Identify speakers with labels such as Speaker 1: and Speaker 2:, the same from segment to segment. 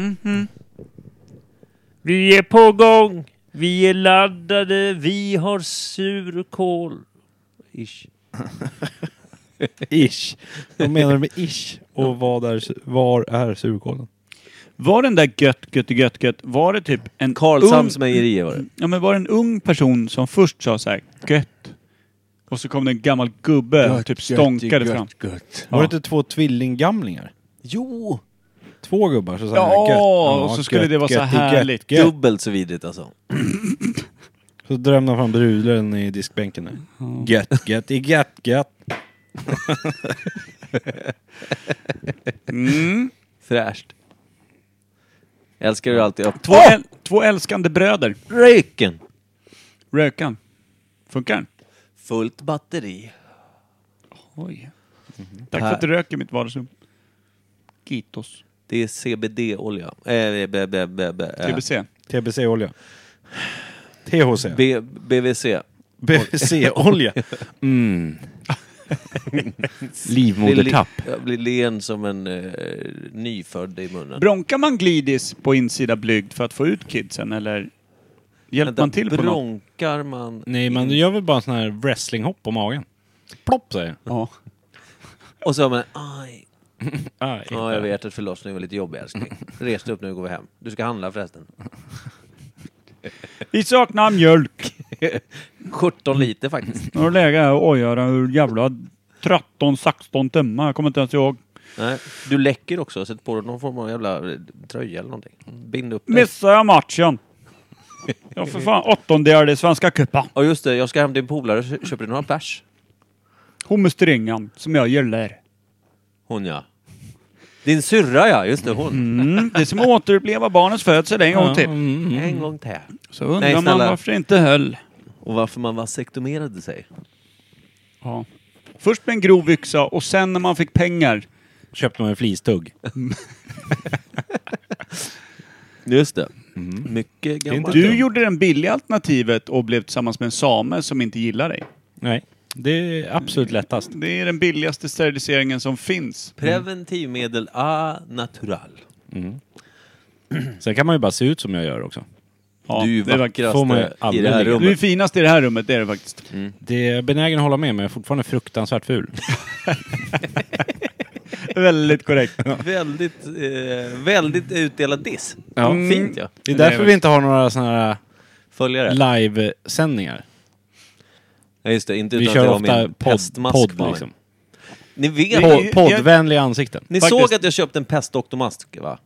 Speaker 1: Mhm. Vi är på gång, vi är laddade, vi har surkål. Ish.
Speaker 2: Ish. Vad menar du med ish? Och vad är, su- var är surkålen?
Speaker 3: Var den där gött, gött, gött, gött, var det typ en
Speaker 4: Karlshamns
Speaker 3: ung-
Speaker 4: mejeri var det.
Speaker 3: Ja men var det en ung person som först sa så här gött. Och så kom det en gammal gubbe och typ stånkade fram.
Speaker 2: Var det inte två tvillinggamlingar?
Speaker 4: Jo!
Speaker 2: Två gubbar så sa
Speaker 3: Ja,
Speaker 2: jag, "Gött."
Speaker 3: och så skulle det vara så härligt.
Speaker 2: Gött.
Speaker 4: Dubbelt så vidrigt alltså.
Speaker 2: Så drömde han fram brudlaren i diskbänken där. Gött, gött, i gött, gött.
Speaker 3: Mm.
Speaker 4: Fräscht. Jag älskar hur du alltid upp.
Speaker 3: Två, äl- två älskande bröder.
Speaker 4: Röken!
Speaker 3: Rökan. Funkar den?
Speaker 4: Fullt batteri.
Speaker 3: Oj. Mhm. Tack
Speaker 4: Här.
Speaker 3: för att du röker i mitt vardagsrum. Kitos.
Speaker 4: Det är CBD-olja. Eh, b, b, b, b, eh,
Speaker 3: TBC.
Speaker 2: TBC-olja. THC.
Speaker 4: B, BVC.
Speaker 2: BVC-olja. Mm.
Speaker 4: Blir, li,
Speaker 5: Livmodertapp.
Speaker 4: jag blir len som en eh, nyfödd i munnen.
Speaker 3: Bronkar man glidis på insida blygd för att få ut kidsen eller hjälper
Speaker 4: Vänta,
Speaker 3: man till på något?
Speaker 4: Bronkar man...
Speaker 2: Nej, men du gör väl bara en sån här wrestlinghopp på magen? Plopp säger
Speaker 3: Ja.
Speaker 4: Och så har man... Aj.
Speaker 2: jag.
Speaker 4: Ja, jag vet att förlossningen var lite jobbig älskling. Res dig upp nu går vi hem. Du ska handla förresten.
Speaker 3: Vi saknar mjölk.
Speaker 4: 17 liter faktiskt.
Speaker 3: Nu har det legat här och ojat ur jävla 13, 16 tummar. Jag kommer inte ens ihåg.
Speaker 4: Nej. Du läcker också. Sätt på dig någon form av jävla eh, tröja eller någonting.
Speaker 2: Mm.
Speaker 4: Bind upp dig.
Speaker 3: Missar jag matchen? Ja för fan, åttondel i Svenska cupen.
Speaker 4: Ja just det, jag ska hem till en polare. Kö- Köper du några bärs?
Speaker 3: Hummerstringan, som jag gillar.
Speaker 4: Hon ja. Din syrra ja, just det hon.
Speaker 3: Mm, det är som att återuppleva barnets födsel en
Speaker 2: typ.
Speaker 3: gång till.
Speaker 2: Mm.
Speaker 4: En gång till.
Speaker 3: Så undrar
Speaker 4: Nej,
Speaker 3: man
Speaker 4: snälla.
Speaker 3: varför det inte höll.
Speaker 4: Och varför man vasektomerade sig.
Speaker 3: Ja. Först med en grov yxa och sen när man fick pengar.
Speaker 2: Köpte man en flistugg.
Speaker 4: Just det. Mycket
Speaker 2: Mm. inte
Speaker 4: gammalt.
Speaker 3: Du gjorde det billiga alternativet och blev tillsammans med en same som inte gillar dig.
Speaker 2: Nej, det är absolut lättast.
Speaker 3: Det är den billigaste steriliseringen som finns.
Speaker 4: Preventivmedel a natural.
Speaker 2: Sen kan man ju bara se ut som jag gör också.
Speaker 3: Ja,
Speaker 4: du är
Speaker 3: det är
Speaker 4: vackraste
Speaker 2: får man ju
Speaker 4: i
Speaker 2: aldrig
Speaker 4: det här
Speaker 2: ligga.
Speaker 3: Du är
Speaker 4: rummet.
Speaker 3: finast i det här rummet, det är det faktiskt.
Speaker 2: Det är jag benägen att hålla med, men jag är fortfarande fruktansvärt ful.
Speaker 3: Väldigt korrekt.
Speaker 4: Väldigt, eh, väldigt utdelad diss.
Speaker 2: Ja.
Speaker 4: Fint ja.
Speaker 2: Mm. Det är därför vi inte har några såna här
Speaker 4: Följare.
Speaker 2: livesändningar.
Speaker 4: Ja, just det, inte
Speaker 2: Vi
Speaker 4: utan
Speaker 2: kör
Speaker 4: att det var
Speaker 2: ofta
Speaker 4: min
Speaker 2: podd,
Speaker 4: pestmask på
Speaker 2: podd
Speaker 4: mig.
Speaker 2: liksom.
Speaker 4: Ni vet,
Speaker 3: Podd.
Speaker 2: Po- Poddvänliga ansikten.
Speaker 4: ni
Speaker 3: Faktiskt.
Speaker 4: såg att jag köpte en pestdoktormask va?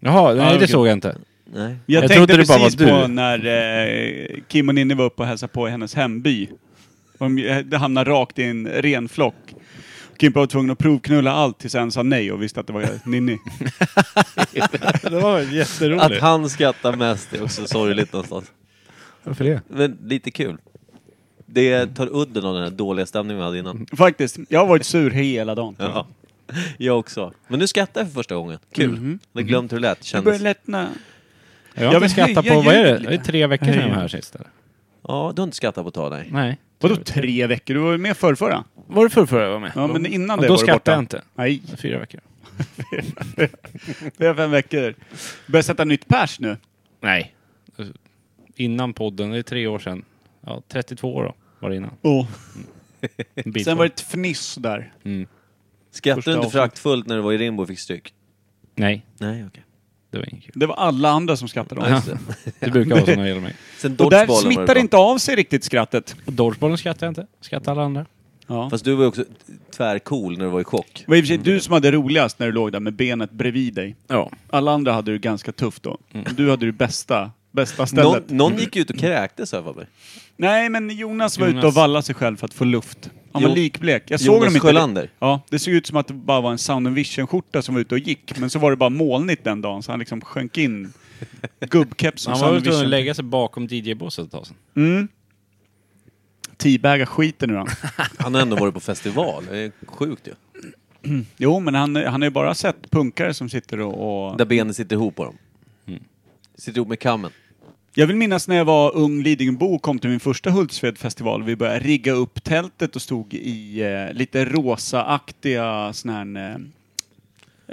Speaker 2: Jaha, nej det
Speaker 3: okej.
Speaker 2: såg jag inte.
Speaker 4: Nej.
Speaker 3: Jag,
Speaker 2: Jag
Speaker 3: tänkte
Speaker 2: trodde det bara
Speaker 3: precis
Speaker 2: var du.
Speaker 3: på när eh, Kim och Ninni var uppe och hälsade på i hennes hemby. De eh, det hamnade rakt i en ren flock. Kimpa var tvungen att provknulla allt tills en sa nej och visste att det var Ninni.
Speaker 2: Det var
Speaker 4: Att
Speaker 2: jätteroligt.
Speaker 4: han skrattar mest är också sorgligt någonstans.
Speaker 2: Varför det?
Speaker 4: Men lite kul. Det tar udden av den här dåliga stämningen vi hade
Speaker 3: Mm.
Speaker 4: innan.
Speaker 3: Faktiskt, jag har varit sur hela dagen. tror jag.
Speaker 4: Ja. Jag också. Men nu skrattar jag för första gången. Kul. Jag har glömt hur det lät.
Speaker 3: Mm-hmm. Det börjar
Speaker 4: Kändes...
Speaker 3: lättna.
Speaker 2: Jag
Speaker 3: Jag
Speaker 2: har
Speaker 3: vill
Speaker 2: inte skrattat
Speaker 3: höja
Speaker 2: på, vad är det?
Speaker 3: ljudet
Speaker 2: Det är tre veckor sedan jag var här sist. eller?
Speaker 4: Ja, du har inte skrattat på ett tag, nej.
Speaker 3: Mm.
Speaker 2: Nej.
Speaker 3: Vadå tre veckor? Du var ju med förrförra.
Speaker 2: Var det förrförra jag var med?
Speaker 3: Ja, men innan
Speaker 2: Och
Speaker 3: det
Speaker 2: då
Speaker 3: var du borta.
Speaker 2: skrattade jag inte.
Speaker 3: Nej,
Speaker 2: Fyra veckor.
Speaker 3: det är fem veckor. Börjar sätta nytt pers nu.
Speaker 2: Nej. Innan podden, det är tre år sedan. Ja, 32 år då, var det innan. En bit
Speaker 3: Sen
Speaker 2: på.
Speaker 3: var det ett fniss där.
Speaker 4: Skrattade
Speaker 3: Första
Speaker 4: du inte
Speaker 3: avsnitt.
Speaker 4: föraktfullt när du var i Rimbo och fick stryk?
Speaker 2: Nej,
Speaker 4: Nej, okej.
Speaker 2: det var inget kul.
Speaker 3: Det var alla andra som skrattade. åt
Speaker 4: Ja,
Speaker 3: oss.
Speaker 4: just det.
Speaker 2: Det brukar vara så när det gäller mig.
Speaker 4: Sen
Speaker 3: Och där
Speaker 4: dodgeballen var
Speaker 3: smittar det
Speaker 4: bra.
Speaker 3: inte av sig riktigt skrattet.
Speaker 2: Dodgebollen skrattar jag inte. Skrattar alla andra.
Speaker 3: Ja.
Speaker 4: Fast du var ju också tvärcool när du var i chock.
Speaker 3: Det var i och för sig du som hade roligast när du låg där med benet bredvid dig.
Speaker 2: Ja.
Speaker 3: Alla andra hade du ganska tufft då.
Speaker 2: Mm.
Speaker 3: Du hade det bästa, bästa
Speaker 4: Någon,
Speaker 3: stället.
Speaker 4: någon gick ut och kräktes här för mig.
Speaker 3: Nej, men Jonas var
Speaker 2: Jonas.
Speaker 3: ute och vallade sig själv för att få luft. Han var
Speaker 4: Jo-
Speaker 3: likblek. Jag såg
Speaker 4: Jonas
Speaker 3: honom inte.
Speaker 4: Sjölander.
Speaker 3: Ja, det såg ut som att det bara var en Sound and Vision-skjorta som var ute och gick. Men så var det bara molnigt den dagen, så han liksom sjönk in. Gubbkepsen
Speaker 2: Han
Speaker 3: och
Speaker 2: var väl
Speaker 3: Sound
Speaker 2: tvungen att
Speaker 3: and Vision.
Speaker 2: lägga sig bakom DJ-båset ett tag sedan.
Speaker 3: Mm. Teabaga skiten nu han.
Speaker 4: Han har ändå varit på festival. Det är sjukt ju.
Speaker 3: Jo, men han, han har ju bara sett punkare som sitter och... och...
Speaker 4: Där benen sitter ihop på dem. Sitter ihop med kammen.
Speaker 3: Jag vill minnas när jag var ung Lidingöbo och kom till min första Hultsfredfestival. Vi började rigga upp tältet och stod i eh, lite rosaaktiga sån här... Eh,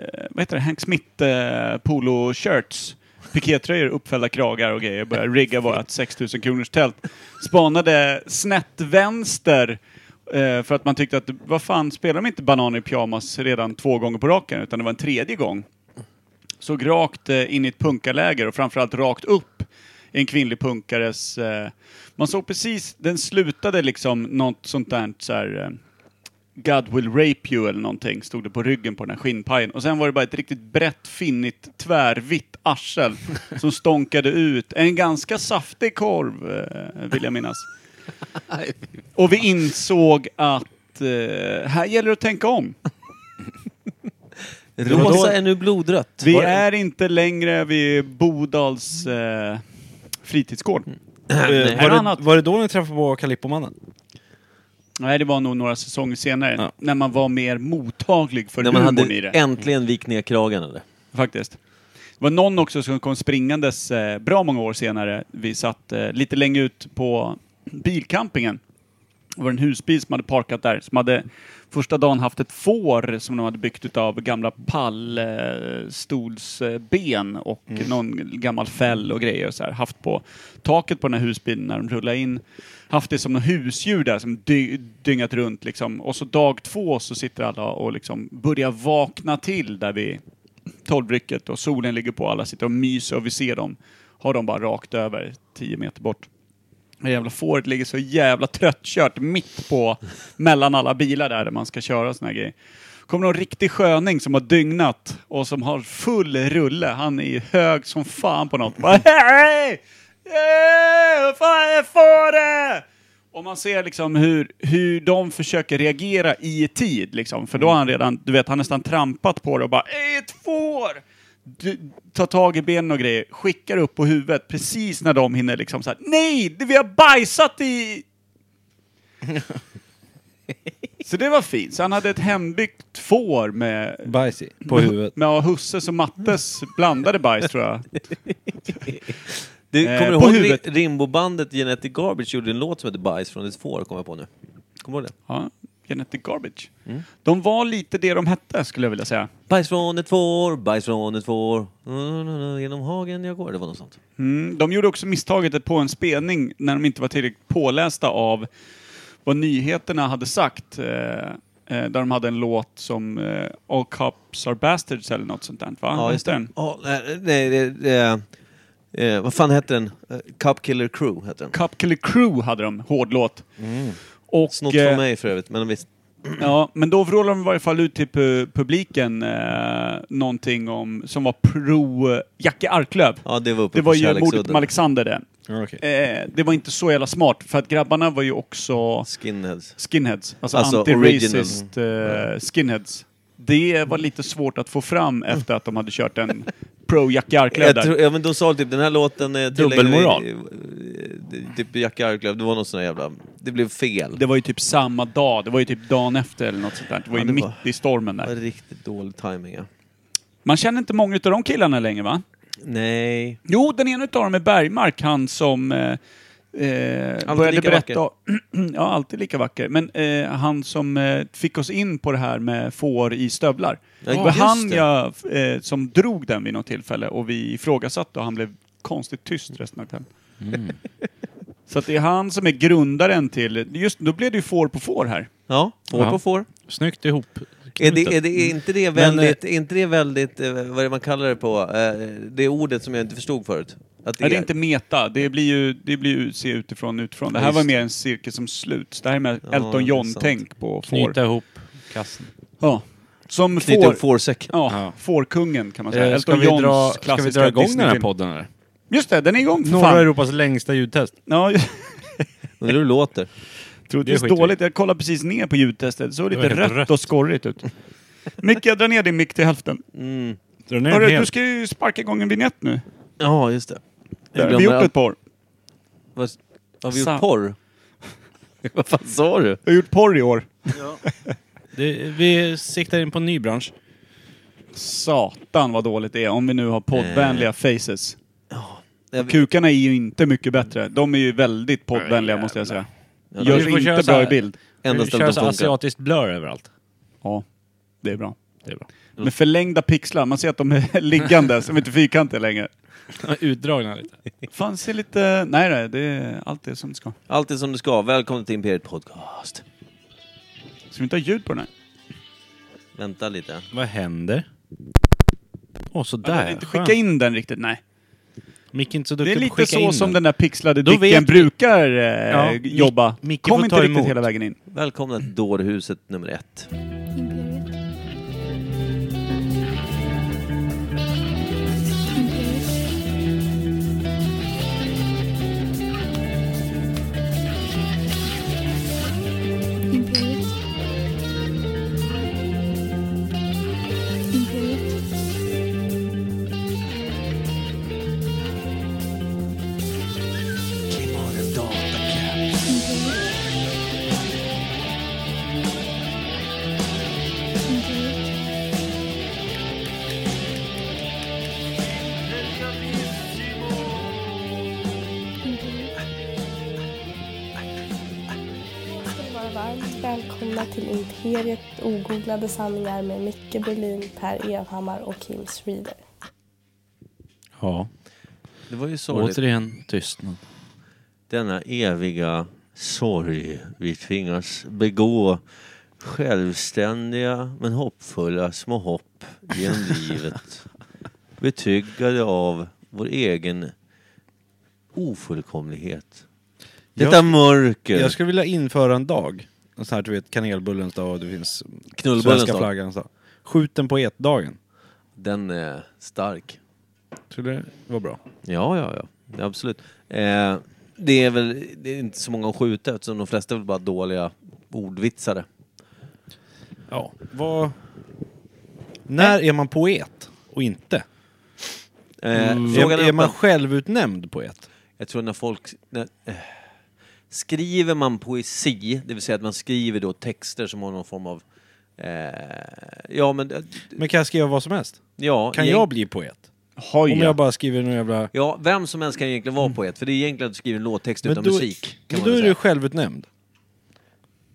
Speaker 3: eh, vad heter det, Hank Smith eh, polo-shirts. Pikétröjor, uppfällda kragar och grejer. Började rigga vårat 6000 kronors tält. Spanade snett vänster. eh, För att man tyckte att, vad fan, spelar de inte bananer i pyjamas redan två gånger på raken? Utan det var en tredje gång. Såg rakt eh, in i ett punkarläger och framförallt rakt upp i en kvinnlig punkares... Eh, man såg precis, den slutade liksom något sånt där så här, eh, God will rape you eller någonting, stod det på ryggen på den här skinnpajen. Och sen var det bara ett riktigt brett, finnigt, tvärvitt arsel som stånkade ut. En ganska saftig korv, eh, vill jag minnas. Och vi insåg att eh, här gäller det att tänka om.
Speaker 1: Vadå?
Speaker 4: Rosa är nu blodrött.
Speaker 3: Vi
Speaker 4: Var det-
Speaker 3: är inte längre vid Bodals eh, fritidsgård.
Speaker 6: Eh,
Speaker 3: Här är
Speaker 6: Var
Speaker 3: annat.
Speaker 6: det, var det då ni träffade på Kalippomannen?
Speaker 3: Nej, det var nog några säsonger senare.
Speaker 6: Ja.
Speaker 3: När man var mer mottaglig för
Speaker 4: När
Speaker 3: humorn
Speaker 4: man
Speaker 3: i det.
Speaker 4: hade äntligen vikt ner kragen eller?
Speaker 3: Faktiskt. Det var någon också som kom springandes eh, bra många år senare. Vi satt eh, lite längre ut på bilcampingen. Det var en husbil som hade parkat där, som hade första dagen haft ett får som de hade byggt utav gamla pallstolsben och någon gammal fäll och grejer och så här, haft på taket på den här husbilen när de rullade in. Haft det som något husdjur där som dy dyngat runt liksom. Och så dag två så sitter alla och liksom börjar vakna till där vi tolvrycket och solen ligger på, alla sitter och myser och vi ser dem. Har de bara rakt över, 10 meter bort. Det jävla fåret ligger så jävla tröttkört mitt på, mellan alla bilar där, där man ska köra såna här grejer. Kommer någon riktig sköning som har dygnat och som har full rulle. Han är hög som fan på något. Bara, hej! Hej! Vad fan är fåret? Och man ser liksom hur, hur de försöker reagera i tid, liksom. för då har han redan, du vet, han har nästan trampat på det och bara "Ey, ett får! Du, tar tag i benen och grejer, skickar upp på huvudet precis när de hinner liksom såhär, nej! det- Vi har bajsat i... så det var fint. Så han hade ett hembyggt får med,
Speaker 6: Bajs på
Speaker 2: Mm.
Speaker 6: huvudet.
Speaker 3: med Husses och Mattes blandade bajs tror jag.
Speaker 4: Du,
Speaker 3: Eh,
Speaker 4: kommer du
Speaker 3: på
Speaker 4: ihåg
Speaker 3: huvudet.
Speaker 4: Ri- Rimbobandet Genetic Garbage gjorde en låt som hette Bajs från ett får, kommer jag på nu. Kommer du ihåg det?
Speaker 3: Ja, genetic garbage. De var lite det de hette skulle jag vilja säga.
Speaker 4: Bajs från ett får, bajs från ett får. Mm, mm, mm, Genom hagen jag går. Det var något sånt.
Speaker 3: Mm, de gjorde också misstaget att på en spelning när de inte var tillräckligt pålästa av vad nyheterna hade sagt. Eh, eh, där de hade en låt som eh, All Cops Are Bastards eller något sånt där. Va? Hette den.
Speaker 4: Ja, nej, nej, det- det- eh, vad fan hette den? Eh, Cup Killer Crew hette den.
Speaker 3: Cup Killer Crew hade de, hård låt. Och,
Speaker 4: Mm. Snott
Speaker 3: eh,
Speaker 4: från mig för övrigt, men visst.
Speaker 3: Ja, men då vrålade de i varje fall ut till pu- publiken eh, någonting om, som var pro eh, Jackie Arklöv.
Speaker 4: Ja, det var uppe
Speaker 3: Det var
Speaker 4: på
Speaker 3: ju mordet
Speaker 4: Kärleksudden.
Speaker 3: på Alexander det.
Speaker 6: Ja, okej.
Speaker 3: Eh, det var inte så jävla smart, för att grabbarna var ju också
Speaker 4: Skinheads.
Speaker 3: skinheads. Alltså,
Speaker 4: Alltså, Mm.
Speaker 3: anti-racist eh, skinheads. Det var lite svårt att få fram efter att de hade kört en pro Jackie Arklöv
Speaker 4: Jag
Speaker 3: där.
Speaker 4: tror, ja, men de sa typ den här låten... eh, tillägnar vi-
Speaker 6: Dubbelmoral.
Speaker 4: eh, eh, Typ Jack Arklöv, det var någon sån där jävla... Det blev fel.
Speaker 3: Det var ju typ samma dag, det var ju typ dagen efter eller något sånt där. Det var ju
Speaker 4: Ja, det
Speaker 3: mitt
Speaker 4: var-
Speaker 3: i stormen
Speaker 4: Det var
Speaker 3: där.
Speaker 4: riktigt dålig timing. Ja.
Speaker 3: Man känner inte många utav de killarna längre va?
Speaker 4: Nej.
Speaker 3: Jo, den ena utav dem är Bergmark, han som... Eh, eh, började
Speaker 4: lika
Speaker 3: berätta... ja, alltid lika vacker. Men eh, han som eh, fick oss in på det här med får i stövlar.
Speaker 4: Ja,
Speaker 3: det var
Speaker 4: just
Speaker 3: han
Speaker 4: det.
Speaker 3: jag, eh, som drog den vid något tillfälle och vi ifrågasatte och han blev konstigt tyst resten av kvällen.
Speaker 4: Mm.
Speaker 3: Så att det är han som är grundaren till... Just då blev det ju får på får här.
Speaker 4: Ja, får
Speaker 6: Ja.
Speaker 4: på får.
Speaker 6: Snyggt ihop.
Speaker 4: Är, det, är, det, är inte det
Speaker 6: Men,
Speaker 4: väldigt, är inte det väldigt, eh, vad är det man kallar det på, eh, det ordet som jag inte förstod förut? Att
Speaker 3: Det är, det är inte meta, det blir ju, det blir ju se utifrån utifrån. Det här
Speaker 4: Just
Speaker 3: var
Speaker 4: det.
Speaker 3: mer en cirkel som sluts. Det här är mer
Speaker 4: Ja, det är
Speaker 3: Elton
Speaker 4: sant.
Speaker 3: John-tänk på får.
Speaker 6: Knyta ihop kassen.
Speaker 3: Ja. Som
Speaker 4: knyta
Speaker 3: får...
Speaker 4: upp fårsäcken.
Speaker 3: Ja,
Speaker 6: Ja.
Speaker 3: fårkungen kan man säga.
Speaker 6: Eh, Ska
Speaker 3: Elton
Speaker 6: vi,
Speaker 3: Johns
Speaker 6: dra, ska vi
Speaker 3: klassiska
Speaker 6: dra igång den här
Speaker 3: Disneyfilm.
Speaker 6: podden eller?
Speaker 3: Just det, den är igång för
Speaker 6: Norra
Speaker 3: fan.
Speaker 6: Europas längsta ljudtest.
Speaker 3: Ja,
Speaker 4: Undrar hur det låter.
Speaker 3: troligtvis
Speaker 6: skiter vi i.
Speaker 3: dåligt. Jag kollade precis ner på ljudtestet. Det såg
Speaker 6: Det var
Speaker 3: lite
Speaker 6: helt
Speaker 3: rött,
Speaker 6: rött.
Speaker 3: och skorrigt ut. Micke, dra ner din mick till hälften.
Speaker 4: Mm.
Speaker 6: Dra ner den
Speaker 3: Hörru, du
Speaker 6: helt.
Speaker 3: ska ju sparka igång en vignett nu.
Speaker 4: Ja, just det.
Speaker 3: Det har
Speaker 4: glömmer
Speaker 3: vi gjort
Speaker 4: allt.
Speaker 3: ett par.
Speaker 4: Vad, har vi gjort
Speaker 3: Sa-
Speaker 4: porr? vad fan sa du?
Speaker 3: Jag har gjort porr i år.
Speaker 6: Det, vi siktar in på en ny bransch.
Speaker 3: Satan vad dåligt det är om vi nu har
Speaker 6: Eh.
Speaker 3: poddvänliga faces.
Speaker 4: Jag,
Speaker 3: Kukarna är ju inte mycket bättre. De är ju väldigt poddvänliga måste jag säga.
Speaker 4: Ja,
Speaker 6: vi
Speaker 3: Görs
Speaker 6: får
Speaker 3: inte
Speaker 6: köra så
Speaker 3: bra i
Speaker 6: här.
Speaker 3: bild.
Speaker 4: enda
Speaker 6: Vi kör
Speaker 4: stället
Speaker 6: så
Speaker 4: som funkar.
Speaker 6: asiatiskt blur överallt.
Speaker 3: Ja, det är bra.
Speaker 6: Det är bra.
Speaker 3: med förlängda pixlar. Man ser att de är liggande, som inte fyrkantiga längre.
Speaker 6: Utdragna lite.
Speaker 3: Fan, ser lite... Nej, nej, det är allt det som det ska.
Speaker 4: Allt är som det ska. Välkommen till Imperiet Podcast.
Speaker 3: Ska vi inte ha ljud på den här?
Speaker 4: Vänta lite.
Speaker 6: Vad händer? Åh,
Speaker 3: Jag
Speaker 6: sådär.
Speaker 3: vill inte
Speaker 6: Skönt.
Speaker 3: skicka in den riktigt, nej.
Speaker 6: Micke är inte så
Speaker 3: Det
Speaker 6: duktig
Speaker 3: är
Speaker 6: på att
Speaker 3: lite
Speaker 6: skicka in
Speaker 3: så som
Speaker 6: den.
Speaker 3: den där pixlade
Speaker 6: Då
Speaker 3: dicken
Speaker 6: vet vi-
Speaker 3: brukar eh,
Speaker 6: Ja, Mic-
Speaker 3: jobba.
Speaker 6: Micke
Speaker 3: Kom
Speaker 6: får
Speaker 3: inte
Speaker 6: ta
Speaker 3: riktigt
Speaker 6: emot.
Speaker 3: hela vägen in.
Speaker 4: Välkomna till dårhuset nummer ett.
Speaker 5: Imperiet. Imperiet. Imperiet. Imperiet. Imperiet. Imperiet.
Speaker 7: vara varmt välkomna till Imperiet ogooglade sanningar med Micke Berlin, Per Evhammar och Kim Schreeder.
Speaker 6: Ja,
Speaker 4: Det var ju sorgligt.
Speaker 6: återigen tystnad.
Speaker 4: Denna eviga sorg vi tvingas begå självständiga men hoppfulla små hopp genom livet. Betryggade av vår egen ofullkomlighet. Detta
Speaker 6: Jag-
Speaker 4: mörker.
Speaker 6: Jag skulle vilja införa en dag. En sån här, du vet, kanelbullens dag och det finns
Speaker 4: Knullbullens
Speaker 6: svenska
Speaker 4: dag.
Speaker 6: flaggans dag. Skjut den poetdagen.
Speaker 4: Den är stark.
Speaker 6: Skulle det vara bra?
Speaker 4: Ja, ja, ja. Ja, Absolut. Eh, det är väl det är inte så många att skjuta eftersom de flesta är väl bara dåliga ordvitsare.
Speaker 6: Ja. Vad... När är man poet och inte?
Speaker 4: Eh,
Speaker 6: Frågan Mm. är, är man
Speaker 4: öppen.
Speaker 6: självutnämnd poet?
Speaker 4: Jag tror när folk... När, eh, skriver man poesi, det vill säga att man skriver då texter som har någon form av... Eh, ja, men... eh,
Speaker 6: Men kan jag skriva vad som helst?
Speaker 4: Ja,
Speaker 6: Kan
Speaker 4: egent-
Speaker 6: jag bli poet? Om
Speaker 3: Hoja.
Speaker 6: jag bara skriver någon jävla...
Speaker 4: Ja, vem som helst kan egentligen vara poet, för det är egentligen att du skriver en låttext utan
Speaker 6: då,
Speaker 4: musik.
Speaker 6: men
Speaker 4: Kan man
Speaker 6: då
Speaker 4: väl
Speaker 6: är
Speaker 4: säga.
Speaker 6: du självutnämnd.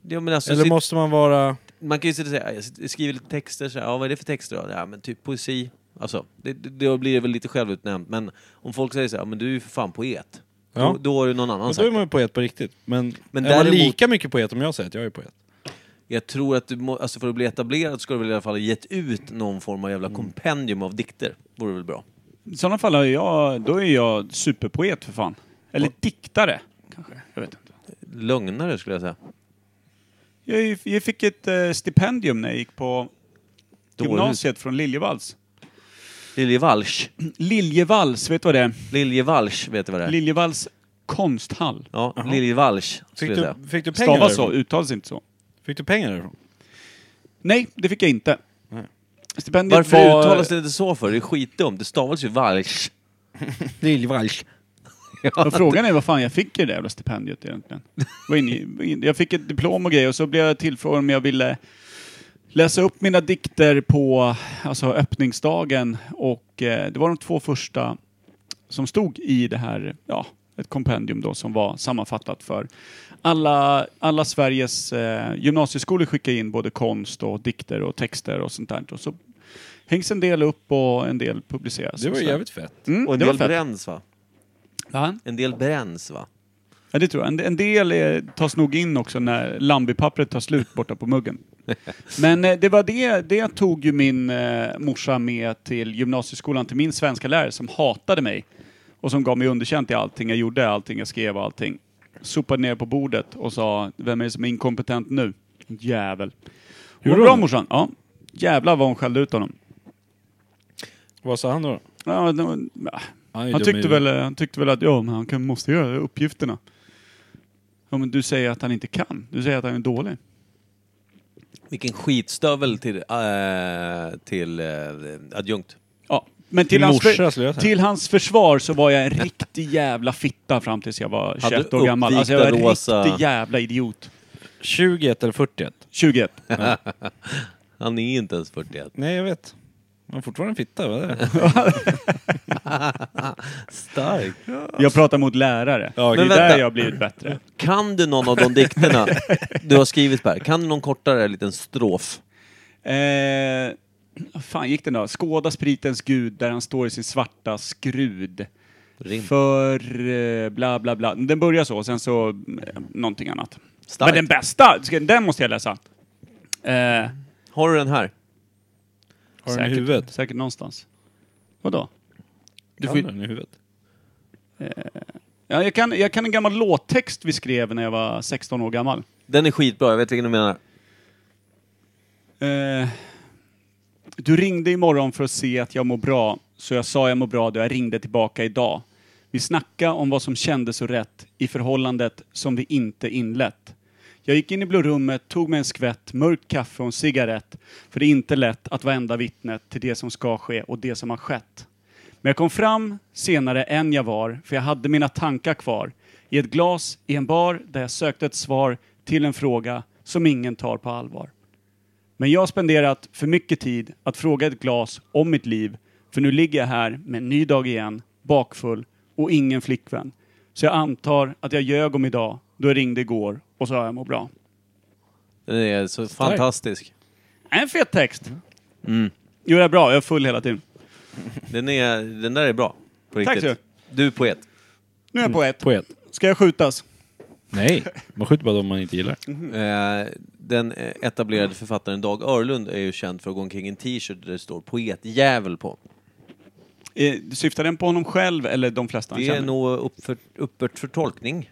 Speaker 4: ja, men alltså,
Speaker 6: Eller
Speaker 4: sit-
Speaker 6: måste man vara...
Speaker 4: Man kan ju sitta och säga, "Ah, jag skriver lite texter, så här, ja, vad är det för texter då? Ja, men typ poesi. Alltså, det, det, då blir det väl lite självutnämnt. Men om folk säger så här, "Ja, men du är ju för fan poet.
Speaker 6: Ja.
Speaker 4: Då, då har ju någon annan
Speaker 6: Men då är
Speaker 4: sagt
Speaker 6: man ju poet på riktigt. Men,
Speaker 4: Men
Speaker 6: är man
Speaker 4: däremot-
Speaker 6: lika mycket poet om jag säger att jag är poet?
Speaker 4: Jag tror att du må, alltså för att bli etablerad ska du väl i alla fall ha gett ut någon form av
Speaker 6: Mm.
Speaker 4: jävla kompendium av dikter. Vore väl bra.
Speaker 3: I sådana fall är jag, då är jag superpoet för fan. Eller diktare, kanske. Jag vet inte.
Speaker 4: Lögnare skulle jag säga.
Speaker 3: Jag, jag fick ett eh, stipendium när jag gick på
Speaker 4: Dårhus.
Speaker 3: gymnasiet från Liljevalchs.
Speaker 4: Liljevalchs.
Speaker 3: Liljevalchs, vet du vad det är?
Speaker 4: Liljevalchs vet du vad det är?
Speaker 3: Liljevalchs konsthall.
Speaker 4: ja, Liljevalchs skulle
Speaker 6: Fick
Speaker 4: jag säga.
Speaker 6: du, fick du pengar
Speaker 3: Stavas så,
Speaker 6: därifrån?
Speaker 3: uttalas inte så.
Speaker 6: Fick du pengar därifrån?
Speaker 3: Nej, det fick jag inte. Stipendiet
Speaker 4: Varför
Speaker 3: var...
Speaker 4: uttalas det inte så för? Det är skitdumt. Det stavas ju valsch.
Speaker 6: Liljevalchs.
Speaker 3: Ja, frågan är vad fan jag fick i det där jävla stipendiet egentligen. Var inne- var inne- Jag fick ett diplom och grejer och så blev jag tillfrågad om jag ville läsa upp mina dikter på alltså, öppningsdagen. Och eh, det var de två första som stod i det här, ja, ett kompendium då som var sammanfattat för alla, alla Sveriges eh, gymnasieskolor skickar in både konst och dikter och texter och sånt där. Och så hängs en del upp och en del publiceras.
Speaker 6: Det var
Speaker 3: och
Speaker 6: ju
Speaker 3: så.
Speaker 6: jävligt fett.
Speaker 3: Mm,
Speaker 4: Och en
Speaker 3: det var
Speaker 4: del
Speaker 3: fett.
Speaker 4: bränns va?
Speaker 3: Ja.
Speaker 4: En del bränns va?
Speaker 3: Ja, det tror jag. En, en del eh, tas nog in också när Lambi-pappret tar slut borta på muggen. Men eh, det var det, det tog ju min eh, morsa med till gymnasieskolan, till min svenska lärare som hatade mig. Och som gav mig underkänt i allting jag gjorde, allting jag skrev och allting. Sopade ner på bordet och sa, vem är det som är inkompetent nu? Jävel. Hur
Speaker 6: Gjorde
Speaker 3: bra
Speaker 6: hon?
Speaker 3: morsan? Ja. Jävlar vad hon skällde ut honom.
Speaker 6: Vad sa han då?
Speaker 3: Ja, det var- ja.
Speaker 6: Han, är ju
Speaker 3: Han
Speaker 6: dum i
Speaker 3: tyckte,
Speaker 6: huvudet.
Speaker 3: väl, han tyckte väl att ja, men han kan, måste göra uppgifterna. Ja, men du säger att han inte kan. Du säger att han är dålig.
Speaker 4: Vilken skitstövel till, äh, till äh, adjunkt.
Speaker 3: Ja. Men till,
Speaker 6: Din
Speaker 3: hans,
Speaker 6: morsa skulle jag
Speaker 3: för,
Speaker 6: säga.
Speaker 3: till hans försvar så var jag en riktig jävla fitta fram tills jag var
Speaker 4: Hade
Speaker 3: 21 år gammal.
Speaker 4: uppvikta
Speaker 3: Alltså jag var en
Speaker 4: rosa-
Speaker 3: riktig jävla idiot.
Speaker 6: 21 eller 41?
Speaker 3: 21.
Speaker 4: Han är inte ens 41.
Speaker 6: Nej, jag vet. Man är fortfarande en fitta, vad är det?
Speaker 4: Stark.
Speaker 3: Jag pratar mot lärare.
Speaker 6: Ja,
Speaker 3: det är
Speaker 4: men vänta.
Speaker 3: där jag har blivit bättre.
Speaker 4: Kan du någon av de dikterna du har skrivit Per? Kan du någon kortare liten strof?
Speaker 3: Eh, vad fan gick den då? Skåda spritens gud där han står i sin svarta skrud.
Speaker 4: Rim.
Speaker 3: För eh, bla bla bla. Den börjar så, sen så eh, någonting annat.
Speaker 4: Starkt.
Speaker 3: Men den bästa, ska- den måste jag läsa. Eh,
Speaker 4: Har du den här?
Speaker 6: Har du den i
Speaker 3: säkert,
Speaker 6: huvudet?
Speaker 3: säkert någonstans. Vadå?
Speaker 6: Du
Speaker 4: Kan
Speaker 6: får
Speaker 4: den
Speaker 6: den i huvudet.
Speaker 3: Ja, jag, kan, jag kan en gammal låttext vi skrev när jag var 16 år gammal.
Speaker 4: Den är skitbra, jag vet vilken du menar.
Speaker 3: Eh, du ringde imorgon för att se att jag mår bra, så jag sa jag mår bra då jag ringde tillbaka idag. Vi snackade om vad som kändes så rätt i förhållandet som vi inte inlett. Jag gick in i blå rummet, tog mig en skvätt mörkt kaffe och en cigarett, för det är inte lätt att vara enda vittnet till det som ska ske och det som har skett. Men jag kom fram senare än jag var, för jag hade mina tankar kvar. I ett glas, i en bar, där jag sökte ett svar till en fråga som ingen tar på allvar. Men jag har spenderat för mycket tid att fråga ett glas om mitt liv, för nu ligger jag här med en ny dag igen, bakfull och ingen flickvän. Så jag antar att jag ljög om idag, då jag ringde igår och sa jag mår bra.
Speaker 4: Den är så fantastisk.
Speaker 3: En fet text!
Speaker 4: Mm.
Speaker 3: Gör jag bra, jag är full hela tiden.
Speaker 4: Den, är, den där är bra. På
Speaker 3: Tack
Speaker 4: riktigt.
Speaker 3: så mycket.
Speaker 4: Du är poet.
Speaker 3: Nu är
Speaker 4: Mm.
Speaker 3: jag poet.
Speaker 6: Poet.
Speaker 3: Ska jag skjutas?
Speaker 6: Nej, man skjuter bara dem man inte gillar.
Speaker 4: Eh, den eh, etablerade författaren Dag Örlund är ju känd för att gå omkring i en t-shirt där det står poetjävel på.
Speaker 3: Eh, Syftar den på honom själv eller de flesta han
Speaker 4: Det är
Speaker 3: känner?
Speaker 4: nog upp för, uppåt för tolkning.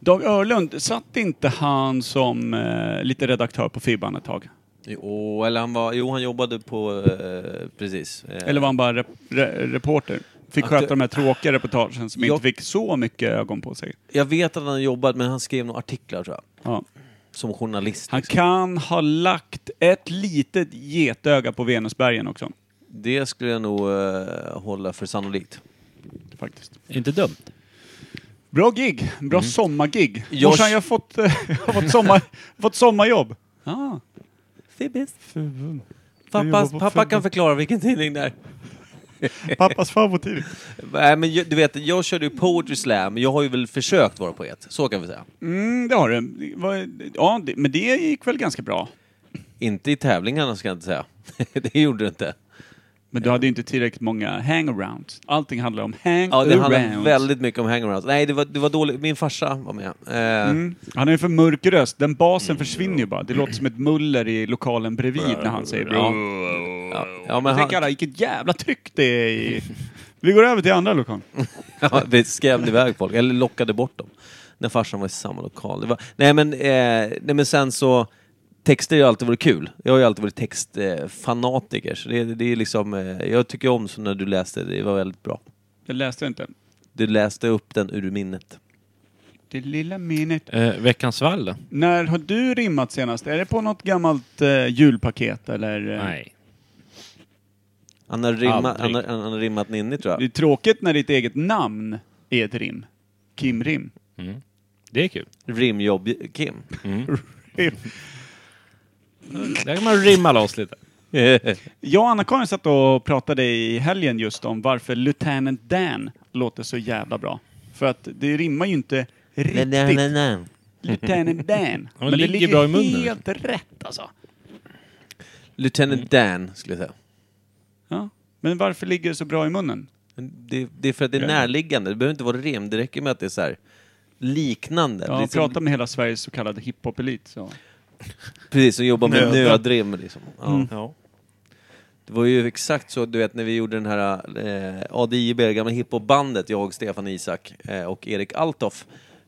Speaker 3: Dag Örlund, satt inte han som eh, lite redaktör på Fibban ett tag?
Speaker 4: Jo, eller han var, jo, han jobbade på... Eh, precis. Eh,
Speaker 3: Eller var han bara rep re reporter? Fick
Speaker 4: Att
Speaker 3: sköta
Speaker 4: det-
Speaker 3: de här tråkiga reportagen som
Speaker 4: Jag-
Speaker 3: inte fick så mycket ögon på sig.
Speaker 4: Jag vet att han jobbat, men han skrev några artiklar tror jag.
Speaker 3: Ja.
Speaker 4: Som journalist.
Speaker 3: Han
Speaker 4: liksom.
Speaker 3: kan ha lagt ett litet getöga på Venusbergen också.
Speaker 4: Det skulle jag nog eh, hålla för sannolikt.
Speaker 3: Faktiskt.
Speaker 6: Inte dumt.
Speaker 3: Bra gig! Bra sommargig.
Speaker 4: Mm. Jag-
Speaker 3: Jag... Morsan, jag har fått, jag har fått, sommar, fått sommarjobb. Ah.
Speaker 4: Fibbis. Pappa, pappa kan förklara vilken tidning det är.
Speaker 3: Pappas favorittidning.
Speaker 4: Nej, men ju- du vet, jag körde ju Poetry Slam. Jag har ju väl försökt vara poet. Så kan vi säga.
Speaker 3: Mm, det har du. Det var- Ja, det, men det gick väl ganska bra?
Speaker 4: Inte i tävlingarna ska jag inte säga. det gjorde det inte.
Speaker 3: Men du hade ju inte tillräckligt många hangarounds. Allting handlar om hangarounds.
Speaker 4: Ja, det handlade väldigt mycket om hangarounds. Nej, det var, det var dåligt. Min farsa var med. Eh,
Speaker 3: Mm. Han är för mörk röst. Den basen försvinner ju bara. Det låter som ett muller i lokalen bredvid när han säger
Speaker 4: Mm. Ja.
Speaker 3: bra.
Speaker 4: Ja, ja,
Speaker 3: Jag
Speaker 4: men han,
Speaker 3: tänker alla, vilket jävla tryck det är i... Vi går över till andra lokalen.
Speaker 4: ja, vi skrämde iväg folk, eller lockade bort dem. När farsan var i samma lokal. Det var, nej, men, eh, nej men sen så, texter har ju alltid varit kul. Jag har ju alltid varit textfanatiker. Eh, fanatiker, så det, det är liksom, eh, jag tycker om så när du läste, det var väldigt bra.
Speaker 3: Jag läste inte.
Speaker 4: Du läste upp den ur minnet.
Speaker 3: Det lilla minnet.
Speaker 6: Eh, veckans vall då?
Speaker 3: När har du rimmat senast? Är det på något gammalt eh, julpaket eller? eh,
Speaker 6: Nej.
Speaker 4: Han har, rimma,
Speaker 6: Aldrig.
Speaker 4: han har, han har rimmat ninni tror
Speaker 3: Det är
Speaker 4: jag.
Speaker 3: tråkigt när ditt eget namn är ett rim. Kim Rim.
Speaker 6: Det är kul.
Speaker 4: Rimjobb-Kim.
Speaker 6: Där kan man rimma loss lite.
Speaker 3: Jag och Anna-Karin satt och pratade i helgen just om varför Lieutenant Dan låter så jävla bra. För att det rimmar ju inte riktigt. Lieutenant Dan.
Speaker 6: Ja, ligger bra i munnen.
Speaker 3: helt rätt alltså.
Speaker 4: Lieutenant
Speaker 6: Mm.
Speaker 4: Dan, skulle jag säga.
Speaker 3: Ja. Men varför ligger det så bra i munnen?
Speaker 4: Men Det, det är för att det är närliggande. Det behöver inte vara rim. Det räcker med att det är så här liknande.
Speaker 3: Ja,
Speaker 4: det är
Speaker 3: jag pratar med hela Sveriges så kallade hiphop-elit. Så.
Speaker 4: precis, som jobbar med
Speaker 3: Nödrim.
Speaker 4: nödrim. Liksom. Ja. Det var ju exakt så, du vet, när vi gjorde den här eh, ADIB, det gamla hiphopbandet, jag, Stefan Isak eh, och Erik Altoff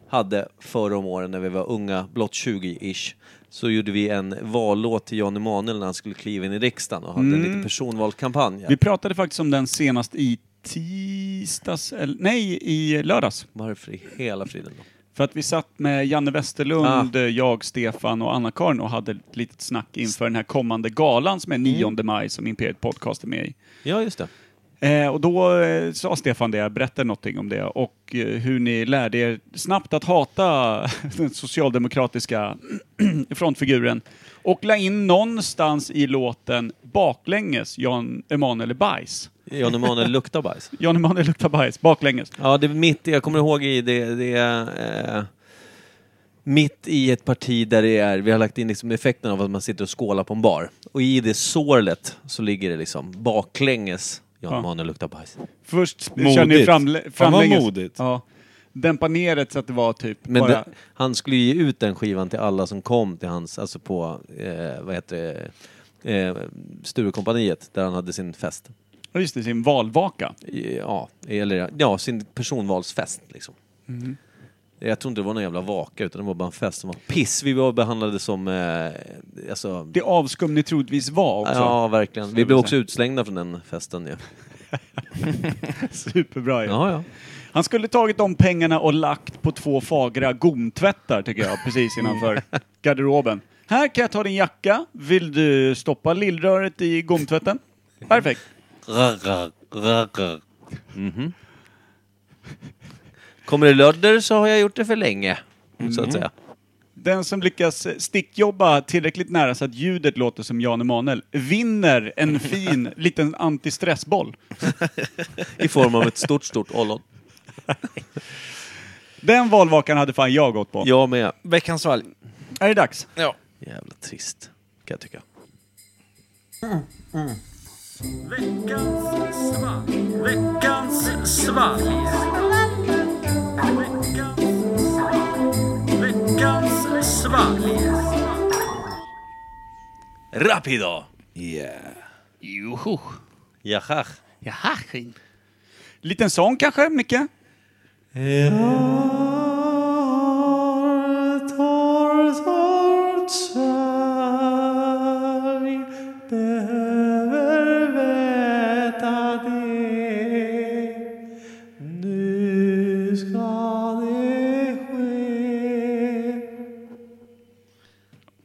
Speaker 4: hade förra om åren när vi var unga, blott 20-ish, så gjorde vi en vallåt till Jan Emanuel när han skulle kliva in i riksdagen och hade en liten personvalskampanj.
Speaker 3: Vi pratade faktiskt om den senast i tisdags, eller nej, i lördags.
Speaker 4: Varför i hela friden då?
Speaker 3: För att vi satt med Janne Westerlund, jag, Stefan och Anna-Karin och hade ett litet snack inför den här kommande galan som är 9 maj som Imperiet Podcast är med i.
Speaker 4: Ja, just det.
Speaker 3: Eh, och då eh, sa Stefan det, berättade någonting om det och eh, hur ni lärde er snabbt att hata den socialdemokratiska frontfiguren och la in någonstans i låten baklänges Jan Emanuel är bajs.
Speaker 4: Jan Emanuel luktar bajs.
Speaker 3: Jan Emanuel luktar bajs, baklänges.
Speaker 4: Ja, det är mitt, jag kommer ihåg i det, det är... Eh, mitt i ett parti där det är, vi har lagt in liksom effekten av att man sitter och skålar på en bar. Och i det sorlet så ligger det liksom baklänges. Jan
Speaker 3: Ja.
Speaker 4: Emanuel luktar bajs.
Speaker 3: Först
Speaker 2: Modigt.
Speaker 3: körde ni framle-
Speaker 2: Fan vad
Speaker 3: framlänges.
Speaker 2: modigt.
Speaker 3: Ja. Dämpa ner det så att det var typ
Speaker 4: Men
Speaker 3: bara...
Speaker 4: den, han skulle ju ge ut den skivan till alla som kom till hans, alltså på, eh, vad heter det, eh, Sturecompagniet där han hade sin fest.
Speaker 3: Ja, Just det, sin valvaka.
Speaker 4: Ja, eller ja, sin personvalsfest liksom.
Speaker 3: Mm.
Speaker 4: Jag tror inte det var någon jävla vaka utan det var bara en fest som var piss. Vi var behandlade som, eh, alltså,
Speaker 3: Det avskum ni troligtvis var också.
Speaker 4: ja verkligen. Vi blev
Speaker 3: vi
Speaker 4: också utslängda från den festen ju.
Speaker 3: Superbra ju.
Speaker 4: Ja, ja.
Speaker 3: Han skulle tagit de pengarna och lagt på två fagra gomtvättar tycker jag, precis innanför garderoben. Här kan jag ta din jacka. Vill du stoppa lillröret i gomtvätten? Perfekt.
Speaker 4: Mhm. Kommer det lödder så har jag gjort det för länge, så
Speaker 3: Mm.
Speaker 4: att säga.
Speaker 3: Den som lyckas stickjobba tillräckligt nära så att ljudet låter som Jan Emanuel vinner en fin liten antistressboll.
Speaker 4: I form av ett stort, stort ollon.
Speaker 3: Den valvakan hade fan jag gått på.
Speaker 4: Jag med.
Speaker 8: Veckans svalg.
Speaker 3: Är det dags?
Speaker 4: Jävla trist, kan jag tycka. Rapido!
Speaker 8: Joho.
Speaker 4: Jaha.
Speaker 8: Jaha.
Speaker 3: Liten sång kanske, Micke?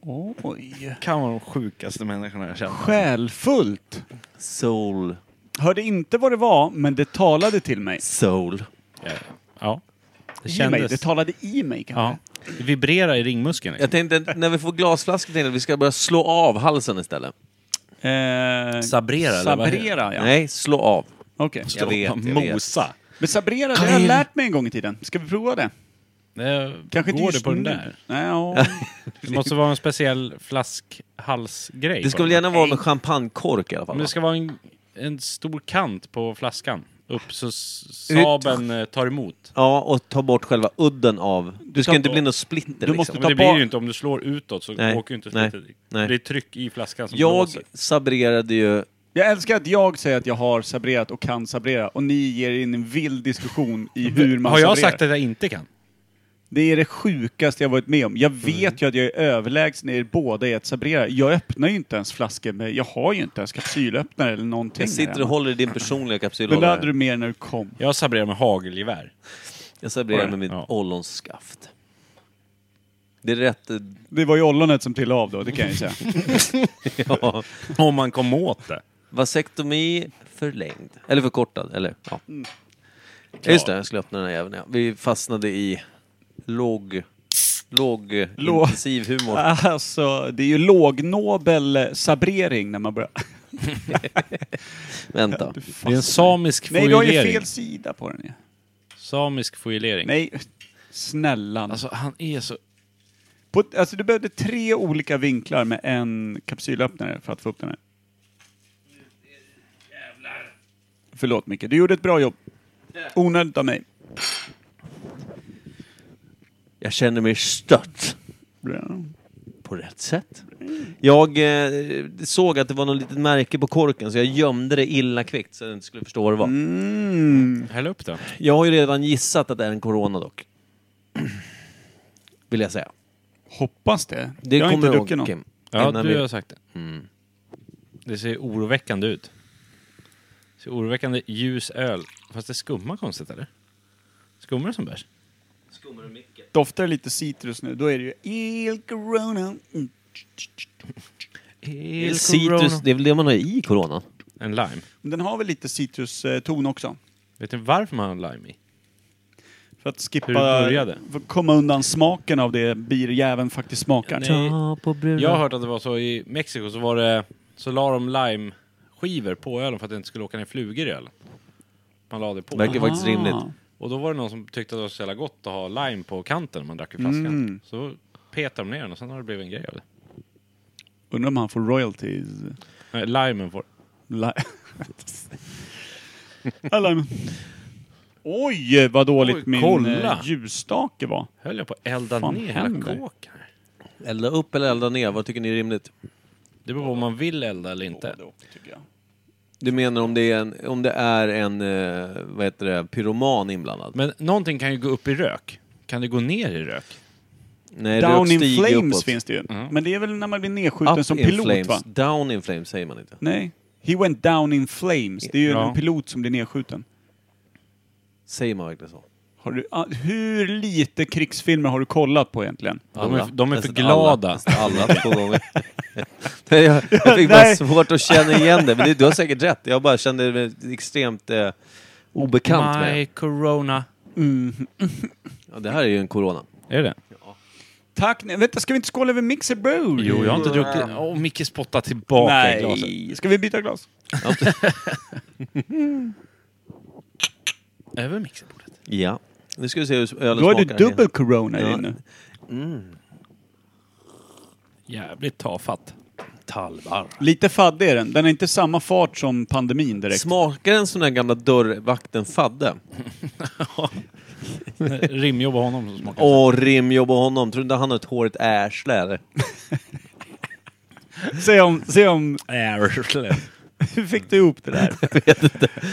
Speaker 3: Oj.
Speaker 2: Kan vara de sjukaste människorna jag känner.
Speaker 3: Själfullt.
Speaker 4: Soul.
Speaker 3: Hörde inte vad det var, men det talade till mig.
Speaker 4: Soul.
Speaker 2: Ja. ja. Det
Speaker 3: I mig. Det
Speaker 2: kändes.
Speaker 3: talade i mig kanske.
Speaker 2: Ja. Det vibrerar i ringmuskeln.
Speaker 4: Jag
Speaker 2: Liksom.
Speaker 4: tänkte, när vi får glasflaskor tänkte jag att vi ska börja slå av halsen istället.
Speaker 3: Eh,
Speaker 8: Sabrera, eller vad heter
Speaker 3: Sabrera, ja.
Speaker 4: Nej, slå av.
Speaker 3: Okej.
Speaker 4: Jag vet, jag vet.
Speaker 2: Mosa.
Speaker 3: Men Sabrera, det har jag lärt mig en gång i tiden. Ska vi prova det?
Speaker 2: Det
Speaker 3: Kanske inte
Speaker 2: går
Speaker 3: just
Speaker 2: det på den
Speaker 3: nu.
Speaker 2: där?
Speaker 3: Nej, ja.
Speaker 2: Det måste vara en speciell flaskhalsgrej.
Speaker 4: Det ska
Speaker 2: på
Speaker 4: väl
Speaker 2: den.
Speaker 4: gärna vara med champagnekork i alla fall?
Speaker 2: Men det
Speaker 4: va?
Speaker 2: ska vara en, en stor kant på flaskan. Upp så sabeln tar emot.
Speaker 4: Ja, och ta bort själva udden av... Du ska
Speaker 3: tar
Speaker 4: inte
Speaker 3: bort-
Speaker 4: bli någon splitter
Speaker 3: du
Speaker 4: liksom.
Speaker 3: måste
Speaker 2: Men
Speaker 3: Ta
Speaker 2: det blir
Speaker 3: bara-
Speaker 2: ju inte om du slår utåt så
Speaker 4: Nej,
Speaker 2: åker ju inte
Speaker 4: nej,
Speaker 2: splittet.
Speaker 4: nej.
Speaker 2: Det är tryck i flaskan som
Speaker 4: Jag
Speaker 2: blåser.
Speaker 4: sabrerade ju...
Speaker 3: Jag älskar att jag säger att jag har sabrerat och kan sabrera och ni ger in en vild diskussion i hur man
Speaker 2: Har jag
Speaker 3: sabrerar.
Speaker 2: sagt att jag inte kan?
Speaker 3: Det är det sjukaste jag varit med om. Jag vet
Speaker 2: Mm.
Speaker 3: ju att jag är överlägsen er båda i att sabrera. Jag öppnar ju inte ens flaskor med... Jag har ju inte ens kapsylöppnare eller någonting.
Speaker 4: Jag sitter och håller i din personliga
Speaker 3: Det lärde du
Speaker 4: kapsylhållare.
Speaker 3: mer när du kom.
Speaker 2: Jag sabrerar med hagelgevär.
Speaker 4: Jag sabrerade med mitt
Speaker 2: Ja.
Speaker 4: ollonskaft. Det är rätt... eh,
Speaker 3: Det var ju ollonet som trillade av då, det kan jag ju säga.
Speaker 4: Ja.
Speaker 2: Om man kom åt det.
Speaker 4: Vasektomi förlängd. Eller förkortad, eller ja.
Speaker 3: Mm.
Speaker 4: ja. Just det, jag skulle öppna den här jäveln. Ja. Vi fastnade i låg... Låg... eh,
Speaker 3: Låg.
Speaker 4: Intensiv humor.
Speaker 3: Alltså, det är ju lågnobel eh, sabrering när man börjar...
Speaker 4: Vänta.
Speaker 2: Det är en samisk
Speaker 3: Nej, du har ju
Speaker 2: foilering.
Speaker 3: fel sida på den ju.
Speaker 2: Samisk foilering.
Speaker 3: Nej, snälla. Alltså,
Speaker 2: Alltså han är så...
Speaker 3: på, alltså, du behövde tre olika vinklar med en kapsylöppnare för att få upp den här. Förlåt Micke, du gjorde ett bra jobb. Onödigt av mig.
Speaker 4: Jag känner mig stört.
Speaker 3: Bra.
Speaker 4: på rätt sätt. Jag eh, såg att det var något litet märke på korken så jag gömde det illa kvickt så jag inte skulle förstå vad det var.
Speaker 3: Mm.
Speaker 2: Häll upp den.
Speaker 4: Jag har ju redan gissat att det är en corona dock. Vill jag säga.
Speaker 3: Hoppas det.
Speaker 4: Det
Speaker 3: jag har
Speaker 4: kommer
Speaker 3: inte
Speaker 4: du ihåg
Speaker 3: druckit någon.
Speaker 4: Kim?
Speaker 2: Ja,
Speaker 4: Innan
Speaker 2: du
Speaker 4: vi-
Speaker 2: har sagt det. Det ser oroväckande ut. Det ser oroväckande ljus öl. Fast det skummar konstigt, eller? Skummar det som bärs?
Speaker 3: Doftar lite citrus nu, då är det ju El Corona. Mm.
Speaker 4: Citrus, det är väl det man har i corona?
Speaker 2: En lime.
Speaker 3: Men Den har väl lite citruston också?
Speaker 2: Vet ni varför man har lime i?
Speaker 3: För att skippa...
Speaker 2: Hur det började.
Speaker 3: För att komma undan smaken av det birjäveln faktiskt smakar.
Speaker 2: Nej.
Speaker 4: Ta på
Speaker 1: Mm.
Speaker 4: bruna.
Speaker 2: Jag har hört att det var så i Mexiko så var det... Så la de lime-skivor på ölen för att det inte skulle åka ner flugor i ölen. Man la det på.
Speaker 4: Verkar faktiskt rimligt.
Speaker 6: Och då var det någon som tyckte att det var så jävla gott att ha lime på kanten när man drack ur flaskan.
Speaker 3: Mm.
Speaker 6: Så petade de ner den och sen har det blivit en grej av det.
Speaker 3: Undrar om han får royalties?
Speaker 6: Nej, limen får...
Speaker 3: Li- Alla- Oj, vad dåligt
Speaker 6: Oj,
Speaker 3: min
Speaker 6: kolla.
Speaker 3: eh, ljusstake var.
Speaker 6: Höll jag på att elda
Speaker 3: Fan
Speaker 6: ner hela
Speaker 3: händer?
Speaker 6: kåken? här.
Speaker 4: Elda upp eller elda ner, vad tycker ni är rimligt?
Speaker 6: Det beror på om man vill elda eller inte.
Speaker 3: Både och, tycker jag.
Speaker 4: Du menar om det är en, om det är en eh, vad heter det, pyroman inblandad?
Speaker 6: Men någonting kan ju gå upp i rök. Kan det gå ner i rök?
Speaker 4: Nej,
Speaker 3: Down
Speaker 4: rök
Speaker 3: in
Speaker 4: stiger
Speaker 3: flames
Speaker 4: uppåt.
Speaker 3: finns det ju.
Speaker 6: Mm.
Speaker 3: Men det är väl när man blir nedskjuten
Speaker 4: Up
Speaker 3: som
Speaker 4: in
Speaker 3: pilot
Speaker 4: flames.
Speaker 3: va?
Speaker 4: Down in flames säger man inte.
Speaker 3: Nej. He went down in flames. Det är ju
Speaker 6: Ja.
Speaker 3: en pilot som blir nedskjuten.
Speaker 4: Säger man verkligen så?
Speaker 3: Har du, ah, hur lite krigsfilmer har du kollat på egentligen?
Speaker 6: De är,
Speaker 4: Alla.
Speaker 6: de är för
Speaker 4: Nästan
Speaker 6: glada.
Speaker 4: Alla, alla två gånger. Nej, jag, jag fick bara
Speaker 3: Nej.
Speaker 4: svårt att känna igen det, men det, du har säkert rätt. Jag bara kände mig extremt eh, obekant med
Speaker 6: My
Speaker 4: det.
Speaker 6: corona.
Speaker 4: ja, Det här är ju en corona.
Speaker 6: Är det
Speaker 3: Tack, nej, vänta ska vi inte skåla över Mixer Brew?
Speaker 6: Jo, jag har inte druckit... Åh, Micke spottar tillbaka i glaset.
Speaker 3: Nej, ska vi byta glas?
Speaker 6: Över mixerbordet.
Speaker 4: Ja. Nu ska vi se hur ölen
Speaker 3: Då har du
Speaker 4: smakar.
Speaker 3: dubbel corona i
Speaker 4: Ja.
Speaker 3: din nu.
Speaker 6: Jävligt tafatt. Talvar.
Speaker 3: Lite faddig är den. Den är inte samma fart som pandemin direkt.
Speaker 4: Smakar den som den gamla dörrvakten Fadde?
Speaker 6: Rimjobb av honom som smakar.
Speaker 4: Åh, rimjobb på honom. Tror du inte han har ett hårigt ärsle eller?
Speaker 3: Se om, se om,
Speaker 6: Ärsle.
Speaker 3: hur fick du ihop det där?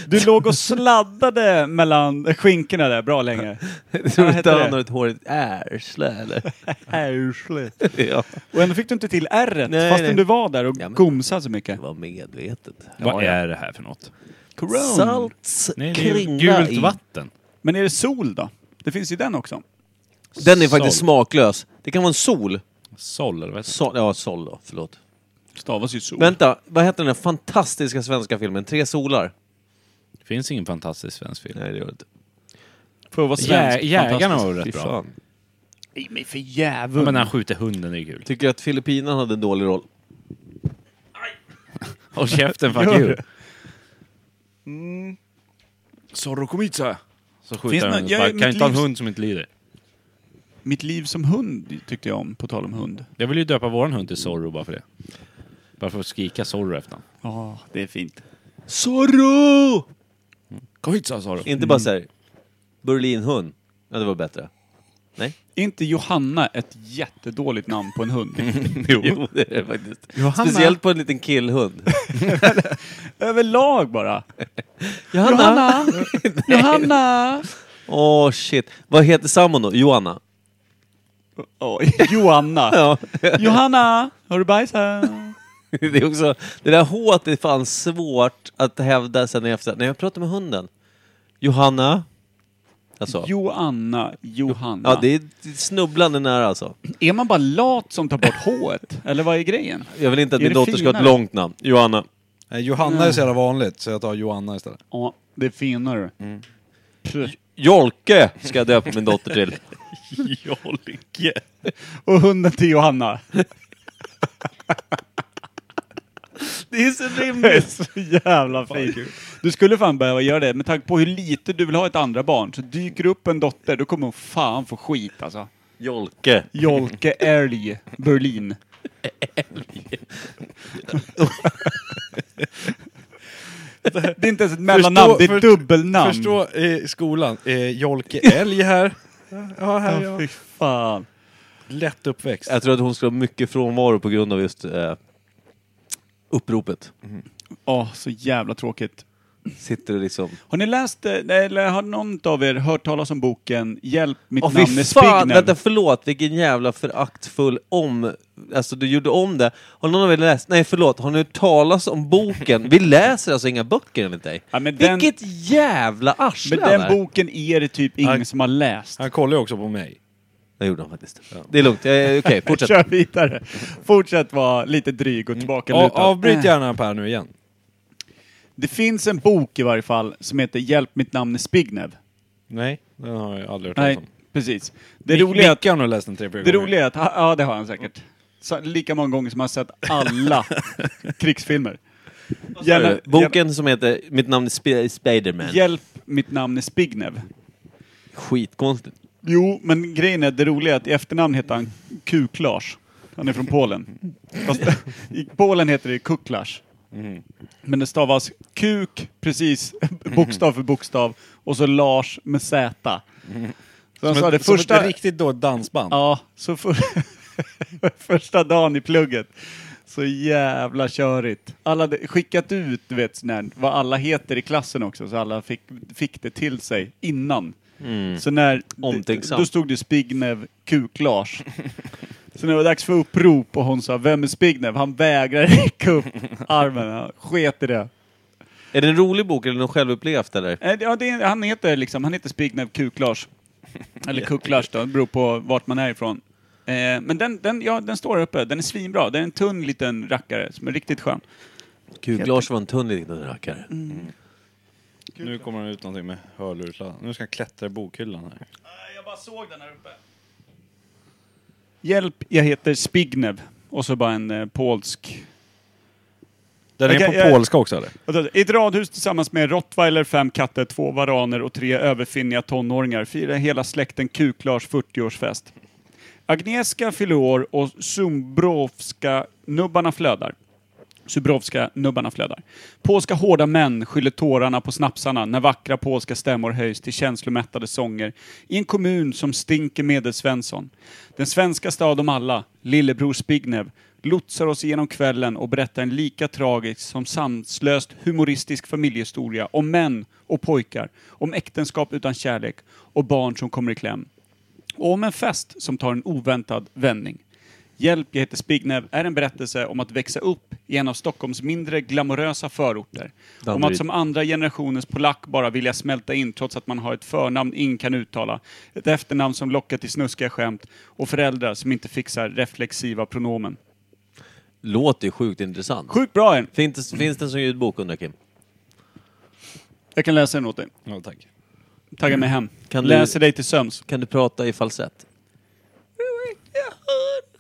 Speaker 3: Du låg och sladdade mellan skinkorna där bra länge.
Speaker 4: Tror du inte
Speaker 3: heter
Speaker 4: han
Speaker 3: det?
Speaker 4: har ett hårigt ärsle eller?
Speaker 3: Ärslet.
Speaker 4: ja,
Speaker 3: Och ändå fick du inte till r
Speaker 4: Nej,
Speaker 3: fastän
Speaker 4: nej.
Speaker 3: du var där och
Speaker 4: Ja, men-
Speaker 3: gomsade så mycket.
Speaker 4: det var medvetet.
Speaker 6: Vad är det här för något?
Speaker 3: Corona.
Speaker 4: Salts
Speaker 6: Nej, det är ju
Speaker 4: kringa
Speaker 6: gult
Speaker 4: i.
Speaker 6: vatten.
Speaker 3: Men är det sol då? Det finns ju den också.
Speaker 4: Den är faktiskt
Speaker 6: Sol.
Speaker 4: smaklös. Det kan vara en sol.
Speaker 6: Sol, eller vad heter
Speaker 4: sol ja, sol då. Förlåt.
Speaker 3: Stavas ju sol.
Speaker 4: Vänta, vad heter den där fantastiska svenska filmen? Tre solar?
Speaker 6: det? Finns ingen fantastisk svensk film.
Speaker 4: Nej, det gör det inte.
Speaker 3: För att vara
Speaker 6: Jä-
Speaker 3: svensk.
Speaker 6: jägarna
Speaker 3: fantastiskt.
Speaker 6: var väl
Speaker 4: Fy
Speaker 6: rätt bra?
Speaker 4: fan.
Speaker 3: Nej men för
Speaker 6: Ja,
Speaker 3: jävun.
Speaker 6: men när han skjuter hunden, det är kul.
Speaker 4: Tycker att Filippinerna hade en dålig roll?
Speaker 6: Håll käften, fuck
Speaker 3: Gör
Speaker 6: you.
Speaker 3: det. Mm.
Speaker 6: Sorokomitsa! Så
Speaker 3: Finns
Speaker 6: skjuter han
Speaker 3: nå-
Speaker 6: hunden.
Speaker 3: jag-
Speaker 6: Bara, Kan
Speaker 3: mitt
Speaker 6: jag inte ha en
Speaker 3: livs-
Speaker 6: hund som inte lider.
Speaker 3: Mitt liv som hund tyckte jag om, på tal om hund.
Speaker 6: Jag vill ju döpa våran hund till Zorro bara för det. Bara för att skrika Zorro efter honom.
Speaker 3: Ja, det är fint.
Speaker 4: Zorro!
Speaker 6: Kom hit sa Zorro.
Speaker 4: Inte bara såhär, Berlinhund. Ja, det var bättre.
Speaker 3: Är inte Johanna ett jättedåligt namn på en hund?
Speaker 4: Jo, det är det faktiskt. Speciellt på en liten killhund.
Speaker 3: Överlag bara.
Speaker 4: Johanna!
Speaker 3: Johanna! Johanna!
Speaker 4: Åh shit. Vad heter sambon då? Johanna?
Speaker 3: Oj, Johanna.
Speaker 4: Ja.
Speaker 3: Johanna! Har du bajsat?
Speaker 4: Det, är också, det där H det är fan svårt att hävda sen i efterhand. När jag pratar med hunden. Johanna? Alltså.
Speaker 3: Johanna, Johanna.
Speaker 4: Ja, det är snubblande nära alltså.
Speaker 3: Är man bara lat som tar bort H? Eller vad är grejen?
Speaker 4: Jag vill inte att
Speaker 3: Är
Speaker 4: min
Speaker 3: det
Speaker 4: dotter ska ha ett
Speaker 3: finare?
Speaker 4: långt namn. Johanna.
Speaker 2: Nej, Johanna är så jävla vanligt, så jag tar Johanna istället.
Speaker 3: Ja, det är finare.
Speaker 4: Mm.
Speaker 3: Pff.
Speaker 4: Jolke ska jag döpa min dotter till.
Speaker 3: Jolke. Och hunden till Johanna. Det är så rimligt. Det är så jävla fint. Du skulle fan behöva göra det med tanke på hur lite du vill ha ett andra barn. Så dyker upp en dotter, då kommer hon fan få skit alltså.
Speaker 4: Jolke.
Speaker 3: Jolke Älg, Berlin. Älg. Det är inte ens ett mellannamn, det är ett
Speaker 2: förstå-
Speaker 3: dubbelnamn.
Speaker 2: Förstå eh, skolan. Eh, Jolke Älg här. Ja, här
Speaker 3: Ja,
Speaker 2: ja.
Speaker 3: fy fan.
Speaker 2: Lätt uppväxt.
Speaker 4: Jag tror att hon skulle ha mycket frånvaro på grund av just eh, uppropet.
Speaker 3: Åh, så jävla tråkigt.
Speaker 4: Sitter och liksom...
Speaker 3: Har ni läst, eh, eller har någon av er hört talas om boken Hjälp, mitt
Speaker 4: Åh
Speaker 3: namn
Speaker 4: fy
Speaker 3: är
Speaker 4: fan! Vänta,
Speaker 3: Spigner?
Speaker 4: förlåt. Vilken jävla föraktfull om... Alltså, du gjorde om det. Har någon av er läst? Nej, förlåt. Har ni hört talas om boken? Vi läser alltså inga böcker enligt dig.
Speaker 3: Ja, men den-
Speaker 4: Vilket jävla arsle
Speaker 3: Men
Speaker 4: han är.
Speaker 3: den boken är det typ ingen
Speaker 2: Ja.
Speaker 3: som har läst.
Speaker 2: Han kollar ju också på mig.
Speaker 4: Det gjorde han faktiskt. Det är lugnt. Eh, Okej, fortsätt. Mm.
Speaker 3: Kör vidare. Fortsätt vara lite dryg och tillbakalutad.
Speaker 2: A- avbryt gärna Per nu igen.
Speaker 3: Eh, Det finns en bok i varje fall som heter Hjälp, mitt namn är Spignev.
Speaker 2: Nej, den har jag aldrig hört talas
Speaker 3: Nej,
Speaker 2: om.
Speaker 3: precis. Det
Speaker 2: Det
Speaker 3: roliga är att,
Speaker 2: Micke har nog läst den tre, fyra
Speaker 3: det
Speaker 2: gånger.
Speaker 3: roliga är att ja det har han säkert. Så, lika många gånger som han har sett alla krigsfilmer. Gärna-
Speaker 4: Eh, Boken som heter Mitt namn är Sp- Spiderman.
Speaker 3: Hjälp, mitt namn är Spignev.
Speaker 4: Skitkonstigt.
Speaker 3: Alltså, Jo, men grejen är, det roliga är att i efternamn heter han Kuklars. Han är från Polen. Fast i Polen heter det Kuklars. Men det stavas kuk, precis, bokstav för bokstav, och så Lars med Z. Så han
Speaker 2: Som,
Speaker 3: sa
Speaker 2: ett,
Speaker 3: det
Speaker 2: som ett
Speaker 3: första...
Speaker 2: riktigt då dansband.
Speaker 3: Ja, så för, första dagen i plugget. Så jävla körigt. Alla hade skickat ut, du vet, sån här, vad alla heter i klassen också, så alla fick, fick det till sig innan. Så när...
Speaker 4: Omtänksam.
Speaker 3: Då stod det Spignev Kuk-Lars. Så när det var dags för upprop och hon sa, vem är Spignev? Han vägrade räcka upp armen. Han sket i det.
Speaker 4: Är det en rolig bok eller något självupplevt eller?
Speaker 3: Eh, Ja, det är, han heter liksom, han heter Spignev Kuklars. Eller Kuklars då, det beror på vart man är ifrån. Eh, men den, den, ja, den står här uppe, den är svinbra. Den är en tunn liten rackare som är riktigt skön.
Speaker 4: Gud, Lars var en tunn liten rackare.
Speaker 3: Mm.
Speaker 6: Nu kommer det ut någonting med hörlursladdaren. Nu ska jag klättra i bokhyllan här.
Speaker 3: Eh, Jag bara såg den här uppe. Hjälp, jag heter Spignev. Och så bara en eh, polsk
Speaker 6: Den
Speaker 3: Okej,
Speaker 6: är på
Speaker 3: jag-
Speaker 6: polska också eller?
Speaker 3: Vänta, I ett radhus tillsammans med rottweiler, fem katter, två varaner och tre överfinniga tonåringar firar hela släkten Kuklars 40-årsfest. Agnieszka fyller år och Zumbrovska nubbarna flödar. Zubrovska nubbarna flödar. Polska hårda män skyller tårarna på snapsarna när vackra polska stämmor höjs till känslomättade sånger i en kommun som stinker medelsvensson. Den svenska stad om alla, lillebror Spignev, lotsar oss igenom kvällen och berättar en lika tragisk som sanslöst humoristisk familjehistoria om män och pojkar, om äktenskap utan kärlek och barn som kommer i kläm och om en fest som tar en oväntad vändning. Hjälp, jag heter Spignev är en berättelse om att växa upp i en av Stockholms mindre glamorösa förorter. Om att som andra generationens polack bara vilja smälta in trots att man har ett förnamn ingen kan uttala, ett efternamn som lockar till snuskiga skämt och föräldrar som inte fixar reflexiva pronomen.
Speaker 4: Låter ju sjukt intressant.
Speaker 3: Sjukt bra en!
Speaker 4: Finns, det- finns den som ljudbok undrar Kim?
Speaker 3: Jag kan läsa den åt dig.
Speaker 6: Ja, tack.
Speaker 3: Tagga mig hem.
Speaker 4: Mm. Kan du-
Speaker 3: Läser dig till sömns.
Speaker 4: Kan du prata i falsett?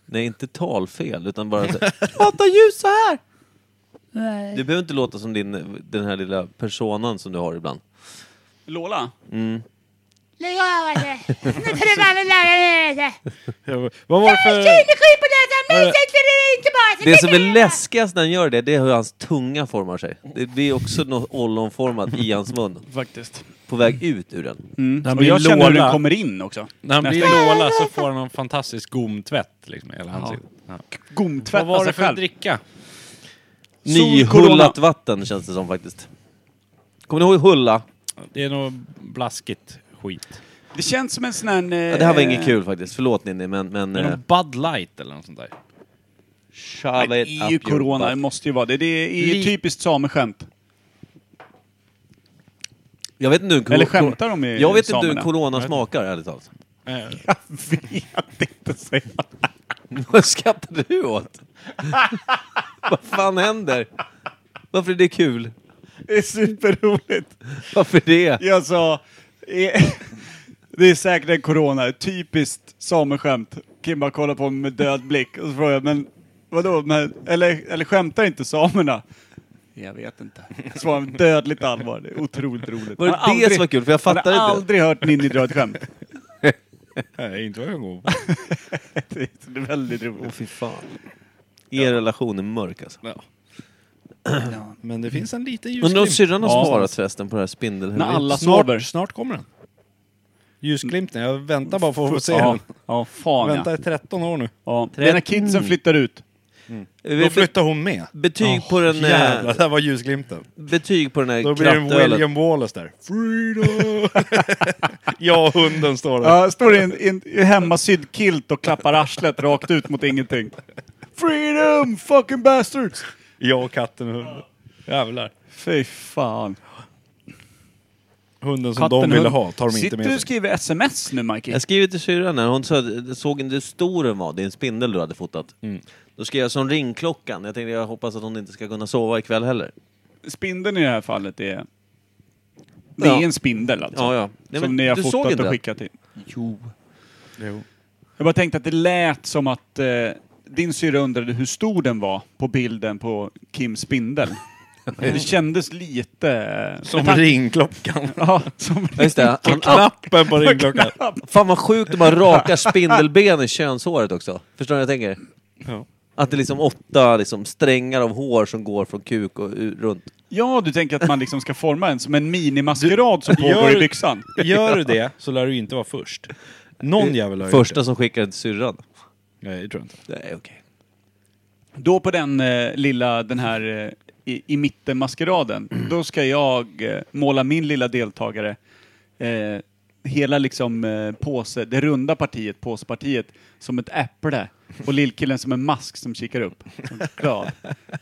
Speaker 4: Nej, inte talfel, utan bara så Prata ljus så här! Du behöver inte låta som din, den här lilla personan som du har ibland.
Speaker 3: Lola?
Speaker 9: Lägg av alltså! Nu tar du fan och lagar ner dig!
Speaker 6: Vad var det för...
Speaker 9: Kilesky på näsan, mysigt för det är inte bara så
Speaker 4: Det som är
Speaker 9: lägg av.
Speaker 4: läskigast när han gör det, det är hur hans tunga formar sig. Det blir också något ollonformat i hans mun.
Speaker 3: Faktiskt.
Speaker 4: På väg ut ur den.
Speaker 3: Mm.
Speaker 6: Den
Speaker 3: Och
Speaker 6: blir
Speaker 3: jag känner hur
Speaker 6: Lola.
Speaker 3: den kommer in också.
Speaker 6: När han blir
Speaker 3: Nästa gång.
Speaker 6: Lola så får han en fantastisk gomtvätt liksom, i hela ansiktet. Ja. alltså, Vad
Speaker 3: Gomtvätta
Speaker 6: var det
Speaker 3: sig
Speaker 6: för att
Speaker 3: själv.
Speaker 6: dricka?
Speaker 4: Nyhullat vatten känns det som faktiskt. Kommer ni ihåg Hulla?
Speaker 6: Det är nog blaskigt skit.
Speaker 3: Det känns som en sån här... eh,
Speaker 4: Ja, det här var inget kul faktiskt. Förlåt Ninni, men... men
Speaker 6: Det är
Speaker 4: eh,
Speaker 6: nog Bud Light eller något sånt där.
Speaker 4: shove
Speaker 3: Nej,
Speaker 4: it
Speaker 3: det är
Speaker 4: up
Speaker 3: ju
Speaker 4: your
Speaker 3: corona,
Speaker 4: butt.
Speaker 3: det måste ju vara det. Det är ju
Speaker 6: Li-
Speaker 3: typiskt sameskämt.
Speaker 4: Jag vet inte hur en
Speaker 3: Eller
Speaker 4: cor-
Speaker 3: skämtar de i
Speaker 4: Jag vet inte hur
Speaker 3: samerna?
Speaker 4: en corona smakar, ärligt talat.
Speaker 6: Eh,
Speaker 3: Jag vet inte säga.
Speaker 4: Vad skrattar du åt? Vad fan händer? Varför är det kul?
Speaker 3: Det är superroligt.
Speaker 4: Varför det?
Speaker 3: Jag sa... eh, Det är säkert en corona, ett typiskt sameskämt. Kim bara kollar på mig med död blick och så frågar jag, men vadå, men, eller, eller skämtar inte samerna? Jag vet inte. Svarar med dödligt allvar. Det är otroligt roligt.
Speaker 4: Var det
Speaker 3: Man har
Speaker 4: det som var kul? För jag
Speaker 3: man
Speaker 4: fattade
Speaker 3: har
Speaker 4: inte.
Speaker 3: aldrig hört Ninni dra ett skämt.
Speaker 6: Nej, inte vad jag går
Speaker 3: Det är det är väldigt roligt.
Speaker 4: Åh fy fan. Er relation är mörk alltså.
Speaker 6: Men det finns en liten
Speaker 4: Undrar om
Speaker 6: ljusglimt.
Speaker 4: syrran har
Speaker 3: Ja.
Speaker 4: sparat förresten på det här spindelhuvudet?
Speaker 3: När alla sover.
Speaker 6: Snart, snart kommer den. Ljusglimten, jag väntar bara på att få se
Speaker 3: ja,
Speaker 6: den.
Speaker 3: ja, fan
Speaker 6: Väntar
Speaker 3: ja.
Speaker 6: i 13 år nu.
Speaker 3: ja. Det Mm. är när kidsen flyttar ut.
Speaker 6: Då
Speaker 4: Be- be-
Speaker 6: flyttar hon med.
Speaker 4: Eh, betyg, på den, eh,
Speaker 6: Jävlar, där var ljusglimten.
Speaker 4: betyg på den här
Speaker 6: Då blir det en
Speaker 4: krattölen.
Speaker 6: William Wallace där. Freedom! jag och hunden står där.
Speaker 3: Ja, står i en, i en i hemmasydd kilt och klappar arslet rakt ut mot ingenting. Freedom fucking bastards!
Speaker 6: Jag och katten och hunden. Jävlar.
Speaker 3: Fy fan.
Speaker 6: Hunden som de ville
Speaker 3: hund-
Speaker 6: ha tar de inte
Speaker 3: Sitter du
Speaker 6: med
Speaker 3: och
Speaker 6: sig.
Speaker 3: skriver sms nu Mikey?
Speaker 4: Jag skrev till syrran här, hon sa att såg inte hur stor den var, det är en spindel du hade fotat.
Speaker 3: Mm.
Speaker 4: Då skrev jag som ringklockan, jag tänkte jag hoppas att hon inte ska kunna sova ikväll heller.
Speaker 3: Spindeln i det här fallet är... Det
Speaker 4: Ja.
Speaker 3: är en spindel alltså.
Speaker 4: Ja, ja. Nej,
Speaker 3: som
Speaker 4: men
Speaker 3: ni har
Speaker 4: du såg
Speaker 3: fotat
Speaker 4: inte
Speaker 3: och
Speaker 4: den?
Speaker 3: skickat in. Jo.
Speaker 6: Jo.
Speaker 3: Jag bara tänkte att det lät som att eh, din syrra undrade hur stor den var på bilden på Kims spindel. Det kändes lite...
Speaker 2: Som
Speaker 3: Med tan-
Speaker 2: ringklockan.
Speaker 3: Ja, som
Speaker 4: Ja, just det. Han, han,
Speaker 2: Knappen på ringklockan.
Speaker 4: fan vad sjukt om man rakar spindelben i könshåret också. Förstår ni vad jag tänker?
Speaker 2: Ja.
Speaker 4: Att det är liksom åtta liksom, strängar av hår som går från kuk och u- runt.
Speaker 3: Ja, du tänker att man liksom ska forma en som en minimaskerad som pågår
Speaker 2: gör-
Speaker 3: i byxan.
Speaker 2: Gör du det så lär du inte vara först. Någon jävel har
Speaker 4: Första
Speaker 2: gjort
Speaker 4: som skickar den till syrran.
Speaker 2: det. Nej, det tror jag inte.
Speaker 4: Nej, okej.
Speaker 3: Då på den eh, lilla, den här eh, i, i mitten maskeraden, då ska jag eh, måla min lilla deltagare, eh, hela liksom eh, påse, det runda partiet, påsepartiet, som ett äpple och lillkillen som en mask som kikar upp. Som Glad.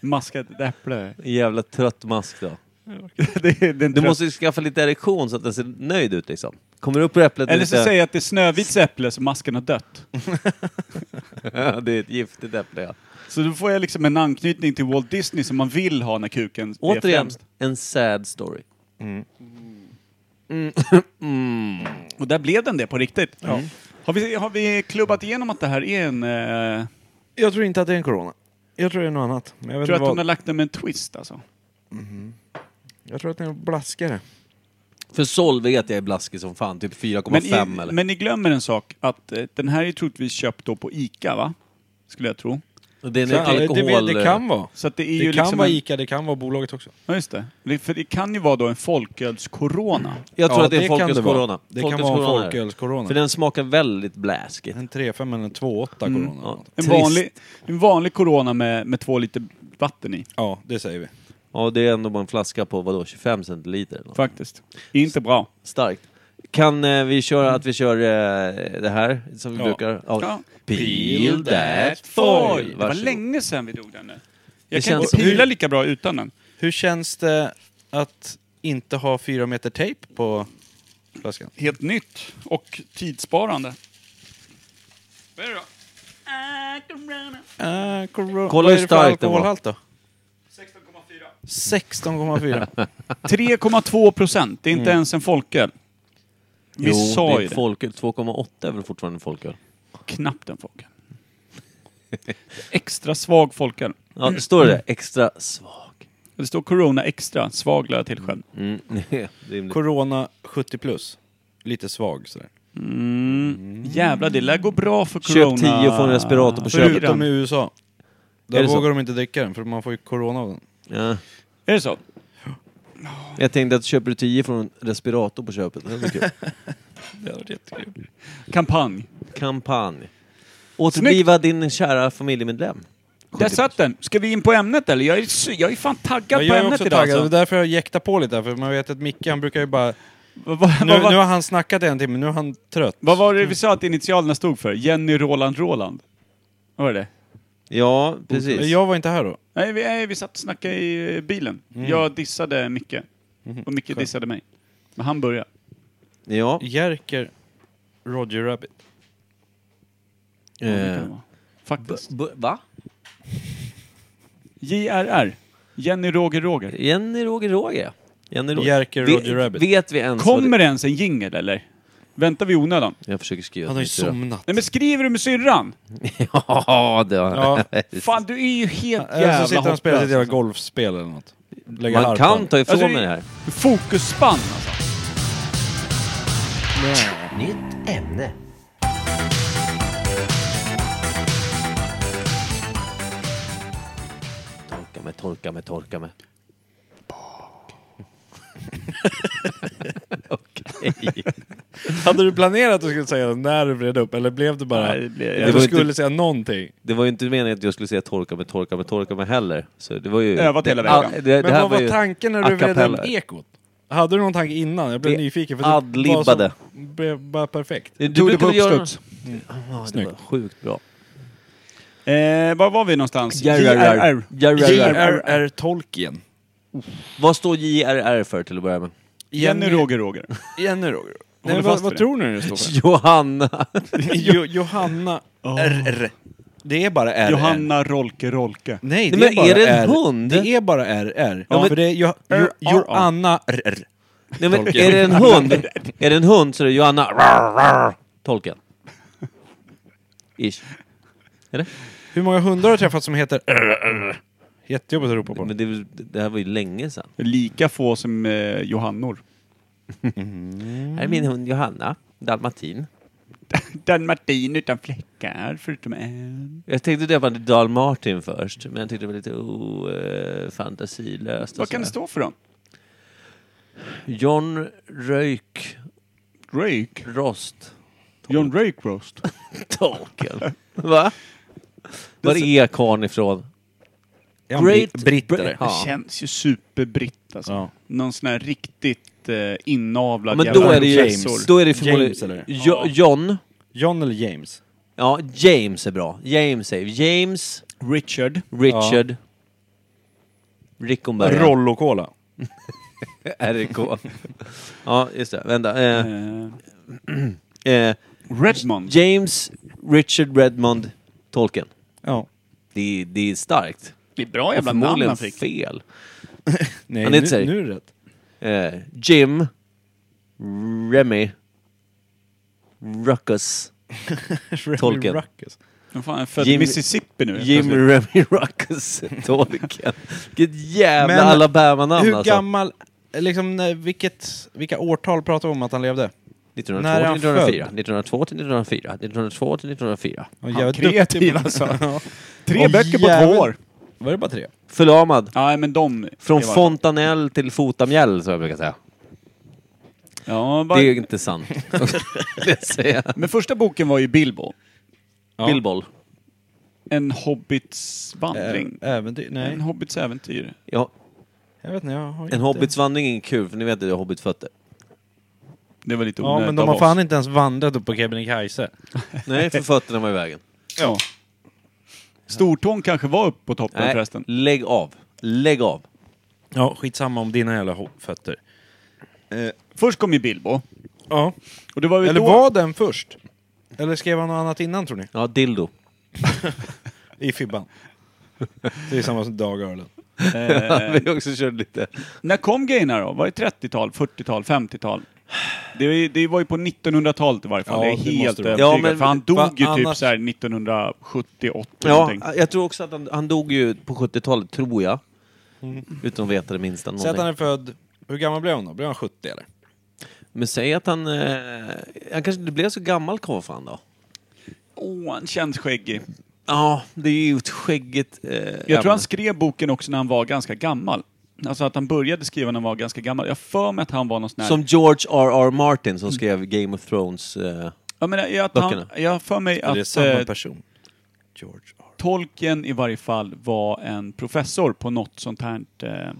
Speaker 3: Maskat äpple.
Speaker 4: Jävla trött mask då.
Speaker 3: det är den
Speaker 4: Du
Speaker 3: tröst-
Speaker 4: måste ju skaffa lite erektion så att den ser nöjd ut liksom. Kommer upp på äpplet
Speaker 3: Eller
Speaker 4: lite...
Speaker 3: så säger jag att det är Snövits äpple så masken har dött.
Speaker 4: det är ett giftigt äpple ja.
Speaker 3: Så då får jag liksom en anknytning till Walt Disney som man vill ha när kuken är
Speaker 4: Återigen,
Speaker 3: främst.
Speaker 4: en sad story.
Speaker 3: Och där blev den det på riktigt.
Speaker 2: Mm.
Speaker 3: Har, vi, har vi klubbat igenom att det här är en... Eh,
Speaker 2: Jag tror inte att det är en corona. Jag tror det är något annat. Men jag, vet inte
Speaker 3: tror att
Speaker 2: vad.
Speaker 3: hon har lagt den med en twist alltså.
Speaker 2: jag tror att det är en blaskare.
Speaker 4: För Sol vet jag är blaskig som fan, typ 4,5
Speaker 3: Men,
Speaker 4: eller?
Speaker 3: i, men ni glömmer en sak, att eh, den här är troligtvis köpt då på ICA va? Skulle jag tro.
Speaker 4: Och Det är en
Speaker 2: Så, eh,
Speaker 4: alkohol...
Speaker 2: det, vet- det kan vara.
Speaker 3: Så att det är
Speaker 2: Det
Speaker 3: ju
Speaker 2: kan
Speaker 3: liksom...
Speaker 2: vara
Speaker 3: en-
Speaker 2: ICA, det kan vara bolaget också.
Speaker 3: Ja, just det. det. För det kan ju vara då en folkölscorona.
Speaker 4: Jag tror
Speaker 2: Ja,
Speaker 4: att det är
Speaker 2: kan
Speaker 4: folkets
Speaker 2: vara.
Speaker 4: corona.
Speaker 2: Det
Speaker 4: Folkets
Speaker 2: kan vara en
Speaker 4: corona är det.
Speaker 2: folkölscorona.
Speaker 4: För den smakar väldigt bläskigt.
Speaker 2: En 3,5 eller en 2,8 corona. eller
Speaker 4: Ja,
Speaker 2: något.
Speaker 3: En
Speaker 4: trist.
Speaker 3: vanlig, en vanlig corona med, med två liter vatten i,
Speaker 2: Ja, det säger vi.
Speaker 4: Ja, det är ändå bara en flaska på vadå, 25 centiliter eller något.
Speaker 3: faktiskt. Inte bra.
Speaker 4: Starkt. Kan eh, vi köra att vi kör eh, det här som vi
Speaker 2: Ja.
Speaker 4: brukar?
Speaker 3: Ja.
Speaker 4: Peel that
Speaker 3: Foil!
Speaker 4: foil!
Speaker 3: Det var
Speaker 4: Varsågod.
Speaker 3: länge sedan vi drog den nu. Jag
Speaker 4: Det
Speaker 3: kan
Speaker 4: känns-
Speaker 3: inte pila lika bra utan den.
Speaker 2: Hur känns det att inte ha fyra meter tejp på flaskan?
Speaker 3: Helt nytt och tidssparande. Vad är det då?
Speaker 2: Äh, corona.
Speaker 4: Kolla
Speaker 2: Vad är
Speaker 4: hur
Speaker 2: det för
Speaker 4: stark den var.
Speaker 2: alkoholhalt då?
Speaker 3: 16,4.
Speaker 2: 16,4.
Speaker 3: 3,2 procent. Det är inte ens en folköl. Vi
Speaker 4: Mm. Jo,
Speaker 3: sa
Speaker 4: det
Speaker 3: ju
Speaker 4: är
Speaker 3: det.
Speaker 4: folköl. 2,8 är väl fortfarande folköl?
Speaker 3: Knappt en folköl. Extra svag folköl.
Speaker 4: Ja, det står det där? Extra svag.
Speaker 3: Det står Corona extra. Svag lade jag till själv.
Speaker 4: Mm. det är rimligt.
Speaker 2: corona 70 plus. Lite svag sådär.
Speaker 3: Mm. Jävlar, det lär gå bra för
Speaker 4: Köp
Speaker 3: Corona.
Speaker 4: 10 och få en respirator på
Speaker 3: Fyran.
Speaker 4: köpet.
Speaker 2: Förutom i USA.
Speaker 4: Är
Speaker 2: Där
Speaker 4: det så?
Speaker 2: vågar de inte dricka den för man får ju corona av den.
Speaker 4: Ja.
Speaker 3: Är det så?
Speaker 4: Jag tänkte att köper du 10 från en respirator på köpet, det blir kul.
Speaker 3: Kampanj.
Speaker 4: Kampanj. Återbliva din kära familjemedlem.
Speaker 3: Där satt den. Ska vi in på ämnet eller? Jag är, sy- jag är fan taggad på
Speaker 2: jag är
Speaker 3: ämnet
Speaker 2: också
Speaker 3: idag.
Speaker 2: taggad, det är
Speaker 3: Alltså.
Speaker 2: därför jag jäktar på lite här, för man vet att Micke han brukar ju bara...
Speaker 3: Vad, vad,
Speaker 2: Nu,
Speaker 3: vad, vad,
Speaker 2: nu har han snackat en timme, nu är han trött.
Speaker 3: vad var det vi sa att initialerna stod för? Jenny Roland Roland? Vad var det?
Speaker 4: Ja, precis.
Speaker 2: Jag var inte här då.
Speaker 3: Nej, vi, nej, vi satt och snackade i eh, bilen.
Speaker 4: Mm.
Speaker 3: Jag dissade Micke.
Speaker 4: Mhm.
Speaker 3: Och Micke dissade mig. Men han började.
Speaker 4: Ja.
Speaker 2: Jerker Roger Rabbit.
Speaker 3: Ja, det kan det
Speaker 4: Eh,
Speaker 3: vara. Faktiskt.
Speaker 4: b- va?
Speaker 3: JRR. Jenny Roger Roger.
Speaker 4: Jenny Roger Roger. Jenny Roger.
Speaker 2: Jerker
Speaker 4: Ve-
Speaker 2: Roger Rabbit.
Speaker 4: Vet vi ens vad
Speaker 3: Kommer det ens en jingel eller? Väntar vi i onödan?
Speaker 4: det... Jag försöker skriva
Speaker 2: Han har ju
Speaker 4: till syrran.
Speaker 2: somnat.
Speaker 3: Nej men skriver du med syrran?
Speaker 4: Ja, det har jag.
Speaker 2: Ja,
Speaker 3: Fan du är ju helt
Speaker 2: eller så
Speaker 3: jävla
Speaker 2: sitter han och
Speaker 3: hopplös.
Speaker 2: spelar ett jävla golfspel eller något. Lägger
Speaker 4: Man
Speaker 2: harpan.
Speaker 4: kan ta ifrån
Speaker 3: Alltså, det-
Speaker 4: mig det här.
Speaker 3: Fokusspann alltså.
Speaker 10: Nytt ämne.
Speaker 4: Torka mig, torka mig, torka mig. Okej.
Speaker 2: Hade du planerat att du skulle säga det när du vred upp, eller blev det bara...
Speaker 3: Nej, det blev-
Speaker 2: att
Speaker 3: jag-
Speaker 2: du
Speaker 4: Det var
Speaker 2: skulle
Speaker 4: inte-
Speaker 2: säga någonting.
Speaker 4: Det var ju inte meningen att jag skulle säga torka mig, torka mig, torka mig heller. Så det var ju...
Speaker 3: Övat
Speaker 4: det,
Speaker 3: hela vägen.
Speaker 4: all- det, det
Speaker 2: Men
Speaker 4: här
Speaker 2: vad var
Speaker 4: ju
Speaker 2: tanken när
Speaker 4: a
Speaker 2: du vred upp
Speaker 4: cappella.
Speaker 2: ekot? Hade du någon tanke innan? Jag blev
Speaker 4: Vi
Speaker 2: nyfiken. För det var som-
Speaker 4: adlibbade.
Speaker 2: Blev bara perfekt.
Speaker 4: Du
Speaker 3: Tog det på
Speaker 4: brukar väl göra-
Speaker 3: uppstuds.
Speaker 4: Mm. Ja, det
Speaker 2: Snyggt.
Speaker 4: var sjukt bra.
Speaker 3: Eh, var var vi någonstans?
Speaker 4: JRR. JRR.
Speaker 2: J.R.R. Tolkien.
Speaker 4: Vad står JRR för till att börja med?
Speaker 3: Jenny Roger Roger.
Speaker 2: Jenny Roger.
Speaker 3: Håller
Speaker 2: Nej,
Speaker 3: fast
Speaker 2: vad,
Speaker 3: vid det.
Speaker 2: vad tror ni det står för?
Speaker 4: Johanna.
Speaker 2: jo, Johanna RR. Det är bara RR.
Speaker 3: Johanna Rolke Rolke.
Speaker 2: Nej, det
Speaker 4: Nej, men
Speaker 2: är bara
Speaker 4: är det en
Speaker 2: RR.
Speaker 4: hund?
Speaker 2: Det är bara RR. Ja,
Speaker 4: men-
Speaker 2: för det är jo, jo,
Speaker 3: RR.
Speaker 2: Johanna RR.
Speaker 4: Nej, men
Speaker 2: Tolkien.
Speaker 4: är det en hund? Är det en hund så är det Johanna rar, rar, Tolkien. Ish.
Speaker 2: Hur många hundar har du träffat som heter RR?
Speaker 6: Jättejobbigt att ropa på.
Speaker 4: Men det, är väl- det här var ju länge sedan.
Speaker 3: Lika få som eh, Johannor.
Speaker 4: Här är min hund Johanna, dalmatin.
Speaker 3: Den Martin utan fläckar, förutom en.
Speaker 4: Jag tänkte döpa den till Dalmartin först, men jag tyckte det var lite o, eh, fantasilöst. och
Speaker 3: Vad kan
Speaker 4: så
Speaker 3: det stå
Speaker 4: här.
Speaker 3: för då?
Speaker 4: John Röjk
Speaker 3: Rake?
Speaker 4: Rost
Speaker 3: John Rake Roast?
Speaker 4: Tolkien. Va? Var är karln ifrån?
Speaker 6: Ja, Great
Speaker 4: Great
Speaker 6: britt
Speaker 4: Brit-
Speaker 6: eller?
Speaker 4: Ja.
Speaker 3: Det känns ju superbritt alltså.
Speaker 6: Ja.
Speaker 3: Någon sån här riktigt eh, inavlad
Speaker 4: Men
Speaker 3: jävla
Speaker 4: då är det ju
Speaker 3: professor.
Speaker 4: då är det ju
Speaker 6: James,
Speaker 4: förmodligen...
Speaker 6: eller?
Speaker 4: Jo, John.
Speaker 6: John eller James?
Speaker 4: Ja, James är bra. James säger vi. James,
Speaker 3: Richard.
Speaker 4: Richard, Rickenberg.
Speaker 6: Rollo Cola.
Speaker 4: RK. ja, just det. Vänta. Eh,
Speaker 3: Eh,
Speaker 4: eh,
Speaker 3: Redmond.
Speaker 4: James, Richard Redmond, Tolkien.
Speaker 6: Ja.
Speaker 4: Det, är- det är starkt.
Speaker 3: Det är bra jävla
Speaker 4: Och
Speaker 3: namn
Speaker 4: förmodligen
Speaker 3: han fick.
Speaker 4: fel.
Speaker 6: Nej,
Speaker 4: Han
Speaker 6: nu,
Speaker 4: heter sig.
Speaker 6: nu är det rätt.
Speaker 4: Eh, Jim, Remy, Ruckus. Tolkien.
Speaker 6: Remy Ruckus.
Speaker 3: Vad fan, han är född
Speaker 4: Jim-
Speaker 3: i Mississippi nu.
Speaker 4: Jim Remy Ruckus Tolkien. Vilket jävla
Speaker 6: Men
Speaker 4: Alabama-namn
Speaker 6: Hur
Speaker 4: alltså.
Speaker 6: gammal, liksom när- vilket, vilka årtal pratar vi om att han levde?
Speaker 4: 1902
Speaker 6: när är han
Speaker 4: till 1904,
Speaker 6: född?
Speaker 4: 1902 till 1904, 1902 till 1904.
Speaker 6: Han
Speaker 3: Han är kreativ alltså. Tre
Speaker 6: Och
Speaker 3: böcker på
Speaker 6: jävel-
Speaker 3: två år.
Speaker 6: Var det bara tre?
Speaker 4: Förlamad.
Speaker 3: Nej men de...
Speaker 4: Från
Speaker 3: det var-
Speaker 4: fontanell till fotamjäll, som jag brukar säga.
Speaker 3: Ja,
Speaker 4: Det
Speaker 3: bara,
Speaker 4: är ju inte sant. det säger jag.
Speaker 3: Men första boken var ju Bilbo.
Speaker 4: Bilboll.
Speaker 3: En hobbits vandring.
Speaker 2: Eh,
Speaker 6: Ä- Eh, äventyr? Nej.
Speaker 3: En hobbits äventyr.
Speaker 4: Ja,
Speaker 6: Jag vet inte, jag har inte...
Speaker 4: en hobbits vandring är ingen kul, för ni vet att jag har hobbitfötter.
Speaker 3: Det var lite
Speaker 6: Ja,
Speaker 3: onödigt
Speaker 6: men de
Speaker 3: av
Speaker 6: har
Speaker 3: oss.
Speaker 6: fan inte ens vandrat upp på Kebnekaise.
Speaker 4: Nej, för fötterna var i vägen.
Speaker 3: Ja. Stortån kanske var uppe på toppen
Speaker 4: Nej,
Speaker 3: förresten.
Speaker 4: lägg av. Lägg av.
Speaker 6: Ja, skitsamma om dina jävla ho- fötter.
Speaker 3: Först kom ju Bilbo.
Speaker 6: Ja.
Speaker 3: Och det var väl
Speaker 6: Eller
Speaker 3: då...
Speaker 6: var den först? Eller skrev han något annat innan tror ni?
Speaker 4: Ja, dildo.
Speaker 6: I Fibban. Det är samma som Dag Öhrlund. Eh.
Speaker 4: Vi har också kört lite...
Speaker 3: När kom grejerna då? Var det 30-tal, 40-tal, 50-tal? Det, var ju- det var ju på 1900-talet i varje fall.
Speaker 6: Ja,
Speaker 3: det är
Speaker 6: det
Speaker 3: helt
Speaker 6: måste det vara.
Speaker 3: övertygad.
Speaker 4: Ja, men-
Speaker 3: för han dog
Speaker 6: va-
Speaker 3: ju typ
Speaker 6: annars-
Speaker 3: så här 1978
Speaker 4: Ja,
Speaker 3: någonting.
Speaker 4: jag tror också att han, han dog ju på 70-talet, tror jag. Utan att veta det minsta
Speaker 6: Mm. Säg att han
Speaker 4: någonting.
Speaker 6: är född... Hur gammal blev han då? Blev han 70 eller?
Speaker 4: Men säg att han... Eh, han kanske inte blev så gammal kåfan då?
Speaker 3: Åh, han känns skäggig.
Speaker 4: Ja, det är ju ett skäggigt... Eh,
Speaker 3: Jag tror han skrev boken också när han var ganska gammal. Alltså att han började skriva när han var ganska gammal. Jag har för mig att han var någon sån här...
Speaker 4: Som George R.R. Martin som skrev Game of Thrones. Eh,
Speaker 3: jag, menar, jag, att han,
Speaker 4: Böckerna.
Speaker 3: jag har för mig
Speaker 6: det är
Speaker 3: att
Speaker 6: samma
Speaker 3: eh,
Speaker 6: person. George R.
Speaker 3: Tolkien i varje fall var en professor på något sånt här... Eh,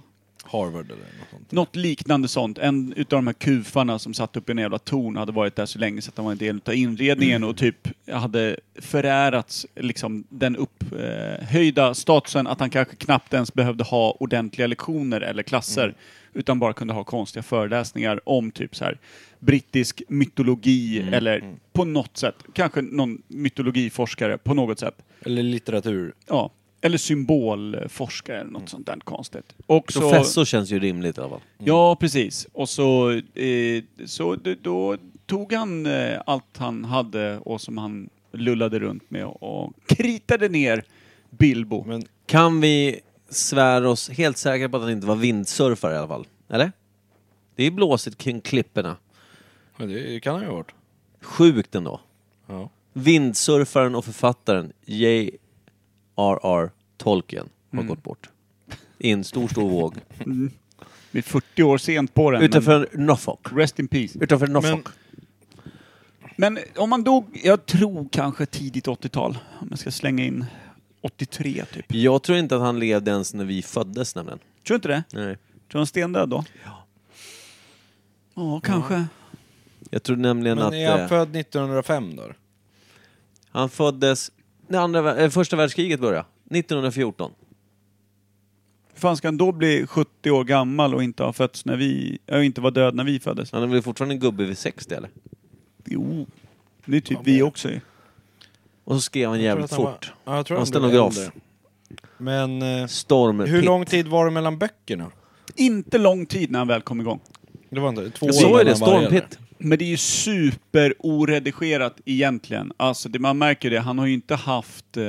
Speaker 6: Harvard eller något sånt.
Speaker 3: något liknande sånt. En utav de här kufarna som satt uppe i en jävla torn hade varit där så länge så att han var en del utav inredningen och typ hade förärats liksom den upphöjda statusen att han kanske knappt ens behövde ha ordentliga lektioner eller klasser utan bara kunde ha konstiga föreläsningar om typ så här brittisk mytologi eller på något sätt, kanske någon mytologiforskare på något sätt.
Speaker 6: Eller litteratur.
Speaker 3: Ja. Eller symbolforskare eller något sånt där konstigt. Och så-
Speaker 4: professor känns ju rimligt i alla fall.
Speaker 3: Ja, precis. Och så, eh, så d- då tog han eh, allt han hade och som han lullade runt med och kritade ner Bilbo.
Speaker 6: Men
Speaker 4: Kan vi svära oss helt säkra på att han inte var vindsurfare i alla fall? Eller? Det är blåsigt kring klipporna.
Speaker 6: men det kan han ju ha varit.
Speaker 4: Sjukt ändå.
Speaker 6: Ja.
Speaker 4: Vindsurfaren och författaren J.R.R. Tolkien har gått bort. I en stor, stor våg.
Speaker 3: Vi är 40 år sent på den,
Speaker 4: Utanför Norfolk.
Speaker 3: men rest in peace.
Speaker 4: Utanför Norfolk.
Speaker 3: Men om man dog, jag tror kanske tidigt 80-tal, om jag ska slänga in 83 typ.
Speaker 4: Jag tror inte att han levde ens när vi föddes nämligen.
Speaker 3: Tror du inte det?
Speaker 4: Nej.
Speaker 3: Tror du han stendöd då? Ja. Ja, kanske.
Speaker 4: Jag tror nämligen
Speaker 6: Men
Speaker 4: att...
Speaker 6: är han
Speaker 4: eh,
Speaker 6: född 1905 då?
Speaker 4: Han föddes när andra, vär- eh, första världskriget började, 1914.
Speaker 3: Hur fan ska han då bli 70 år gammal och inte ha fötts när vi, äh, inte vara död när vi föddes?
Speaker 4: Han är väl fortfarande en gubbe vid 60 eller?
Speaker 3: Jo. Det är typ vi också ju.
Speaker 4: Och så skrev han jävligt
Speaker 6: Jag tror att
Speaker 4: fort.
Speaker 6: Var, ja, jag tror
Speaker 4: Han
Speaker 6: han blev
Speaker 4: stenograf.
Speaker 6: äldre. Men eh,
Speaker 4: Storm
Speaker 6: hur
Speaker 4: Pitt.
Speaker 6: lång tid var det mellan böckerna?
Speaker 3: Inte lång tid när han väl kom igång.
Speaker 6: Det var inte två
Speaker 4: Jag
Speaker 6: år
Speaker 4: såg ju det,
Speaker 6: mellan varje,
Speaker 4: Storm
Speaker 6: eller?
Speaker 4: Pitt.
Speaker 3: Men det är ju superoredigerat egentligen. Alltså det, man märker det, han har ju inte haft eh,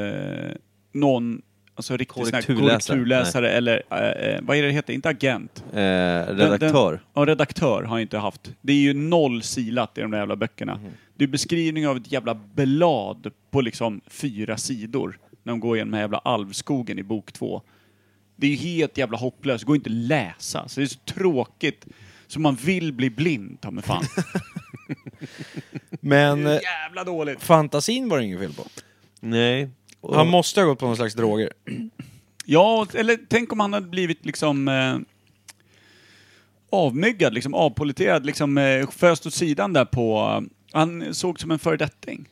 Speaker 3: någon alltså riktig sån här
Speaker 4: Korrekturläsare.
Speaker 3: korrekturläsare eller eh, eh, vad är det det heter? Inte agent.
Speaker 4: Eh, redaktör.
Speaker 3: Den, den, ja, redaktör har jag inte haft. Det är ju noll silat i de där jävla böckerna.
Speaker 2: Mhm.
Speaker 3: Det är beskrivning av ett jävla blad på liksom fyra sidor när de går igenom den här jävla alvskogen i bok två. Det är ju helt jävla hopplöst, det går inte att läsa. Så det är så tråkigt. Så man vill bli blind, ta mig fan.
Speaker 2: Men eh,
Speaker 3: jävla dåligt.
Speaker 2: fantasin var det inget fel på.
Speaker 4: Nej. Och,
Speaker 2: Han måste ha gått på någon slags droger.
Speaker 3: Ja, eller tänk om han hade blivit liksom eh, avmyggad, liksom avpoliterad, liksom eh, föst åt sidan där på... eh, Han såg som en föredetting.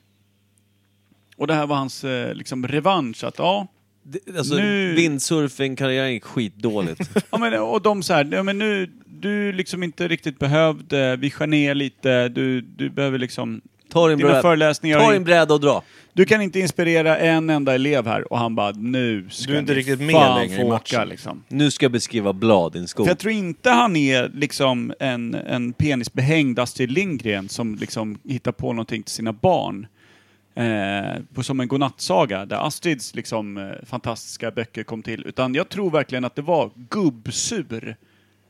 Speaker 3: Och det här var hans eh, liksom revansch att ja,
Speaker 4: det- alltså,
Speaker 3: nu-
Speaker 4: Windsurfing-karriären gick skitdåligt.
Speaker 3: ja men, och de så här, ja, men nu, du är liksom inte riktigt behövd, eh, vi skär ner lite, du, du behöver liksom...
Speaker 4: Ta din,
Speaker 3: Dina
Speaker 4: bräda,
Speaker 3: föreläsningar,
Speaker 4: ta din bräda och dra.
Speaker 3: du kan inte inspirera en enda elev här. Och han bara, nu ska
Speaker 2: Du är inte
Speaker 3: ni
Speaker 2: riktigt med
Speaker 3: fan
Speaker 2: längre i
Speaker 3: få
Speaker 2: matchen.
Speaker 3: åka, liksom.
Speaker 4: Nu ska jag beskriva blad i en skog.
Speaker 3: För jag tror inte han är liksom en, en penisbehängd Astrid Lindgren som liksom hittar på någonting till sina barn. Eh, på, som en godnattsaga där Astrids liksom, eh, fantastiska böcker kom till. Utan jag tror verkligen att det var gubbsur.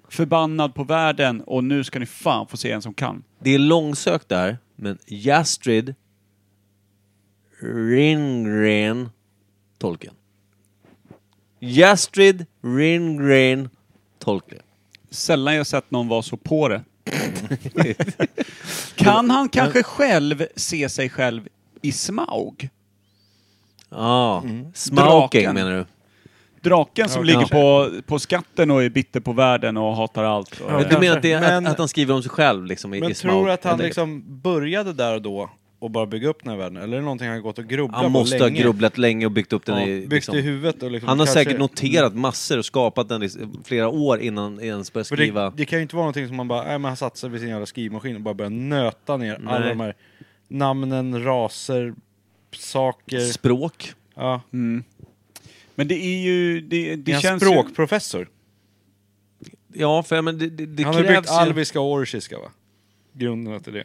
Speaker 3: Förbannad på världen och nu ska ni fan få se en som kan.
Speaker 4: Det är långsökt där, men Jastrid Ringren Tolkien. Jastrid Ringren Tolkien.
Speaker 3: Sällan jag sett någon vara så på det. kan han kanske själv se sig själv i Smaug?
Speaker 4: Ja, ah,
Speaker 2: Mm.
Speaker 4: Smauking
Speaker 3: Draken.
Speaker 4: menar du?
Speaker 3: Draken som
Speaker 2: Ja,
Speaker 3: ligger
Speaker 2: kanske.
Speaker 3: på, på skatten och är bitter på världen och hatar allt. Och,
Speaker 4: Men Du menar att, det,
Speaker 2: Men-
Speaker 4: att, att han skriver om sig själv liksom i,
Speaker 2: Men
Speaker 4: i
Speaker 2: tror
Speaker 4: Smaug,
Speaker 2: du att han
Speaker 4: helt enkelt?
Speaker 2: liksom började där och då och bara bygga upp den här världen? Eller är det någonting han har gått och grubblat
Speaker 4: Han
Speaker 2: på
Speaker 4: måste
Speaker 2: länge?
Speaker 4: ha grubblat länge och byggt upp den
Speaker 2: Ja,
Speaker 4: i...
Speaker 2: byggt
Speaker 4: liksom-
Speaker 2: i huvudet och liksom
Speaker 4: han har
Speaker 2: kanske-
Speaker 4: säkert noterat massor och skapat den i s- flera år innan ens började
Speaker 2: För
Speaker 4: skriva.
Speaker 2: det, det kan ju inte vara någonting som man bara, nej men han satte sig vid sin jävla skrivmaskin och bara började nöta ner alla
Speaker 4: Nej.
Speaker 2: de här namnen, raser, saker.
Speaker 4: Språk.
Speaker 2: Ja.
Speaker 3: Men det är ju... Det,
Speaker 2: Det
Speaker 3: det
Speaker 2: är han
Speaker 3: känns ju,
Speaker 2: språkprofessor?
Speaker 4: Ja, för men det, det, det
Speaker 2: han har ju byggt
Speaker 4: krävs ju...
Speaker 2: alviska och orchiska va? Grunderna till det.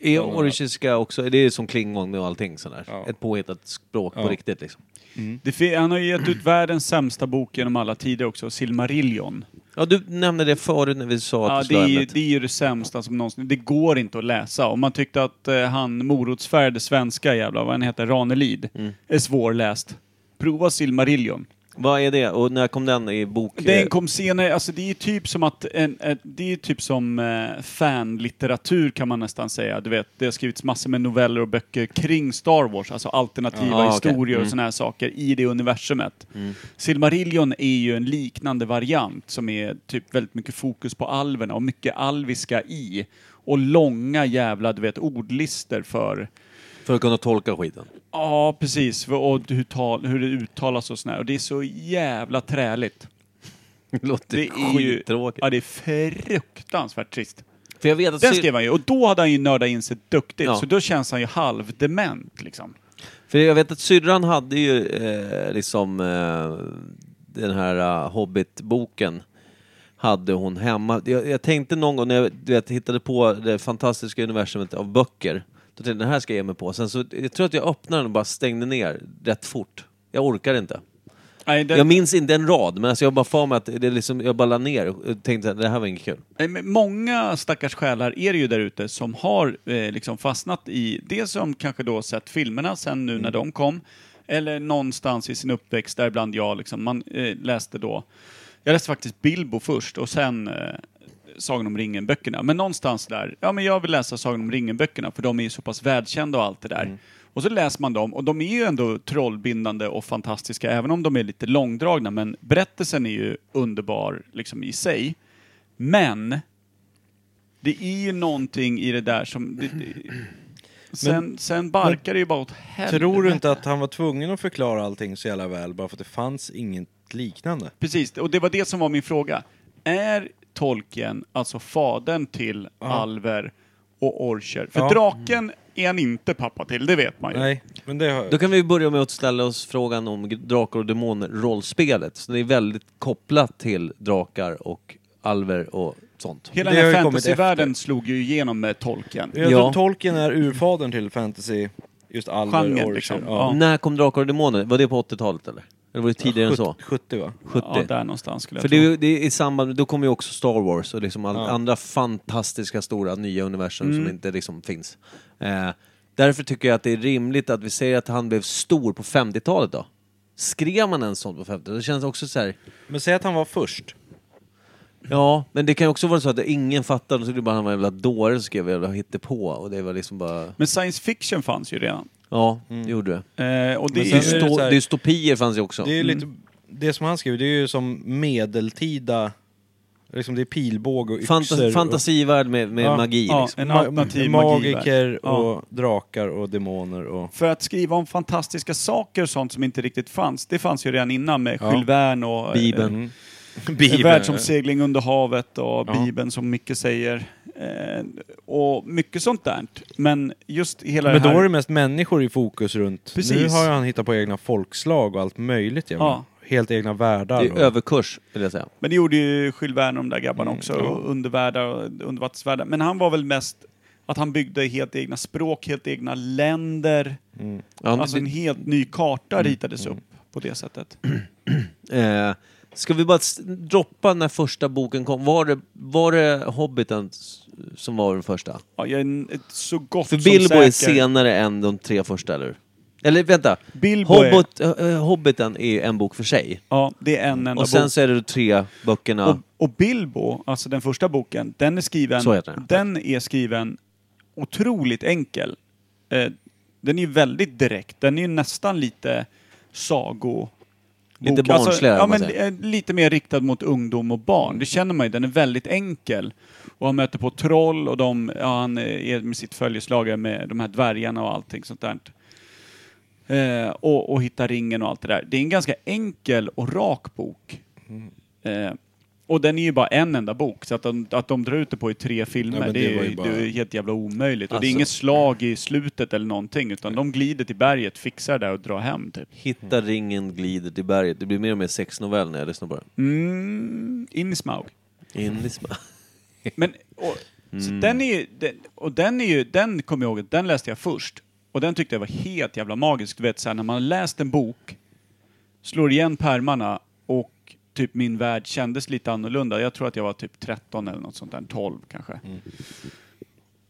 Speaker 4: Är orchiska också, det är som klingon och allting sådär.
Speaker 2: Ja.
Speaker 4: Ett påhittat språk
Speaker 2: Ja.
Speaker 4: på riktigt liksom.
Speaker 3: det, fi- Han har ju gett ut världens sämsta bok genom alla tider också, Silmarillion.
Speaker 4: Ja, du nämnde det förut när vi sa
Speaker 3: Ja,
Speaker 4: att
Speaker 3: det, är, ju-
Speaker 4: ja,
Speaker 3: det är ju det sämsta som någonsin... Det går inte att läsa. Om man tyckte att eh, han morotsfärgade svenska jävla, vad han heter, Ranelid,
Speaker 2: Mm.
Speaker 3: är svårläst. Prova Silmarillion.
Speaker 4: Vad är det? Och när kom den i bok? eh,
Speaker 3: Den kom senare, alltså det är ju typ som att, en, en, det är ju typ som eh, fanlitteratur kan man nästan säga. Du vet, det har skrivits massor med noveller och böcker kring Star Wars, alltså alternativa
Speaker 4: Ja, okej.
Speaker 3: historier och sådana här saker i det universumet. Silmarillion är ju en liknande variant som är typ väldigt mycket fokus på alverna och mycket alviska i. Och långa jävla, du vet, ordlister för
Speaker 4: För att kunna tolka skiten.
Speaker 3: Ja, precis. Och hur, tal, hur det uttalas och sådär. Och det är så jävla träligt.
Speaker 4: Det låter
Speaker 3: Det är ju...
Speaker 4: skittråkigt.
Speaker 3: Ja, det är fruktansvärt trist.
Speaker 4: För jag vet att
Speaker 3: Den
Speaker 4: Sil-
Speaker 3: skrev han ju. Och då hade han ju nördat in sig duktigt.
Speaker 4: Ja.
Speaker 3: Så då känns han ju halvdement liksom.
Speaker 4: För jag vet att syrran hade ju eh, liksom eh, den här eh, Hobbit-boken hade hon hemma. Jag, jag tänkte någon gång när jag du vet, hittade på det fantastiska universumet av böcker. Då tänkte jag den här ska jag ge mig på. Sen så, jag tror att jag öppnade den och bara stängde ner rätt fort. Jag orkar inte.
Speaker 3: Nej, det,
Speaker 4: Jag minns inte en rad, men alltså jag bara för mig att det är liksom, jag bara la ner och tänkte att det här var inget kul.
Speaker 3: Nej, men många stackars själar är det ju där ute som har eh, liksom fastnat i det som kanske då sett filmerna sen nu
Speaker 4: Mm.
Speaker 3: när de kom. Eller någonstans i sin uppväxt, däribland jag. Liksom, man eh, läste då... Jag läste faktiskt Bilbo först och sen eh, Sagan om ringen-böckerna. Men någonstans där, ja men jag vill läsa Sagan om ringen-böckerna för de är ju så pass välkända och allt det där.
Speaker 2: Mm.
Speaker 3: Och så läser man dem och de är ju ändå trollbindande och fantastiska även om de är lite långdragna. Men berättelsen är ju underbar liksom i sig. Men det är ju någonting i det där som... Det, det, sen, sen barkar det ju bara åt helvete.
Speaker 2: Tror du inte att han var tvungen att förklara allting så jävla väl bara för att det fanns inget liknande?
Speaker 3: Precis, och det var det som var min fråga. Är Tolkien alltså fadern till alver och orcher? För
Speaker 2: Ja.
Speaker 3: draken är han inte pappa till, det vet man ju.
Speaker 2: Nej, men det har
Speaker 4: Då kan vi börja med att ställa oss frågan om drakar och demonrollspelet. Så det är väldigt kopplat till drakar och alver och sånt.
Speaker 3: Hela
Speaker 2: Det
Speaker 3: den här
Speaker 2: har ju kommit
Speaker 3: fantasyvärlden slog ju igenom med Tolkien.
Speaker 2: Jag
Speaker 4: Ja.
Speaker 2: tror Tolkien är urfadern till fantasy, just alver
Speaker 3: Genren,
Speaker 2: och orcher.
Speaker 3: liksom.
Speaker 2: Ja.
Speaker 3: Ja.
Speaker 4: När kom Drakar och Demoner? Var det på 80-talet eller? Eller var det tidigare än så?
Speaker 2: 70 va?
Speaker 4: 70.
Speaker 3: Ja, där någonstans skulle jag
Speaker 4: För det,
Speaker 3: tro.
Speaker 4: är ju- det är i samband med, då kommer ju också Star Wars och liksom all,
Speaker 2: Ja.
Speaker 4: andra fantastiska stora nya universum som
Speaker 3: Mm.
Speaker 4: inte liksom finns. Eh, därför tycker jag att det är rimligt att vi säger att han blev stor på 50-talet då. Skrev man en sån på 50-talet? Det känns också så här.
Speaker 2: Men säg att han var först.
Speaker 4: Ja, men det kan ju också vara så att ingen fattade och så trodde bara han var en jävla dåre som skrev jävla hittepå och det var liksom bara...
Speaker 3: Men science fiction fanns ju redan.
Speaker 4: Ja, det gjorde det.
Speaker 3: Eh, och det
Speaker 2: Men
Speaker 3: är
Speaker 2: sen
Speaker 3: ju-
Speaker 2: är det så här-
Speaker 4: Dysto- Dystopier fanns ju också.
Speaker 2: Det är ju lite... Det som han skriver, det är ju som medeltida... Liksom det är pilbåge och yxor.
Speaker 4: Fantas- fantasivärld med, med
Speaker 2: Ja,
Speaker 4: magi
Speaker 3: ja,
Speaker 4: liksom.
Speaker 3: en
Speaker 2: och
Speaker 3: alternativ magi.
Speaker 2: magiker
Speaker 3: Ja.
Speaker 2: och drakar och demoner och...
Speaker 3: För att skriva om fantastiska saker och sånt som inte riktigt fanns, det fanns ju redan innan med
Speaker 2: Ja.
Speaker 3: Jules Verne och eh,
Speaker 4: Bibeln.
Speaker 2: Mm.
Speaker 3: En
Speaker 2: Bibeln.
Speaker 3: Världsomsegling under havet och
Speaker 2: Ja.
Speaker 3: Bibeln som mycket säger. Eh, och mycket sånt där. Men just hela
Speaker 2: Men
Speaker 3: det
Speaker 2: då
Speaker 3: här...
Speaker 2: var det mest människor i fokus runt.
Speaker 3: Precis.
Speaker 2: Nu har han hittat på egna folkslag och allt möjligt. Ja.
Speaker 3: Ja.
Speaker 2: Helt egna världar.
Speaker 4: Det är
Speaker 2: och-
Speaker 4: överkurs, vill jag säga.
Speaker 3: Men det gjorde ju Jules Verne och de där grabbarna
Speaker 2: Mm,
Speaker 3: också. Och undervärldar och undervattensvärldar. Men han var väl mest att han byggde helt egna språk, helt egna länder.
Speaker 2: Mm.
Speaker 4: Ja,
Speaker 3: alltså
Speaker 4: det-
Speaker 3: en helt ny karta ritades upp på det sättet.
Speaker 4: Eh, ska vi bara s- droppa när första boken kom? Var det, var det Hobbiten s- som var den första?
Speaker 3: Ja, jag är en- ett så gott
Speaker 4: För
Speaker 3: som
Speaker 4: Bilbo är
Speaker 3: säker.
Speaker 4: senare än de tre första, eller hur? Eller vänta,
Speaker 3: Bilbo är,
Speaker 4: Hobbit, eh, Hobbiten är en bok för sig.
Speaker 3: ja, det är en enda
Speaker 4: Och sen
Speaker 3: bok.
Speaker 4: så är det de tre böckerna.
Speaker 3: Och, och Bilbo, alltså den första boken, den är skriven,
Speaker 4: Så heter den.
Speaker 3: är skriven otroligt enkel. Eh, den är ju väldigt direkt, den är ju nästan lite sago...
Speaker 4: Lite barnsligare,
Speaker 3: ja,
Speaker 4: om man
Speaker 3: men eh, lite mer riktad mot ungdom och barn. Det känner man ju, den är väldigt enkel. Och han möter på troll och de, ja, han eh, är med sitt följeslagare med de här dvärgarna och allting sånt där. Eh, och, och hitta ringen och allt det där. Det är en ganska enkel och rak bok. Eh, och den är ju bara en enda bok, så att de, att de drar ut det på i tre filmer,
Speaker 2: Ja, men
Speaker 3: det,
Speaker 2: det
Speaker 3: är,
Speaker 2: var ju
Speaker 3: ju-
Speaker 2: bara-
Speaker 3: det är ju helt jävla omöjligt. Och det är
Speaker 4: Alltså-
Speaker 3: inget slag i slutet eller någonting, utan de glider till berget, fixar det där och drar hem typ.
Speaker 4: Hitta ringen, glider till berget. Det blir mer och mer sexnovell när jag lyssnar på det.
Speaker 3: Mm, in i smaug. Mm.
Speaker 4: In i sm-
Speaker 3: Men, och, så
Speaker 2: Mm.
Speaker 3: den är ju, den, och den är ju, den kommer jag ihåg, att den läste jag först. Och den tyckte jag var helt jävla magisk. Du vet såhär när man har läst en bok, slår igen pärmarna och typ min värld kändes lite annorlunda. Jag tror att jag var typ 13 eller något sånt där, 12 kanske.
Speaker 2: Mm.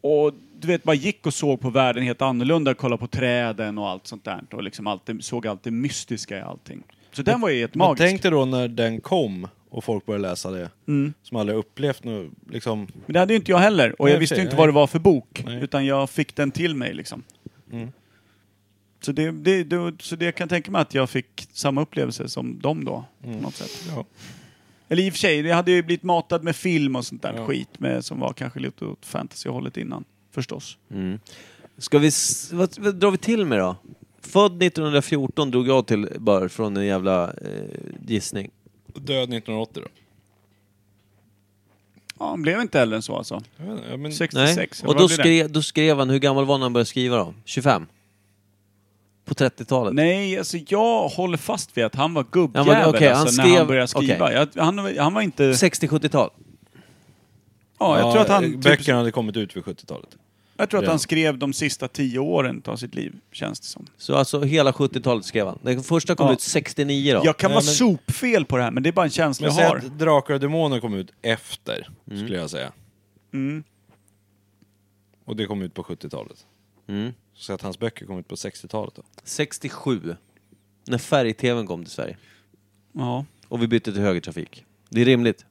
Speaker 3: Och du vet, man gick och såg på världen helt annorlunda, kollade på träden och allt sånt där. Och liksom alltid, såg allt det mystiska i allting. Så den var ju helt
Speaker 2: Men
Speaker 3: magisk.
Speaker 2: tänk dig då när den kom och folk började läsa det.
Speaker 3: Mm.
Speaker 2: Som aldrig upplevt nu, liksom.
Speaker 3: Men det hade ju inte jag heller. Och
Speaker 2: Nej,
Speaker 3: jag visste ju
Speaker 2: okej,
Speaker 3: inte
Speaker 2: nej.
Speaker 3: vad det var för bok.
Speaker 2: Nej.
Speaker 3: Utan jag fick den till mig liksom.
Speaker 2: Mm.
Speaker 3: Så, det, det, det, så det jag kan tänka mig att jag fick samma upplevelse som dem då.
Speaker 4: Mm.
Speaker 3: På något sätt.
Speaker 2: Ja.
Speaker 3: Eller i och för sig, jag hade ju blivit matad med film och sånt där
Speaker 2: Ja.
Speaker 3: skit med, som var kanske lite åt fantasyhållet innan. Förstås.
Speaker 4: Mm. Ska vi... s- Vad, vad drar vi till med då? Född 1914 drog jag till bara från en jävla eh, gissning.
Speaker 2: Död 1980 då.
Speaker 3: Ja, han blev inte äldre än så alltså.
Speaker 2: Jag vet inte, ja, men,
Speaker 3: 66.
Speaker 4: Mm. Nej.
Speaker 3: eller
Speaker 4: Och
Speaker 3: vad
Speaker 4: då
Speaker 3: blir det?
Speaker 4: skrev, då skrev han, hur gammal var han när han började skriva då? 25? På 30-talet?
Speaker 3: Nej, alltså jag håller fast vid att han var
Speaker 4: Han
Speaker 3: gubbjävel
Speaker 4: var- okej, han
Speaker 3: alltså, när
Speaker 4: skrev-
Speaker 3: han började skriva.
Speaker 4: okej.
Speaker 3: Jag, han, han var inte...
Speaker 4: 60-70-tal?
Speaker 3: Ja, jag tror att
Speaker 4: eh,
Speaker 3: han...
Speaker 2: Böckerna
Speaker 3: Typ,
Speaker 2: hade kommit ut vid 70-talet.
Speaker 3: Jag tror att
Speaker 2: Redan.
Speaker 3: han skrev de sista tio åren av sitt liv, känns det som.
Speaker 4: Så alltså hela 70-talet skrev han. Den första kom
Speaker 3: Ja.
Speaker 4: ut 69 då.
Speaker 3: Jag kan
Speaker 2: Nej,
Speaker 3: vara
Speaker 2: men-
Speaker 3: sopfel på det här, men det är bara en känsla
Speaker 2: Men
Speaker 3: jag
Speaker 2: säg
Speaker 3: har.
Speaker 2: att Drakar och Demoner kom ut efter, skulle jag säga.
Speaker 3: Mm.
Speaker 2: Och det kom ut på 70-talet.
Speaker 4: Mm.
Speaker 2: Så att hans böcker kom ut på 60-talet då.
Speaker 4: 67. När färg-tvn kom till Sverige.
Speaker 3: Ja,
Speaker 4: Och vi bytte till högertrafik. Det är rimligt.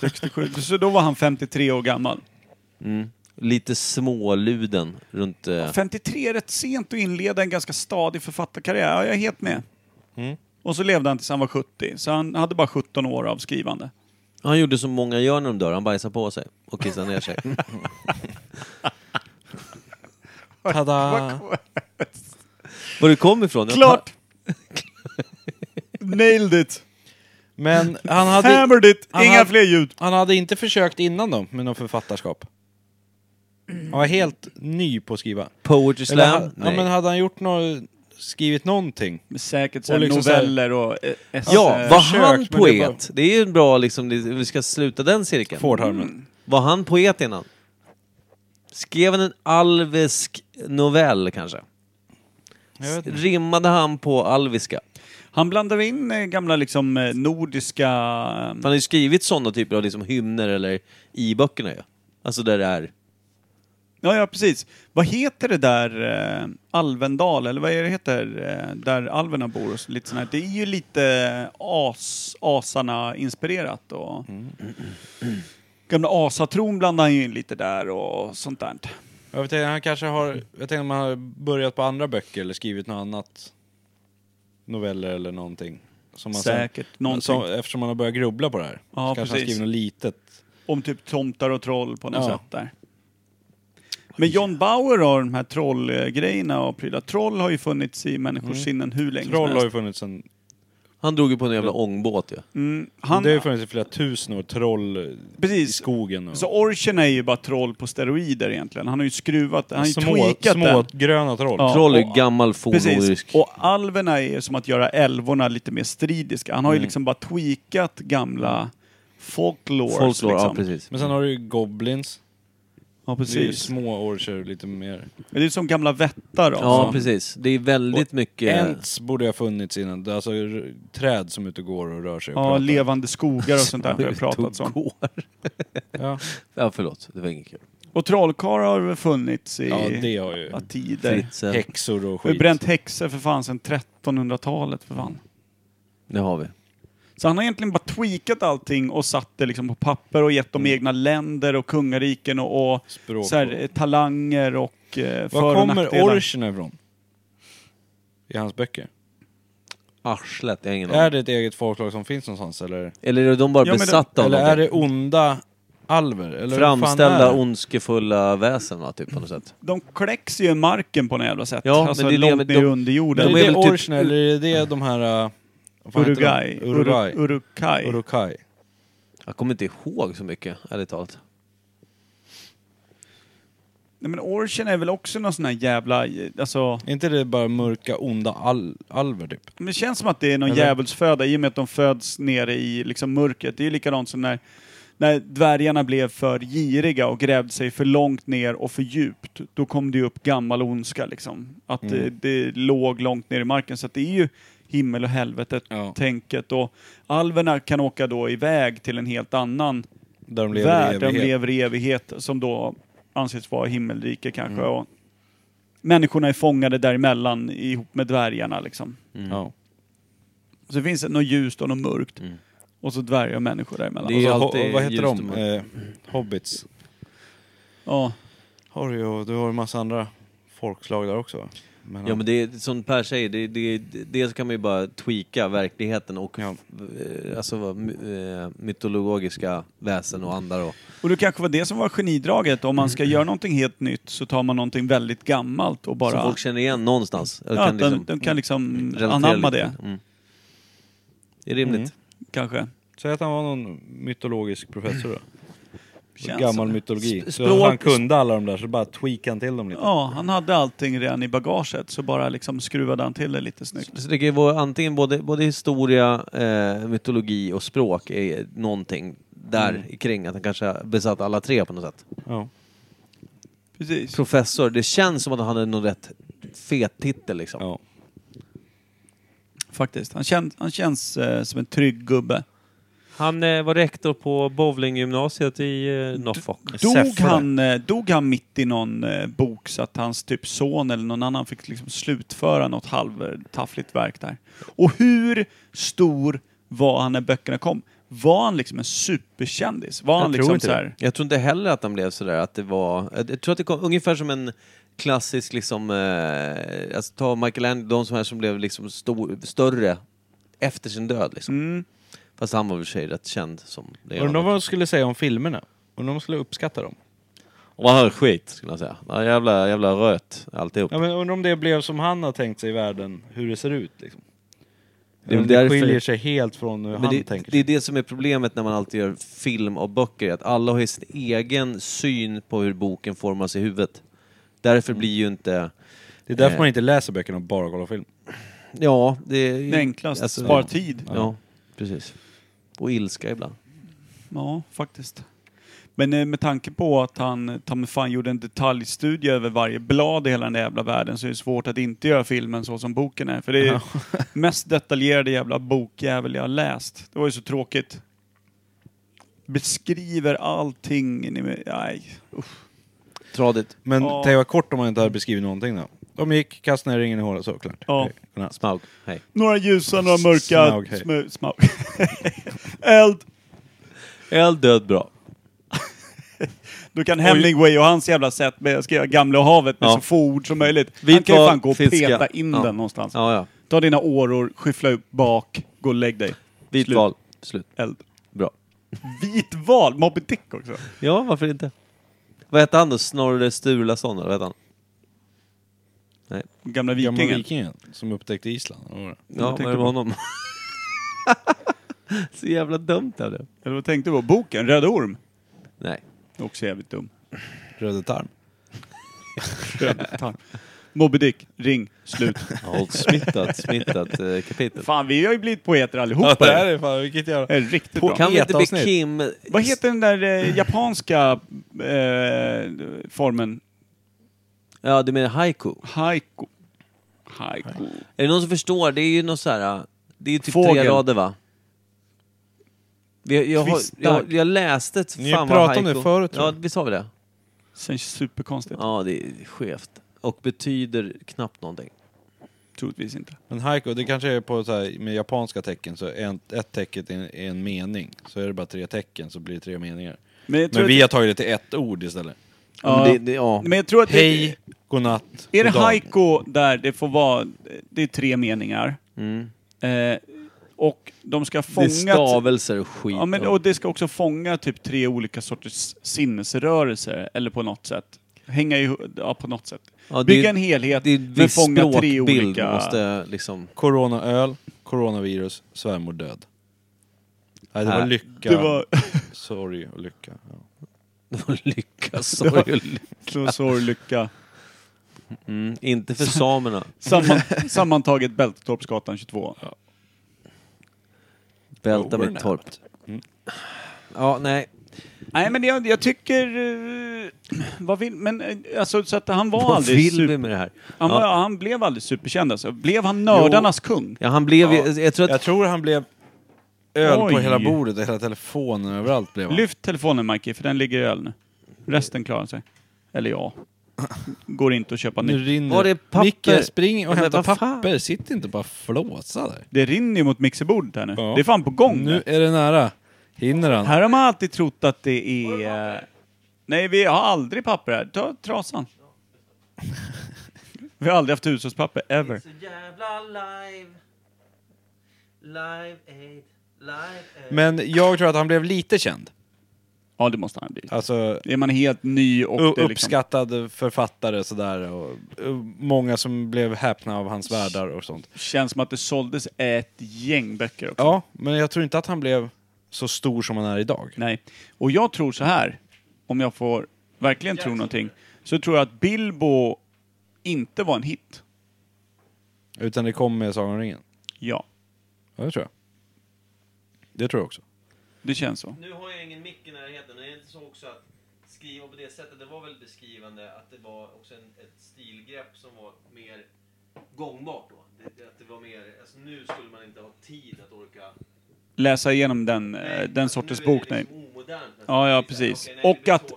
Speaker 3: 67. Så då var han 53 år gammal.
Speaker 4: Mm. Lite småluden runt... Eh,
Speaker 3: 53 är rätt sent att inleda en ganska stadig författarkarriär. Ja, jag är helt med.
Speaker 2: Mm.
Speaker 3: Och så levde han tills han var 70, så han hade bara 17 år av skrivande.
Speaker 4: han gjorde som många gör när de dör, han bajsar på sig och kissar ner sig.
Speaker 2: Tada!
Speaker 4: Var du kom ifrån? Jag-
Speaker 3: Klart! Nailed it!
Speaker 2: Men han hade,
Speaker 3: Hammered it!
Speaker 2: han
Speaker 3: Inga
Speaker 2: hade-
Speaker 3: fler ljud!
Speaker 2: han hade inte försökt innan då, med något författarskap. Han var helt ny på att skriva.
Speaker 4: Poetry
Speaker 2: Eller, han-
Speaker 4: slam?
Speaker 2: ja,
Speaker 4: Nej.
Speaker 2: men hade han gjort något, skrivit någonting?
Speaker 3: Säkert
Speaker 2: Och
Speaker 3: såhär
Speaker 2: liksom så här-
Speaker 3: noveller och... eh, ess-
Speaker 4: Ja,
Speaker 3: eh,
Speaker 4: var
Speaker 2: försök,
Speaker 4: han
Speaker 2: men det är bara-
Speaker 4: poet? Det är ju en bra liksom, det- vi ska sluta den cirkeln.
Speaker 2: Fordharmen.
Speaker 3: Mm.
Speaker 4: Var han poet innan? Skrev han en alvesk novell kanske? rimmade han på alviska?
Speaker 3: Han blandar in eh, gamla liksom eh, nordiska... eh,
Speaker 4: Han har ju skrivit sådana typer av liksom hymner eller i böckerna ju. Alltså där det är...
Speaker 3: Ja, ja precis. Vad heter det där eh, Alvendal, eller vad är det heter, eh, där alverna bor? Och så, lite sån här. Det är ju lite eh, as, asarna-inspirerat. Och...
Speaker 2: Mm.
Speaker 3: Gamla asatron blandar han ju in lite där och sånt där.
Speaker 2: Jag vet inte, han kanske har... Jag tänkte om han har börjat på andra böcker eller skrivit något annat. Noveller eller någonting. Som han sen-
Speaker 3: Säkert någonting.
Speaker 2: Som, eftersom han har börjat grubbla på det här.
Speaker 3: Ja,
Speaker 2: så kanske han
Speaker 3: precis.
Speaker 2: skriver något litet.
Speaker 3: Om typ tomtar och troll på något
Speaker 2: Ja.
Speaker 3: sätt där. Men John Bauer har de här trollgrejerna och prylar. Troll har ju funnits i människors sinnen hur länge
Speaker 2: Mm. Troll
Speaker 3: som
Speaker 2: har ju
Speaker 3: helst.
Speaker 2: funnits sen...
Speaker 4: Han drog ju på en jävla ångbåt ju.
Speaker 3: Mm, han,
Speaker 2: Det har ju funnits i flera tusen år. Troll i
Speaker 3: precis.
Speaker 2: skogen och...
Speaker 3: Så orchen är ju bara troll på steroider egentligen. Han har ju skruvat, han har ju
Speaker 2: små,
Speaker 3: tweakat
Speaker 2: små
Speaker 3: den.
Speaker 2: gröna troll.
Speaker 3: Ja.
Speaker 4: Troll är
Speaker 3: och-
Speaker 4: gammal fornnordisk.
Speaker 3: Precis. Och alverna är ju som att göra älvorna lite mer stridiska. Han har
Speaker 2: Mm.
Speaker 3: ju liksom bara tweakat gamla folklores.
Speaker 4: Folklore,
Speaker 3: liksom.
Speaker 4: ja precis.
Speaker 2: Men sen har du ju goblins.
Speaker 3: Ja,
Speaker 2: Det är ju
Speaker 3: precis.
Speaker 2: små orcher lite mer.
Speaker 3: Men Det är som gamla vättar.
Speaker 4: Ja,
Speaker 3: alltså.
Speaker 4: precis. Det är väldigt mycket...
Speaker 2: Ents borde ha funnits innan. Det är Alltså r- träd som är ute och går och rör sig och
Speaker 3: Ja,
Speaker 2: pratar.
Speaker 3: levande skogar och sånt där har jag pratat om.
Speaker 4: Tog-
Speaker 2: Ja.
Speaker 4: Ja, förlåt. Det var inget kul.
Speaker 3: Och trollkarlar har väl funnits i
Speaker 2: ja, det har ju.
Speaker 3: alla tider.
Speaker 4: Fritzel.
Speaker 2: Häxor och
Speaker 3: Vi eh, har ju
Speaker 2: skit.
Speaker 3: bränt häxor för fan sedan 1300-talet för fan.
Speaker 4: Det har vi.
Speaker 3: Så han har egentligen bara tweakat allting och satt det liksom på papper och gett dem egna länder och kungariken och, och
Speaker 2: Mm. Språk.
Speaker 3: så här, eh, talanger och eh,
Speaker 2: Var
Speaker 3: för och
Speaker 2: kommer
Speaker 3: nackdelar.
Speaker 2: orcherna ifrån? I hans böcker.
Speaker 4: Arslet, jag har ingen
Speaker 2: Är
Speaker 4: aning.
Speaker 2: det ett eget folklag som finns någonstans eller?
Speaker 4: Eller är de bara
Speaker 3: Ja, men det-
Speaker 4: besatta av
Speaker 2: Eller är
Speaker 4: någonting?
Speaker 2: det onda alver? Eller vad fan är
Speaker 4: Framställda
Speaker 2: det?
Speaker 4: ondskefulla väsen va, typ på något sätt.
Speaker 3: De kläcks ju i marken på något jävla sätt.
Speaker 4: Ja,
Speaker 3: alltså
Speaker 4: men det är det-
Speaker 3: långt
Speaker 4: men
Speaker 3: ner
Speaker 4: de-
Speaker 3: under
Speaker 2: Är
Speaker 3: jorden.
Speaker 4: de
Speaker 2: det,
Speaker 4: väl typ-
Speaker 2: orcherna eller är det de här... äh, vad fan heter de?
Speaker 3: Uruguay.
Speaker 2: Uruguay.
Speaker 3: Uruguay. Uruguay.
Speaker 2: Uruguay.
Speaker 4: Jag kommer inte ihåg så mycket, ärligt talat.
Speaker 3: Nej, men orchen är väl också någon sån här jävla... eh, Alltså,
Speaker 2: Är inte det bara mörka, onda al alver typ?
Speaker 3: men det känns som att det är någon
Speaker 2: Eller?
Speaker 3: djävulsföda i och med att de föds nere i liksom, mörkret. Det är ju likadant som när, när dvärgarna blev för giriga och grävde sig för långt ner och för djupt. Då kom det ju upp gammal ondska liksom. Att
Speaker 2: Mm.
Speaker 3: det, det låg långt ner i marken. Så att det är ju himmel och helvetet,
Speaker 2: Ja.
Speaker 3: tänket. Och alverna kan åka då iväg till en helt annan
Speaker 2: Där de lever i
Speaker 3: värld, där de
Speaker 2: evighet.
Speaker 3: lever i evighet, som då anses vara himmelrike kanske.
Speaker 2: Mm.
Speaker 3: Och människorna är fångade däremellan ihop med dvärgarna liksom.
Speaker 2: Ja.
Speaker 3: Så finns det något ljust och något mörkt. Och så dvärgar och människor däremellan.
Speaker 4: Mm. Det är
Speaker 2: Och så,
Speaker 4: alltid
Speaker 2: ho- vad heter
Speaker 4: ljust och
Speaker 2: de? Eh,
Speaker 4: mörkt.
Speaker 2: hobbits.
Speaker 3: Ja.
Speaker 2: Har du, ju- du har en massa andra folkslag där också va? Men,
Speaker 4: Ja men det är som Per säger, det, det, dels kan man ju bara tweaka verkligheten och
Speaker 2: Ja.
Speaker 4: eh, alltså, vad, my- eh, mytologiska väsen och andar och...
Speaker 3: Och det kanske var det som var genidraget. Om man ska
Speaker 4: Mm.
Speaker 3: göra någonting helt nytt så tar man någonting väldigt gammalt och bara...
Speaker 4: Som folk känner igen någonstans. Eller
Speaker 3: ja,
Speaker 4: kan liksom
Speaker 3: den, den kan liksom
Speaker 4: relatera
Speaker 3: anamma
Speaker 4: lite.
Speaker 3: det, Mm.
Speaker 4: Mm. Det är rimligt.
Speaker 3: kanske.
Speaker 2: Säg att han var någon mytologisk professor då.
Speaker 3: Känns
Speaker 2: Gammal
Speaker 3: som-
Speaker 2: mytologi.
Speaker 3: Sp-
Speaker 2: Så
Speaker 3: språk-
Speaker 2: han kunde alla de där så bara tweakade han till dem lite.
Speaker 3: Ja, han hade allting redan i bagaget så bara liksom skruvade han till det lite snyggt.
Speaker 4: Så det kan ju vara antingen både, både historia, eh, mytologi och språk är någonting där
Speaker 3: Mm.
Speaker 4: kring. Att han kanske besatt alla tre på något sätt.
Speaker 2: Ja.
Speaker 3: Precis.
Speaker 4: Professor, det känns som att han hade någon rätt fet titel liksom.
Speaker 2: Ja.
Speaker 3: Faktiskt. Han, kän, han känns eh, som en trygg gubbe.
Speaker 1: Han eh, var rektor på bowlinggymnasiet i eh, Norfolk.
Speaker 3: Dog han, eh, dog han mitt i någon eh, bok så att hans typ son eller någon annan fick liksom slutföra något halvtaffligt verk där? Och hur stor var han när böckerna kom? Var han liksom en superkändis? Var han
Speaker 2: tror
Speaker 3: liksom
Speaker 2: inte
Speaker 3: så här,
Speaker 4: Jag tror inte heller att han blev sådär att det var... jag- Jag tror att det kom ungefär som en klassisk liksom... Eh, alltså ta Michelangelo, de som här som blev liksom stor, större efter sin död liksom.
Speaker 3: mm,
Speaker 4: Fast han var väl i och för sig rätt känd som det han
Speaker 2: Undrar
Speaker 4: var.
Speaker 2: vad de skulle säga om filmerna? Undrar om de skulle uppskatta dem?
Speaker 4: Vad han skit skulle jag säga. Ja, jävla, jävla röt alltihop.
Speaker 2: Ja, men undrar om det blev som han har tänkt sig i världen, hur det ser ut liksom.
Speaker 4: Det är
Speaker 2: Om
Speaker 4: väl
Speaker 2: det
Speaker 4: därför-
Speaker 2: skiljer sig helt från hur
Speaker 4: Men
Speaker 2: han
Speaker 4: det,
Speaker 2: tänker
Speaker 4: det
Speaker 2: sig.
Speaker 4: är det som är problemet när man alltid gör film och böcker, att alla har ju sin egen syn på hur boken formas i huvudet. Därför blir ju inte...
Speaker 2: Det är därför
Speaker 4: eh,
Speaker 2: man inte läser böckerna och bara kollar film.
Speaker 4: Ja, det är ju...
Speaker 3: det enklaste?
Speaker 4: alltså,
Speaker 3: spara
Speaker 4: ja.
Speaker 3: tid?
Speaker 4: Ja, precis. Och ilska ibland.
Speaker 3: Ja, faktiskt. Men eh, med tanke på att han ta mig fan gjorde en detaljstudie över varje blad i hela den där jävla världen så är det svårt att inte göra filmen så som boken är. För det är mest detaljerade jävla bokjävel jag har läst. Det var ju så tråkigt. Beskriver allting. in i- Nej.
Speaker 4: Tradigt.
Speaker 2: Men
Speaker 3: Ja.
Speaker 2: tänk vad kort om man inte hade beskrivit någonting då. De gick, kastade ner ringen i hålet, Eh, så klart.
Speaker 3: Ja.
Speaker 2: Okej, godnatt.
Speaker 4: Smaug. Hej.
Speaker 3: Några ljusa, några mörka.
Speaker 2: Smaug, hej.
Speaker 3: smö- Smaug. Eld.
Speaker 4: Eld död bra.
Speaker 3: Då kan Hemingway och hans jävla sätt med att skriva Gamla och havet med
Speaker 4: Ja.
Speaker 3: så få ord som möjligt.
Speaker 4: Vi
Speaker 3: han kan ju
Speaker 4: tar
Speaker 3: fan gå och
Speaker 4: fiska.
Speaker 3: peta in
Speaker 4: Ja.
Speaker 3: den någonstans.
Speaker 4: Ja, ja.
Speaker 3: Ta dina åror, skyffla upp bak, gå och lägg dig.
Speaker 4: Vit
Speaker 3: Slut.
Speaker 4: val. Slut.
Speaker 3: Eld.
Speaker 4: Bra.
Speaker 3: Vit val! Moby Dick också.
Speaker 4: Ja, varför inte? Vad hette han då? Snorre Sturlason, eller vad hette han?
Speaker 3: Gamla
Speaker 2: Gamla
Speaker 3: vikingen.
Speaker 2: vikingen som upptäckte Island. eller vad var det?
Speaker 4: Ja, men
Speaker 3: tänker
Speaker 4: det
Speaker 3: på.
Speaker 4: var honom. Så jävla dumt av det.
Speaker 3: Eller vad tänkte du på? Boken, Röd Orm.
Speaker 4: Nej.
Speaker 3: Också jävligt dum.
Speaker 2: Röde tarm.
Speaker 3: Röd tarm. Moby Dick, ring, slut.
Speaker 4: Old smittat, smittat eh, kapitel.
Speaker 3: Fan, vi har ju blivit poeter
Speaker 2: Ja,
Speaker 3: allihopa.
Speaker 2: det här är fan, vilket jävla...
Speaker 3: Det är riktigt bra.
Speaker 4: Kan vi inte be
Speaker 2: Poetavsnitt.
Speaker 4: Kim...
Speaker 3: Vad heter den där eh, japanska eh, formen?
Speaker 4: Ja, du menar haiku?
Speaker 3: Haiku. Haiku.
Speaker 4: Är det någon som förstår? Det är ju något så här... äh, Det är ju typ
Speaker 3: Fågel.
Speaker 4: tre rader, va? Jag, jag, har-
Speaker 3: Tvistar.
Speaker 4: jag, jag läste ett...
Speaker 2: Ni
Speaker 4: fan vad
Speaker 2: pratade om
Speaker 4: haiku-
Speaker 2: det förut, tror
Speaker 4: Ja,
Speaker 2: jag.
Speaker 4: vi sa vi det?
Speaker 3: Sen superkonstigt.
Speaker 4: Ja, det är skevt. Och betyder knappt någonting.
Speaker 3: Troligtvis inte.
Speaker 2: Men haiku, det kanske är på så här, med japanska tecken, så en, ett tecken är en, är en mening. Så är det bara tre tecken så blir det tre meningar.
Speaker 3: Men jag tror
Speaker 2: Men
Speaker 3: att,
Speaker 2: vi har tagit det till ett ord istället.
Speaker 3: Ja.
Speaker 4: Men det, det, ja.
Speaker 3: men jag tror att
Speaker 2: Hej, godnatt,
Speaker 3: det, är det
Speaker 2: goddag.
Speaker 3: haiku där det får vara, det är tre meningar.
Speaker 4: Mm.
Speaker 3: Eh, och de ska
Speaker 4: det är
Speaker 3: fånga...
Speaker 4: stavelser och skit.
Speaker 3: Ja, men, och det ska också fånga typ tre olika sorters sinnesrörelser, eller på något sätt. Hänga ihop, ja på något sätt.
Speaker 4: Ja, det
Speaker 3: Bygga
Speaker 4: är-
Speaker 3: en helhet,
Speaker 4: det är
Speaker 3: men
Speaker 4: viss
Speaker 3: fånga tre
Speaker 4: språkbild
Speaker 3: olika...
Speaker 4: måste liksom...
Speaker 2: Coronaöl, coronavirus, svärmor död. Nej, det var
Speaker 4: Äh.
Speaker 2: lycka,
Speaker 3: Det var
Speaker 2: sorg och lycka. Ja.
Speaker 4: Lycka, sorg och lycka.
Speaker 3: så sorg, lycka.
Speaker 4: Mm, inte för samerna.
Speaker 3: Samman, sammantaget Bältetorpsgatan 22.
Speaker 4: Välta mitt torp. Mm. Ja, nej.
Speaker 3: Nej men jag, jag tycker... eh, vad vill... Men eh, alltså så att han var
Speaker 4: Vad
Speaker 3: aldrig
Speaker 4: vill
Speaker 3: super...
Speaker 4: vi med det här?
Speaker 3: Han, var,
Speaker 4: Ja.
Speaker 3: han blev aldrig superkänd alltså. Blev han nördarnas kung?
Speaker 4: Ja, han blev ju- Jag tror
Speaker 2: Jag
Speaker 4: att...
Speaker 2: tror han blev öl på
Speaker 3: Oj.
Speaker 2: hela bordet, hela telefonen, överallt blev han.
Speaker 3: Lyft telefonen Mikey, för den ligger i öl nu. Resten klarar sig. Eller ja. Går inte att köpa
Speaker 2: Nu
Speaker 3: nytt.
Speaker 2: rinner
Speaker 4: Var det papper?
Speaker 2: Micke, spring och
Speaker 4: Men
Speaker 2: hämta
Speaker 4: vad fan?
Speaker 2: papper. Sitt inte bara och flåsa där.
Speaker 3: Det rinner ju mot mixerbordet här nu.
Speaker 2: Ja.
Speaker 3: Det är fan på gång
Speaker 2: Nu
Speaker 3: nu.
Speaker 2: är det nära. Hinner han?
Speaker 3: Här har man alltid trott att det är... eh, Nej, vi har aldrig papper här. Ta trasan. Vi har aldrig haft hushållspapper, ever.
Speaker 2: Men jag tror att han blev lite känd.
Speaker 3: Ja, det måste han ha blivit.
Speaker 2: Alltså,
Speaker 3: Är man helt ny och
Speaker 2: u-
Speaker 3: det är liksom...
Speaker 2: uppskattad författare sådär. Och, och många som blev häpna av hans världar och sånt.
Speaker 3: Känns som att det såldes ett gäng böcker också.
Speaker 2: Ja, men jag tror inte att han blev så stor som han är idag.
Speaker 3: Nej. Och jag tror så här, om jag får verkligen tro någonting, så tror jag att Bilbo inte var en hit.
Speaker 2: Utan det kom med Sagan om ringen.
Speaker 3: Ja,
Speaker 2: Ja, det tror jag. Det tror jag också.
Speaker 3: det känns så.
Speaker 4: Nu har jag ingen mick i närheten. Det är inte så också att skriva på det sättet. Det var väl beskrivande att det var också en, ett stilgrepp som var mer gångbart då. Det, att det var mer... Alltså nu skulle man inte ha tid att orka...
Speaker 3: Läsa igenom den, eh, den sortens bok. Nej.
Speaker 4: liksom omodernt.
Speaker 3: Ja, ja, precis. Och att,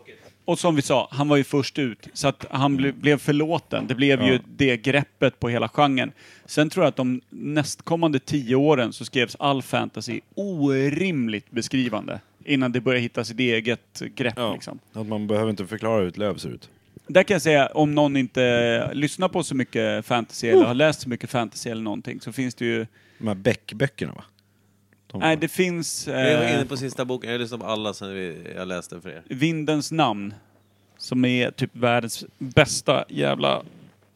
Speaker 3: och som vi sa, han var ju först ut. Så att han ble, blev förlåten. Det blev ju det greppet på hela genren. Sen tror jag att de nästkommande tio åren så skrevs all fantasy orimligt beskrivande. Innan det började hitta sitt eget grepp liksom.
Speaker 2: Att man behöver inte förklara hur ett löv ser ut.
Speaker 3: Där kan jag säga, om någon inte lyssnar på så mycket fantasy eller har läst så mycket fantasy eller någonting så finns det ju...
Speaker 2: De här Beck-böckerna va? De-
Speaker 3: Nej, det finns
Speaker 4: Jag var
Speaker 3: eh,
Speaker 4: inne på sista boken. Jag lyssnade på alla sen vi, jag läste för er.
Speaker 3: Vindens namn. Som är typ världens bästa jävla...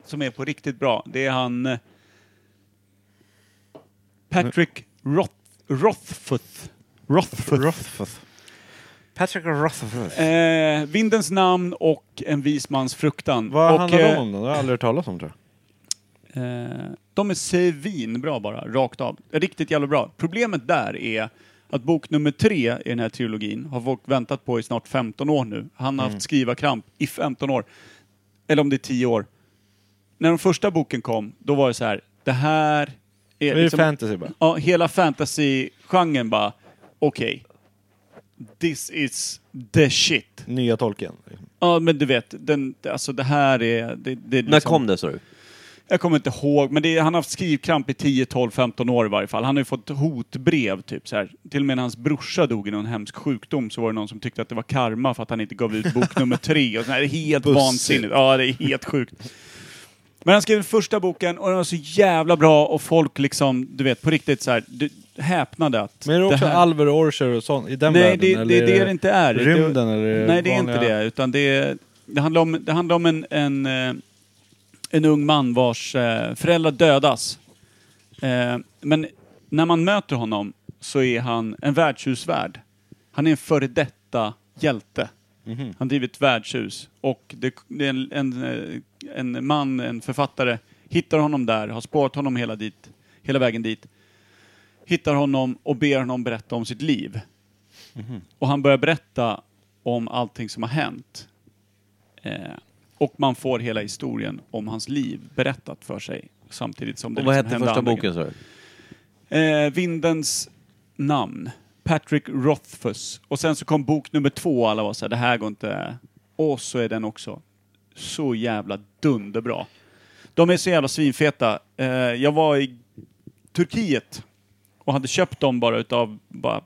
Speaker 3: Som är på riktigt bra. Det är han... eh, Patrick Roth, Rothfuth. Rothfuth.
Speaker 2: Patrick Rothfuss.
Speaker 3: Eh, Vindens namn och En vis mans fruktan.
Speaker 2: Vad
Speaker 3: och,
Speaker 2: handlar det
Speaker 3: eh,
Speaker 2: om då? Det har jag aldrig hört talas om tror jag.
Speaker 3: Eh, de är svinbra bara, rakt av. Riktigt jävla bra. Problemet där är att bok nummer tre i den här trilogin har folk väntat på i snart 15 år nu. Han har haft skrivarkramp i 15 år. Eller om det är 10 år. När den första boken kom, då var det så här, det här är... liksom-"
Speaker 6: Det är fantasy bara.
Speaker 3: Ja, hela fantasy-genren bara, okej. This is the shit.
Speaker 6: Nya tolken.
Speaker 3: Ja, men du vet, den, alltså det här är... Det, det är
Speaker 4: När
Speaker 3: liksom-
Speaker 4: kom det sa du?
Speaker 3: jag kommer inte ihåg, men det är, han har haft skrivkramp i 10, 12, 15 år i varje fall. Han har ju fått hotbrev, typ så här. Till och med när hans brorsa dog i någon hemsk sjukdom så var det någon som tyckte att det var karma för att han inte gav ut bok nummer tre. Och så här, det är helt vansinnigt. Ja, det är helt sjukt. Men han skrev den första boken och den var så jävla bra och folk liksom, du vet, på riktigt så här, du, häpnade att...
Speaker 6: Men är det också
Speaker 3: här-
Speaker 6: alver och orcher och sånt i den
Speaker 3: Nej,
Speaker 6: världen?
Speaker 3: det,
Speaker 6: eller
Speaker 3: det,
Speaker 6: är
Speaker 3: det är det inte är.
Speaker 6: Rymden
Speaker 3: det,
Speaker 6: eller
Speaker 3: Nej, det är
Speaker 6: vanliga-
Speaker 3: inte det. Utan det, är- det handlar om, det handlar om en, en, eh, en ung man vars eh, föräldrar dödas. Eh, Men när man möter honom så är han en värdshusvärd. Han är en före detta hjälte.
Speaker 6: Mhm.
Speaker 3: Han driver ett värdshus och det, det är en, en, eh, en man, en författare, hittar honom där, har spårat honom hela, dit, hela vägen dit. Hittar honom och ber honom berätta om sitt liv.
Speaker 4: Mhm.
Speaker 3: Och han börjar berätta om allting som har hänt. Eh, och man får hela historien om hans liv berättat för sig samtidigt som det
Speaker 4: Och vad
Speaker 3: liksom
Speaker 4: hette
Speaker 3: hände
Speaker 4: första
Speaker 3: andra
Speaker 4: boken sa du?
Speaker 3: Eh, Vindens namn. Patrick Rothfuss. Och sen så kom bok nummer två och alla var såhär, det här går inte... Och så är den också så jävla dunderbra. De är så jävla svinfeta. Eh, jag var i Turkiet och hade köpt dem bara utav bara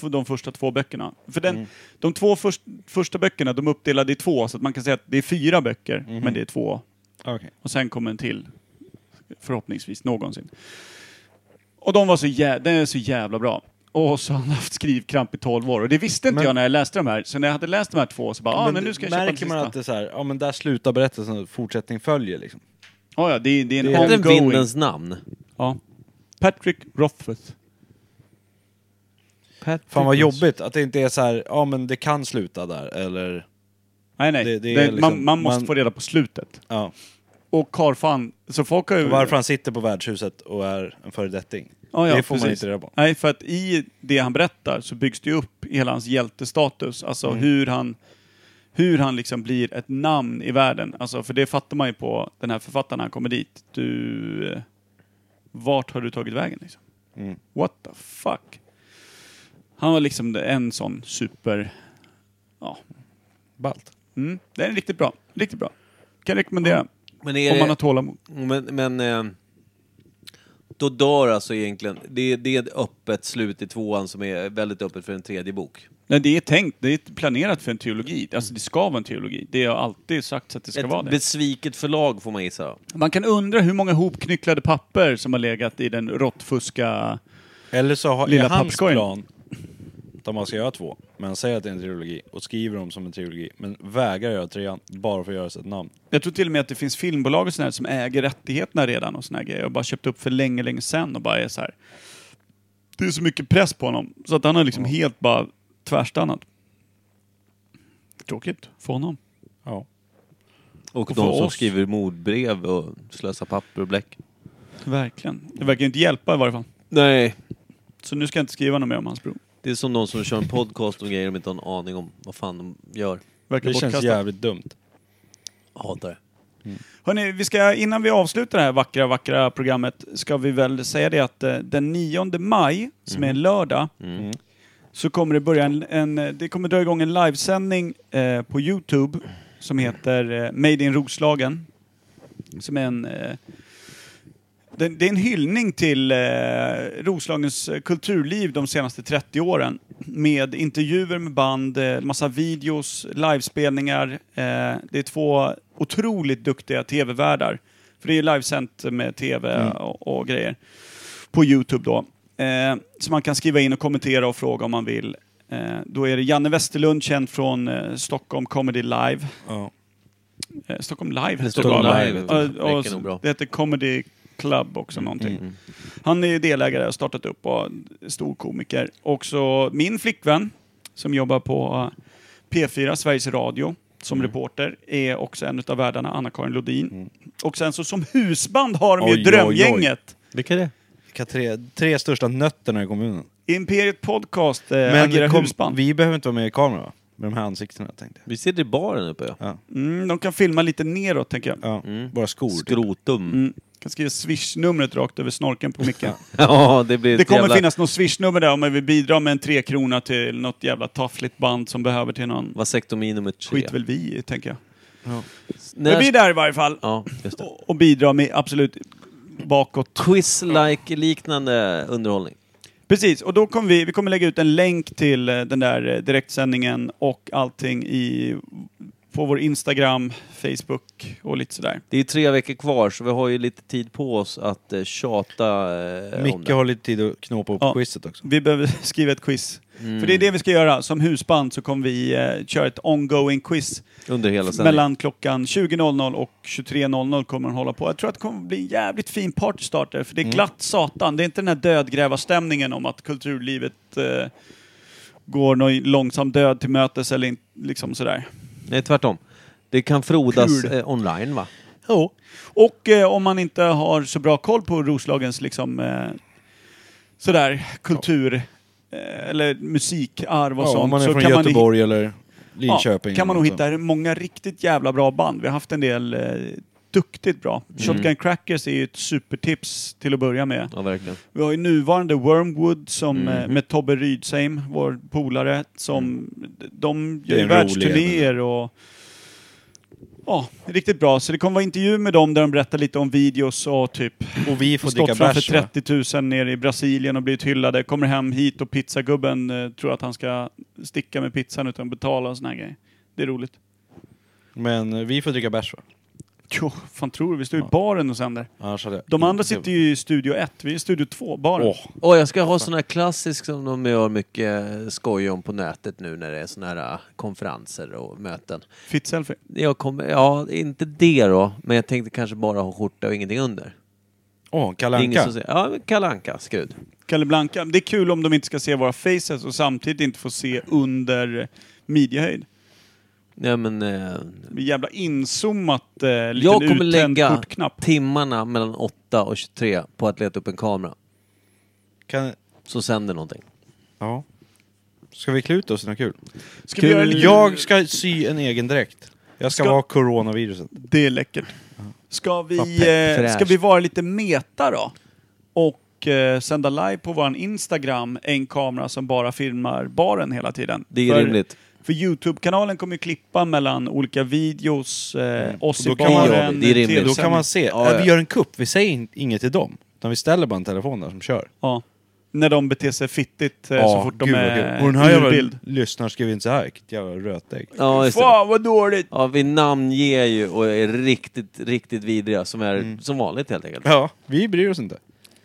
Speaker 3: tv- de första två böckerna. För den, de två först, första böckerna, de är uppdelade i två, så att man kan säga att det är fyra böcker, men det är två.
Speaker 6: Okej.
Speaker 3: Och sen kommer en till, förhoppningsvis någonsin. Och de var så, jä den är så jävla bra. Och så har han haft skrivkramp i 12 år. Och det visste inte
Speaker 6: Men-
Speaker 3: jag när jag läste de här. Så när jag hade läst de här två så bara, ja ah, men nu ska jag köpa den
Speaker 6: märker
Speaker 3: sista.
Speaker 6: man att det är så här, ja men där slutar berättelsen och fortsättning följer liksom.
Speaker 3: Ja, ja, det, är- det är en
Speaker 4: Hette den
Speaker 3: ongoing.
Speaker 4: Vindens namn?
Speaker 3: Ja. Patrick Rothfuss.
Speaker 6: Fan vad jobbigt att det inte är så här, ja men det kan sluta där eller...
Speaker 3: Nej, nej.
Speaker 6: Det-
Speaker 3: Det,
Speaker 6: det är
Speaker 3: man,
Speaker 6: liksom-
Speaker 3: man måste
Speaker 6: man-
Speaker 3: få reda på slutet.
Speaker 6: Ja.
Speaker 3: Och Carl fan, så folk har ju...
Speaker 6: Varför han sitter på värdshuset och är en föredetting.
Speaker 3: Ja, ja,
Speaker 6: det får man
Speaker 3: precis.
Speaker 6: inte reda på.
Speaker 3: Nej, för att i det han berättar så byggs det ju upp hela hans hjältestatus. Alltså
Speaker 6: Mm.
Speaker 3: hur han, hur han liksom blir ett namn i världen. Alltså, för det fattar man ju på den här författaren när han kommer dit. Du... eh, Vart har du tagit vägen liksom?
Speaker 6: Mm.
Speaker 3: What the fuck? Han var liksom en sån super... Ja.
Speaker 6: Ballt.
Speaker 3: Mm. Den är riktigt bra. Riktigt bra. Kan jag rekommendera.
Speaker 4: Men är
Speaker 3: Om man
Speaker 4: det-
Speaker 3: har tålamod.
Speaker 4: Men, men eh, då dör alltså egentligen, det, det är ett öppet slut i tvåan som är väldigt öppet för en tredje bok.
Speaker 3: Nej, det är tänkt, det är planerat för en teologi. Alltså det ska vara en teologi. Det har alltid sagts att det ska vara
Speaker 4: Ett
Speaker 3: det.
Speaker 4: besviket förlag får man gissa.
Speaker 3: Man kan undra hur många hopknycklade papper som har legat i den råttfuska...
Speaker 6: Eller så har,
Speaker 3: Lilla
Speaker 6: är hans
Speaker 3: papperskorgen.
Speaker 6: plan att man ska göra två, men han säger att det är en trilogi och skriver dem som en trilogi, men vägrar göra trean bara för att göra sig ett namn.
Speaker 3: Jag tror till och med att det finns filmbolag och sådär som äger rättigheterna redan och såna här grejer. Jag har bara köpt upp för länge, länge sedan och bara är så här. Det är så mycket press på honom så att han har liksom helt bara tvärstannat. Tråkigt för honom.
Speaker 6: Ja.
Speaker 4: Och,
Speaker 3: för
Speaker 4: de som
Speaker 3: oss.
Speaker 4: skriver mordbrev och slösar papper och bläck.
Speaker 3: Verkligen. Det verkar ju inte hjälpa i varje fall.
Speaker 4: Nej.
Speaker 3: Så nu ska jag inte skriva något mer om hans bror.
Speaker 4: Det är som de som kör en podcast om grejer de inte har en aning om vad fan de gör.
Speaker 3: Verkar
Speaker 6: Det känns
Speaker 3: bortkastat.
Speaker 6: jävligt dumt.
Speaker 4: Hatar det.
Speaker 3: Hörrni, vi ska, innan vi avslutar det här vackra, vackra programmet ska vi väl säga det att eh, den 9 maj, som är en lördag, så kommer det börja en, en, eh, det kommer dra igång en livesändning eh, på Youtube som heter eh, Made in Roslagen. Som är en... Eh, det, det är en hyllning till eh, Roslagens eh, kulturliv de senaste 30 åren med intervjuer med band, eh, massa videos, livespelningar. Eh, det är två otroligt duktiga tv-värdar. För det är ju livesänt med tv och, och grejer på Youtube då. Eh, så man kan skriva in och kommentera och fråga om man vill. Eh, då är det Janne Westerlund, känd från eh, Stockholm Comedy Live.
Speaker 6: Ja.
Speaker 3: Eh, Stockholm Live heter
Speaker 4: Stockholm
Speaker 3: det bara.
Speaker 4: Live,
Speaker 3: Ja,
Speaker 4: vet du.
Speaker 3: och
Speaker 4: Räcker nog bra.
Speaker 3: Det heter Comedy Club också någonting. Han är ju delägare och startat upp och stor komiker. Också min flickvän som jobbar på P4, Sveriges Radio, som reporter är också en av värdarna, Anna-Karin Lodin. Och sen så som husband har de
Speaker 6: Oj,
Speaker 3: ju
Speaker 6: oj, oj.
Speaker 3: Drömgänget.
Speaker 4: Vilka är det?
Speaker 6: Vilka tre, tre största nötterna i kommunen?
Speaker 3: Imperiet Podcast eh, agerar
Speaker 2: Men kom,
Speaker 3: husband.
Speaker 2: vi behöver inte vara med i kameran va? Med de här ansiktena tänkte jag.
Speaker 4: Vi sitter i baren uppe. Ja.
Speaker 3: Mm, de kan filma lite neråt, tänker jag.
Speaker 2: Ja, Bara skor.
Speaker 4: Skrotum.
Speaker 3: Mm. Kan skriva swish-numret rakt över snorken på micken.
Speaker 4: Ja, det blir
Speaker 3: Det
Speaker 4: ett
Speaker 3: kommer
Speaker 4: jävla...
Speaker 3: finnas något swishnummer där om vi vill bidra med en trekrona till något jävla taffligt band som behöver till någon.
Speaker 4: Vasektomi nummer tre.
Speaker 3: Skit väl vi i, tänker jag. Men
Speaker 4: När...
Speaker 3: vi är där i varje fall.
Speaker 4: Ja, just det.
Speaker 3: Och, och bidrar med absolut bakåt.
Speaker 4: Quiz-like-liknande underhållning.
Speaker 3: Precis, och då kommer vi, vi kommer lägga ut en länk till eh, den där eh, direktsändningen och allting i, på vår Instagram, Facebook och lite sådär.
Speaker 4: Det är ju tre veckor kvar, så vi har ju lite tid på oss att eh, tjata eh, om
Speaker 2: Micke
Speaker 4: det.
Speaker 2: har lite tid att knåpa upp
Speaker 3: Ja.
Speaker 2: quizet också.
Speaker 3: Vi behöver skriva ett quiz. För
Speaker 4: Mm.
Speaker 3: det är det vi ska göra. Som husband så kommer vi eh, köra ett ongoing quiz.
Speaker 4: Under hela sändningen.
Speaker 3: Mellan klockan 20.00 och 23.00 kommer den hålla på. Jag tror att det kommer bli en jävligt fin partystarter, för det
Speaker 2: Mm.
Speaker 3: är glatt satan. Det är inte den här dödgrävarstämningen om att kulturlivet eh, går någon långsam död till mötes eller in, liksom sådär.
Speaker 4: Nej, tvärtom. Det kan frodas
Speaker 3: Kul.
Speaker 4: eh, online, va?
Speaker 3: Jo. Och eh, om man inte har så bra koll på Roslagens liksom eh, sådär kultur eh, eller musikarv och
Speaker 2: Ja,
Speaker 3: sånt.
Speaker 2: om man är
Speaker 3: så
Speaker 2: från
Speaker 3: kan man
Speaker 2: Göteborg eller
Speaker 3: Ja,
Speaker 2: Linköping.
Speaker 3: kan man nog
Speaker 2: eller något
Speaker 3: hitta många riktigt jävla bra band. Vi har haft en del eh, duktigt bra.
Speaker 2: Mm.
Speaker 3: Shotgun Crackers är ju ett supertips till att börja med.
Speaker 4: Ja, verkligen.
Speaker 3: Vi har ju nuvarande Wormwood som, eh,
Speaker 2: Mm.
Speaker 3: med Tobbe Rydseim, vår polare, som de
Speaker 2: är
Speaker 3: gör ju
Speaker 2: en
Speaker 3: världsturnéer och Ja, riktigt bra. Så det kommer vara intervju med dem där de berättar lite om videos och typ
Speaker 2: sånt. Och vi får dricka
Speaker 3: stått framför
Speaker 2: bärs va?
Speaker 3: 30 000 nere i Brasilien och blivit hyllade. Kommer hem hit och pizzagubben eh, tror att han ska sticka med pizzan utan att betala och såna här grejer. Det är roligt.
Speaker 2: Men eh, vi får dricka bärs va?
Speaker 3: Jo, fan tror du? Vi står i baren och sänder.
Speaker 2: Annars hade jag
Speaker 3: De andra
Speaker 2: inte-
Speaker 3: sitter ju i Studio 1. Vi är i Studio 2, baren.
Speaker 2: Åh,
Speaker 4: Och jag ska ha sån här klassisk som de gör mycket eh, skoj om på nätet nu när det är såna här eh, konferenser och möten.
Speaker 3: Fitt selfie.
Speaker 4: Jag kommer, ja, inte det då, men jag tänkte kanske bara ha skjorta och ingenting under.
Speaker 2: åh Kalle
Speaker 4: Det är ingen som
Speaker 2: Anka.
Speaker 4: säger, ja, men Kalle Anka, skrud.
Speaker 3: Kalle Blanka. Det är kul om de inte ska se våra faces och samtidigt inte får se under midjehöjd.
Speaker 4: Nej, men, eh,
Speaker 3: Det blir jävla inzoomat, eh, liten
Speaker 4: jag kommer
Speaker 3: uttänd
Speaker 4: lägga
Speaker 3: kortknapp.
Speaker 4: timmarna mellan 8 och 23 på att leta upp en kamera
Speaker 2: Kan...
Speaker 4: som sänder någonting.
Speaker 2: Ja. Ska vi klä ut oss i något kul?
Speaker 3: Ska vi göra lite...
Speaker 2: Jag ska sy en egen dräkt. Jag ska,
Speaker 3: Ska-
Speaker 2: vara coronaviruset.
Speaker 3: Det är läckert. Ska
Speaker 4: Vad
Speaker 3: vi,
Speaker 4: pepp,
Speaker 3: eh,
Speaker 4: fräscht.
Speaker 3: ska vi vara lite meta då? Och eh, sända live på vår Instagram, en kamera som bara filmar baren hela tiden.
Speaker 4: Det är
Speaker 3: för,
Speaker 4: rimligt.
Speaker 3: För Youtube-kanalen kommer ju klippa mellan olika videos, eh, oss i
Speaker 2: Mm. då kan man-
Speaker 3: baren,
Speaker 4: det är rimligt.
Speaker 3: tv-sändning.
Speaker 2: Då kan man se.
Speaker 4: Ja,
Speaker 2: Äh, Vi
Speaker 4: ja.
Speaker 2: gör en kupp, vi säger in- inget till dem. Utan vi ställer bara en telefon där som kör.
Speaker 3: Ja. När de beter sig fittigt eh, så fort de
Speaker 2: gud vad
Speaker 3: är
Speaker 2: kul. Och den här
Speaker 3: ur
Speaker 2: jävla
Speaker 3: bild.
Speaker 2: lyssnaren skrev inte så här, vilket jävla rötägg.
Speaker 4: Ja, just det.
Speaker 3: Fan vad dåligt!
Speaker 4: Ja, vi namnger ju och är riktigt, riktigt vidriga som är
Speaker 2: Mm.
Speaker 4: som vanligt helt enkelt.
Speaker 2: Ja, vi bryr oss inte.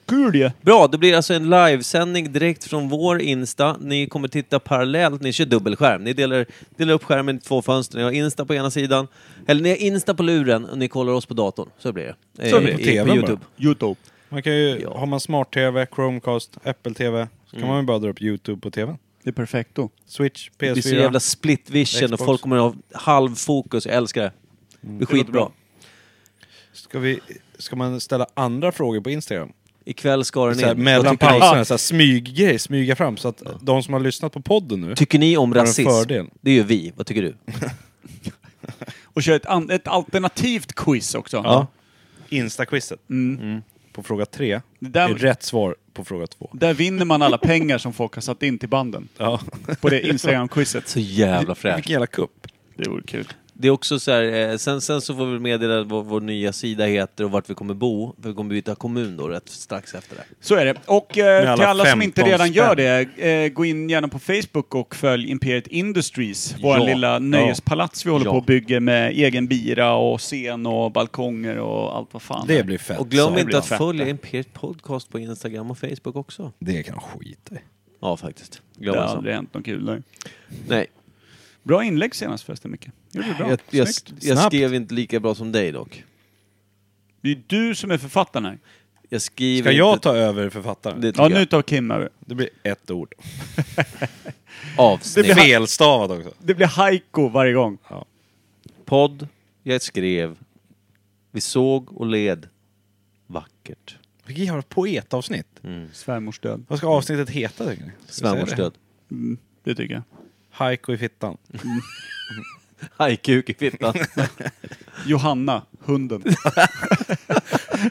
Speaker 3: Kul ju!
Speaker 4: Bra, det blir alltså en livesändning direkt från vår Insta. Ni kommer titta parallellt, ni kör dubbelskärm. Ni delar, delar upp skärmen i två fönster. Ni har Insta på ena sidan, eller ni har Insta på luren och ni kollar oss på datorn. Så blir det.
Speaker 2: Så
Speaker 4: Eh,
Speaker 2: blir det på
Speaker 4: i-
Speaker 2: TV:n
Speaker 4: på
Speaker 2: bara.
Speaker 4: Youtube.
Speaker 3: Youtube.
Speaker 2: Man kan ju,
Speaker 4: Ja. Mm.
Speaker 2: Har man smart-tv, Chromecast, Apple-tv, så kan man ju bara dra upp YouTube på tvn.
Speaker 3: Det är perfekt då.
Speaker 2: Switch,
Speaker 4: Det blir så
Speaker 2: PS4.
Speaker 4: jävla split vision och
Speaker 2: Xbox. Mm.
Speaker 4: folk kommer ha halv fokus. Jag älskar det. Det blir skitbra.
Speaker 2: Ska, vi, ska man ställa andra frågor på Instagram?
Speaker 4: Ikväll ska den in.
Speaker 2: Så här,
Speaker 4: Vad
Speaker 2: mellan
Speaker 4: tycker ni?
Speaker 2: pauserna, så här, smyggrej, smyga fram. Så att de som har lyssnat på podden nu...
Speaker 4: Tycker ni om
Speaker 2: en
Speaker 4: rasism?
Speaker 2: fördel.
Speaker 4: Det gör vi. Vad tycker du?
Speaker 3: Och kör ett, an- ett alternativt quiz också.
Speaker 2: Ja. Insta-quizet.
Speaker 3: Mm.
Speaker 2: På fråga tre.
Speaker 3: Det där-
Speaker 2: är rätt svar på fråga två.
Speaker 3: Där vinner man alla pengar som folk har satt in till banden.
Speaker 2: Ja.
Speaker 3: På det Instagram-quizet.
Speaker 4: Så jävla fräscht.
Speaker 2: Vilken jävla kupp.
Speaker 3: Det vore kul.
Speaker 4: Det är också så här, eh, sen, sen så får vi meddela vad vår nya sida heter och vart vi kommer bo. För vi kommer byta kommun då rätt strax efter det.
Speaker 3: Så är det. Och
Speaker 2: Med
Speaker 3: eh,
Speaker 2: alla
Speaker 3: till alla som inte
Speaker 2: 15
Speaker 3: redan gör
Speaker 2: spänn.
Speaker 3: det, eh, gå in gärna på Facebook och följ Imperiet Industries. Vår
Speaker 4: Ja.
Speaker 3: lilla nöjespalats vi håller
Speaker 4: Ja.
Speaker 3: på att bygga med egen bira och scen och balkonger och allt vad fan.
Speaker 2: Det blir fett.
Speaker 4: Och glöm
Speaker 2: Så.
Speaker 4: inte att
Speaker 3: fett.
Speaker 4: följa Imperiet Podcast på Instagram och Facebook också.
Speaker 2: Det kan jag skita i.
Speaker 4: Ja, faktiskt.
Speaker 3: det
Speaker 4: Glöm
Speaker 3: har
Speaker 4: inte sånt.
Speaker 3: aldrig hänt något kul där.
Speaker 4: Nej,
Speaker 3: Bra inlägg senast förresten Micke. Gjorde du bra.
Speaker 4: jag, jag,
Speaker 3: Snyggt.
Speaker 4: jag
Speaker 2: Snabbt.
Speaker 4: skrev inte lika bra som dig dock.
Speaker 3: Det är du som är författaren här.
Speaker 4: Jag skriver
Speaker 2: Ska jag
Speaker 4: inte...
Speaker 2: ta över författaren?
Speaker 4: Det
Speaker 2: Det,
Speaker 4: tycker
Speaker 3: Ja,
Speaker 4: jag.
Speaker 3: nu tar Kim över.
Speaker 2: blir ett ord.
Speaker 4: Avsnitt.
Speaker 2: Felstavat också.
Speaker 3: Det blir haiku varje gång.
Speaker 4: Podd. Jag skrev. Vi såg och led. Vackert.
Speaker 2: Vi kan göra ett poetavsnitt.
Speaker 4: Mm.
Speaker 3: Svärmors död.
Speaker 2: Vad ska avsnittet heta tycker ni? Ska vi säga det?
Speaker 4: Svärmorsdöd.
Speaker 3: Mm, det tycker jag.
Speaker 2: Haiku i fittan.
Speaker 4: Hajkuk i fittan.
Speaker 3: Johanna, hunden.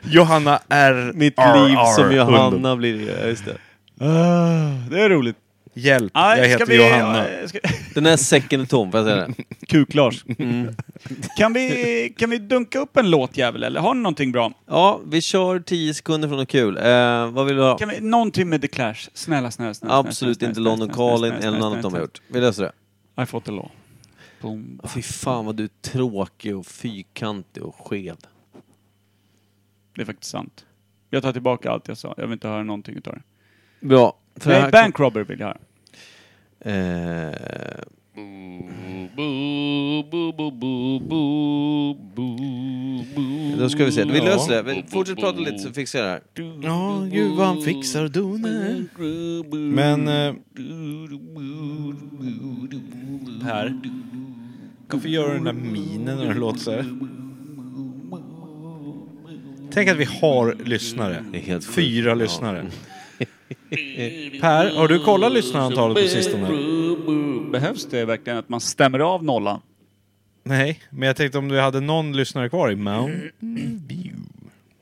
Speaker 2: Johanna R.
Speaker 4: Mitt
Speaker 2: R.
Speaker 4: liv som
Speaker 2: R.
Speaker 4: Johanna blir det. Ja, just det.
Speaker 3: Ah, det är roligt.
Speaker 2: Hjälp,
Speaker 3: Nej,
Speaker 2: jag
Speaker 3: ska
Speaker 2: heter
Speaker 3: vi-
Speaker 2: Johanna.
Speaker 3: eh, Ska...
Speaker 4: Den här säcken är tom, får jag säga det?
Speaker 3: Kuk-Lars.
Speaker 4: Mm.
Speaker 3: Kan, vi, kan vi dunka upp en låt jävel eller har ni någonting bra?
Speaker 4: Ja, vi kör 10 sekunder från något kul. Eh, vad vill du ha?
Speaker 3: Kan vi, någonting med The Clash? Snälla, snälla, snälla. snälla
Speaker 4: Absolut
Speaker 3: snälla,
Speaker 4: inte
Speaker 3: snälla,
Speaker 4: London
Speaker 3: snälla,
Speaker 4: Calling
Speaker 3: snälla,
Speaker 4: eller något
Speaker 3: snälla,
Speaker 4: annat de har
Speaker 3: snälla,
Speaker 4: gjort. Vi löser det.
Speaker 3: snälla. I fought the law. Boom.
Speaker 4: Fy fan vad du är tråkig och fyrkantig och skev.
Speaker 3: Det är faktiskt sant. Jag tar tillbaka allt jag sa. Jag vill inte höra någonting utav det.
Speaker 4: Bra. För
Speaker 3: Nej,
Speaker 4: här-
Speaker 3: Bank Robber vill jag höra.
Speaker 4: Eh, Då ska vi se. Vi löser det. Vi fortsätt prata lite så fixar jag det här.
Speaker 2: Ja, gud vad han fixar och donar. Men... Eh, här. Varför gör du den där minen när du låter så här? Tänk att vi har lyssnare.
Speaker 4: Det är helt sjukt.
Speaker 2: Fyra lyssnare. Per, har du kollat lyssnarantalet
Speaker 4: Mm.
Speaker 2: på sistone?
Speaker 3: Behövs det verkligen att man stämmer av nollan?
Speaker 2: Nej, men jag tänkte om du hade någon lyssnare kvar i Mount...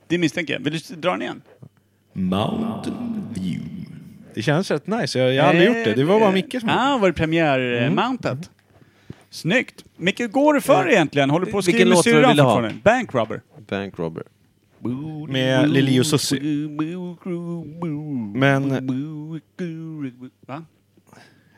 Speaker 3: Det misstänker jag. Vill du dra den igen?
Speaker 2: Mountain View. Det känns rätt nice. Jag, jag har
Speaker 3: Eh,
Speaker 2: aldrig gjort det. Mm. Det var bara Micke som
Speaker 3: Ah, var det premiärmountet? Snyggt! Micke, hur går det
Speaker 2: Eh,
Speaker 3: för egentligen? Håller du på att skriva
Speaker 4: Vilken
Speaker 3: med
Speaker 4: låt var det du
Speaker 3: syrran
Speaker 4: ville ha?
Speaker 3: fortfarande? Bank Robber.
Speaker 4: Bank robber.
Speaker 2: Med Lili och Susie. Men
Speaker 3: Va?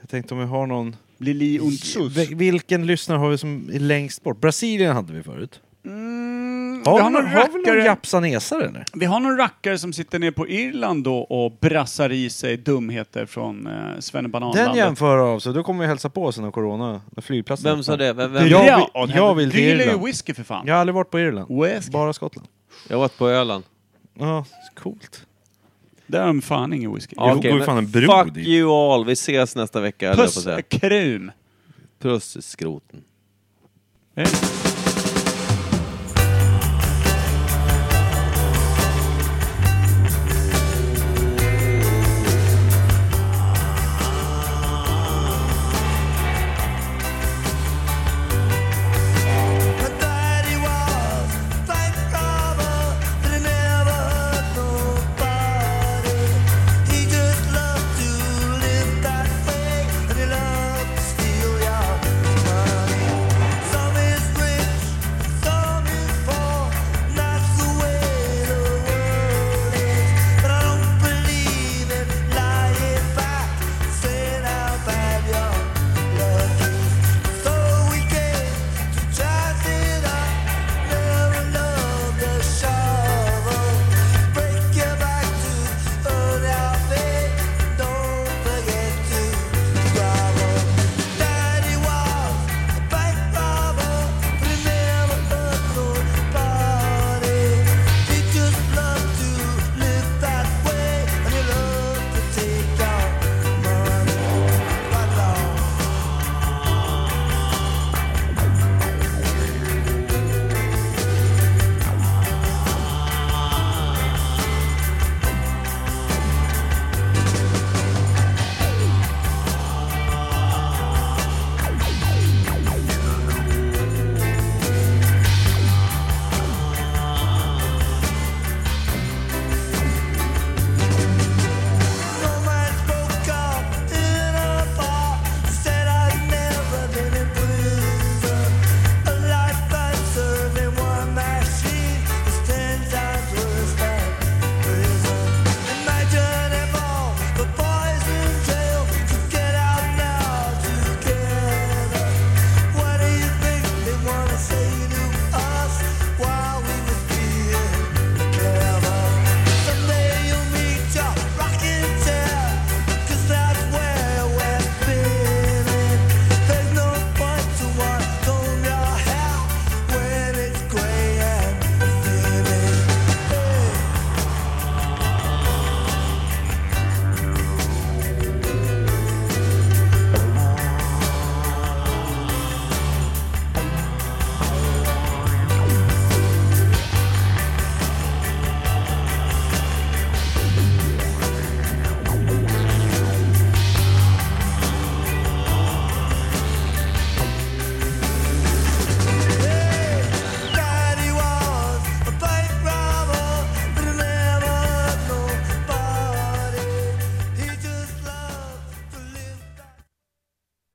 Speaker 2: jag tänkte om vi har någon...
Speaker 3: Lili und Sus.
Speaker 2: Vil- Vilken lyssnare har vi som är längst bort? Brasilien hade vi förut.
Speaker 3: Mm,
Speaker 2: Har
Speaker 3: vi,
Speaker 2: vi
Speaker 3: har
Speaker 2: någon,
Speaker 3: någon
Speaker 2: har vi någon
Speaker 3: rackare,
Speaker 2: japsanesare eller?
Speaker 3: vi har någon rackare som sitter ner på Irland då och brassar i sig dumheter från eh,
Speaker 2: Den
Speaker 3: Svennebananlandet.
Speaker 2: jämför av sig. Då kommer vi hälsa på sen när corona, när flygplatsen
Speaker 4: Vem sa
Speaker 2: öppnar.
Speaker 4: det? Vem, vem?
Speaker 2: Jag-
Speaker 4: Jag,
Speaker 2: vill- jag vill
Speaker 3: Du
Speaker 2: till
Speaker 3: gillar ju
Speaker 2: Irland.
Speaker 3: whisky för fan.
Speaker 2: Jag har aldrig varit på Irland.
Speaker 3: Whisky.
Speaker 2: Bara Skottland.
Speaker 4: jag åt på Öland.
Speaker 2: Ja, coolt.
Speaker 3: Där har de fan ingen whisky.
Speaker 2: Ja,
Speaker 3: Jo.
Speaker 2: går ju
Speaker 4: men
Speaker 2: fan en bro
Speaker 4: Fuck
Speaker 2: dit.
Speaker 4: you all, vi ses nästa vecka. höll jag på att
Speaker 3: Puss
Speaker 4: säga.
Speaker 3: krum!
Speaker 4: Puss skroten.
Speaker 3: Hej.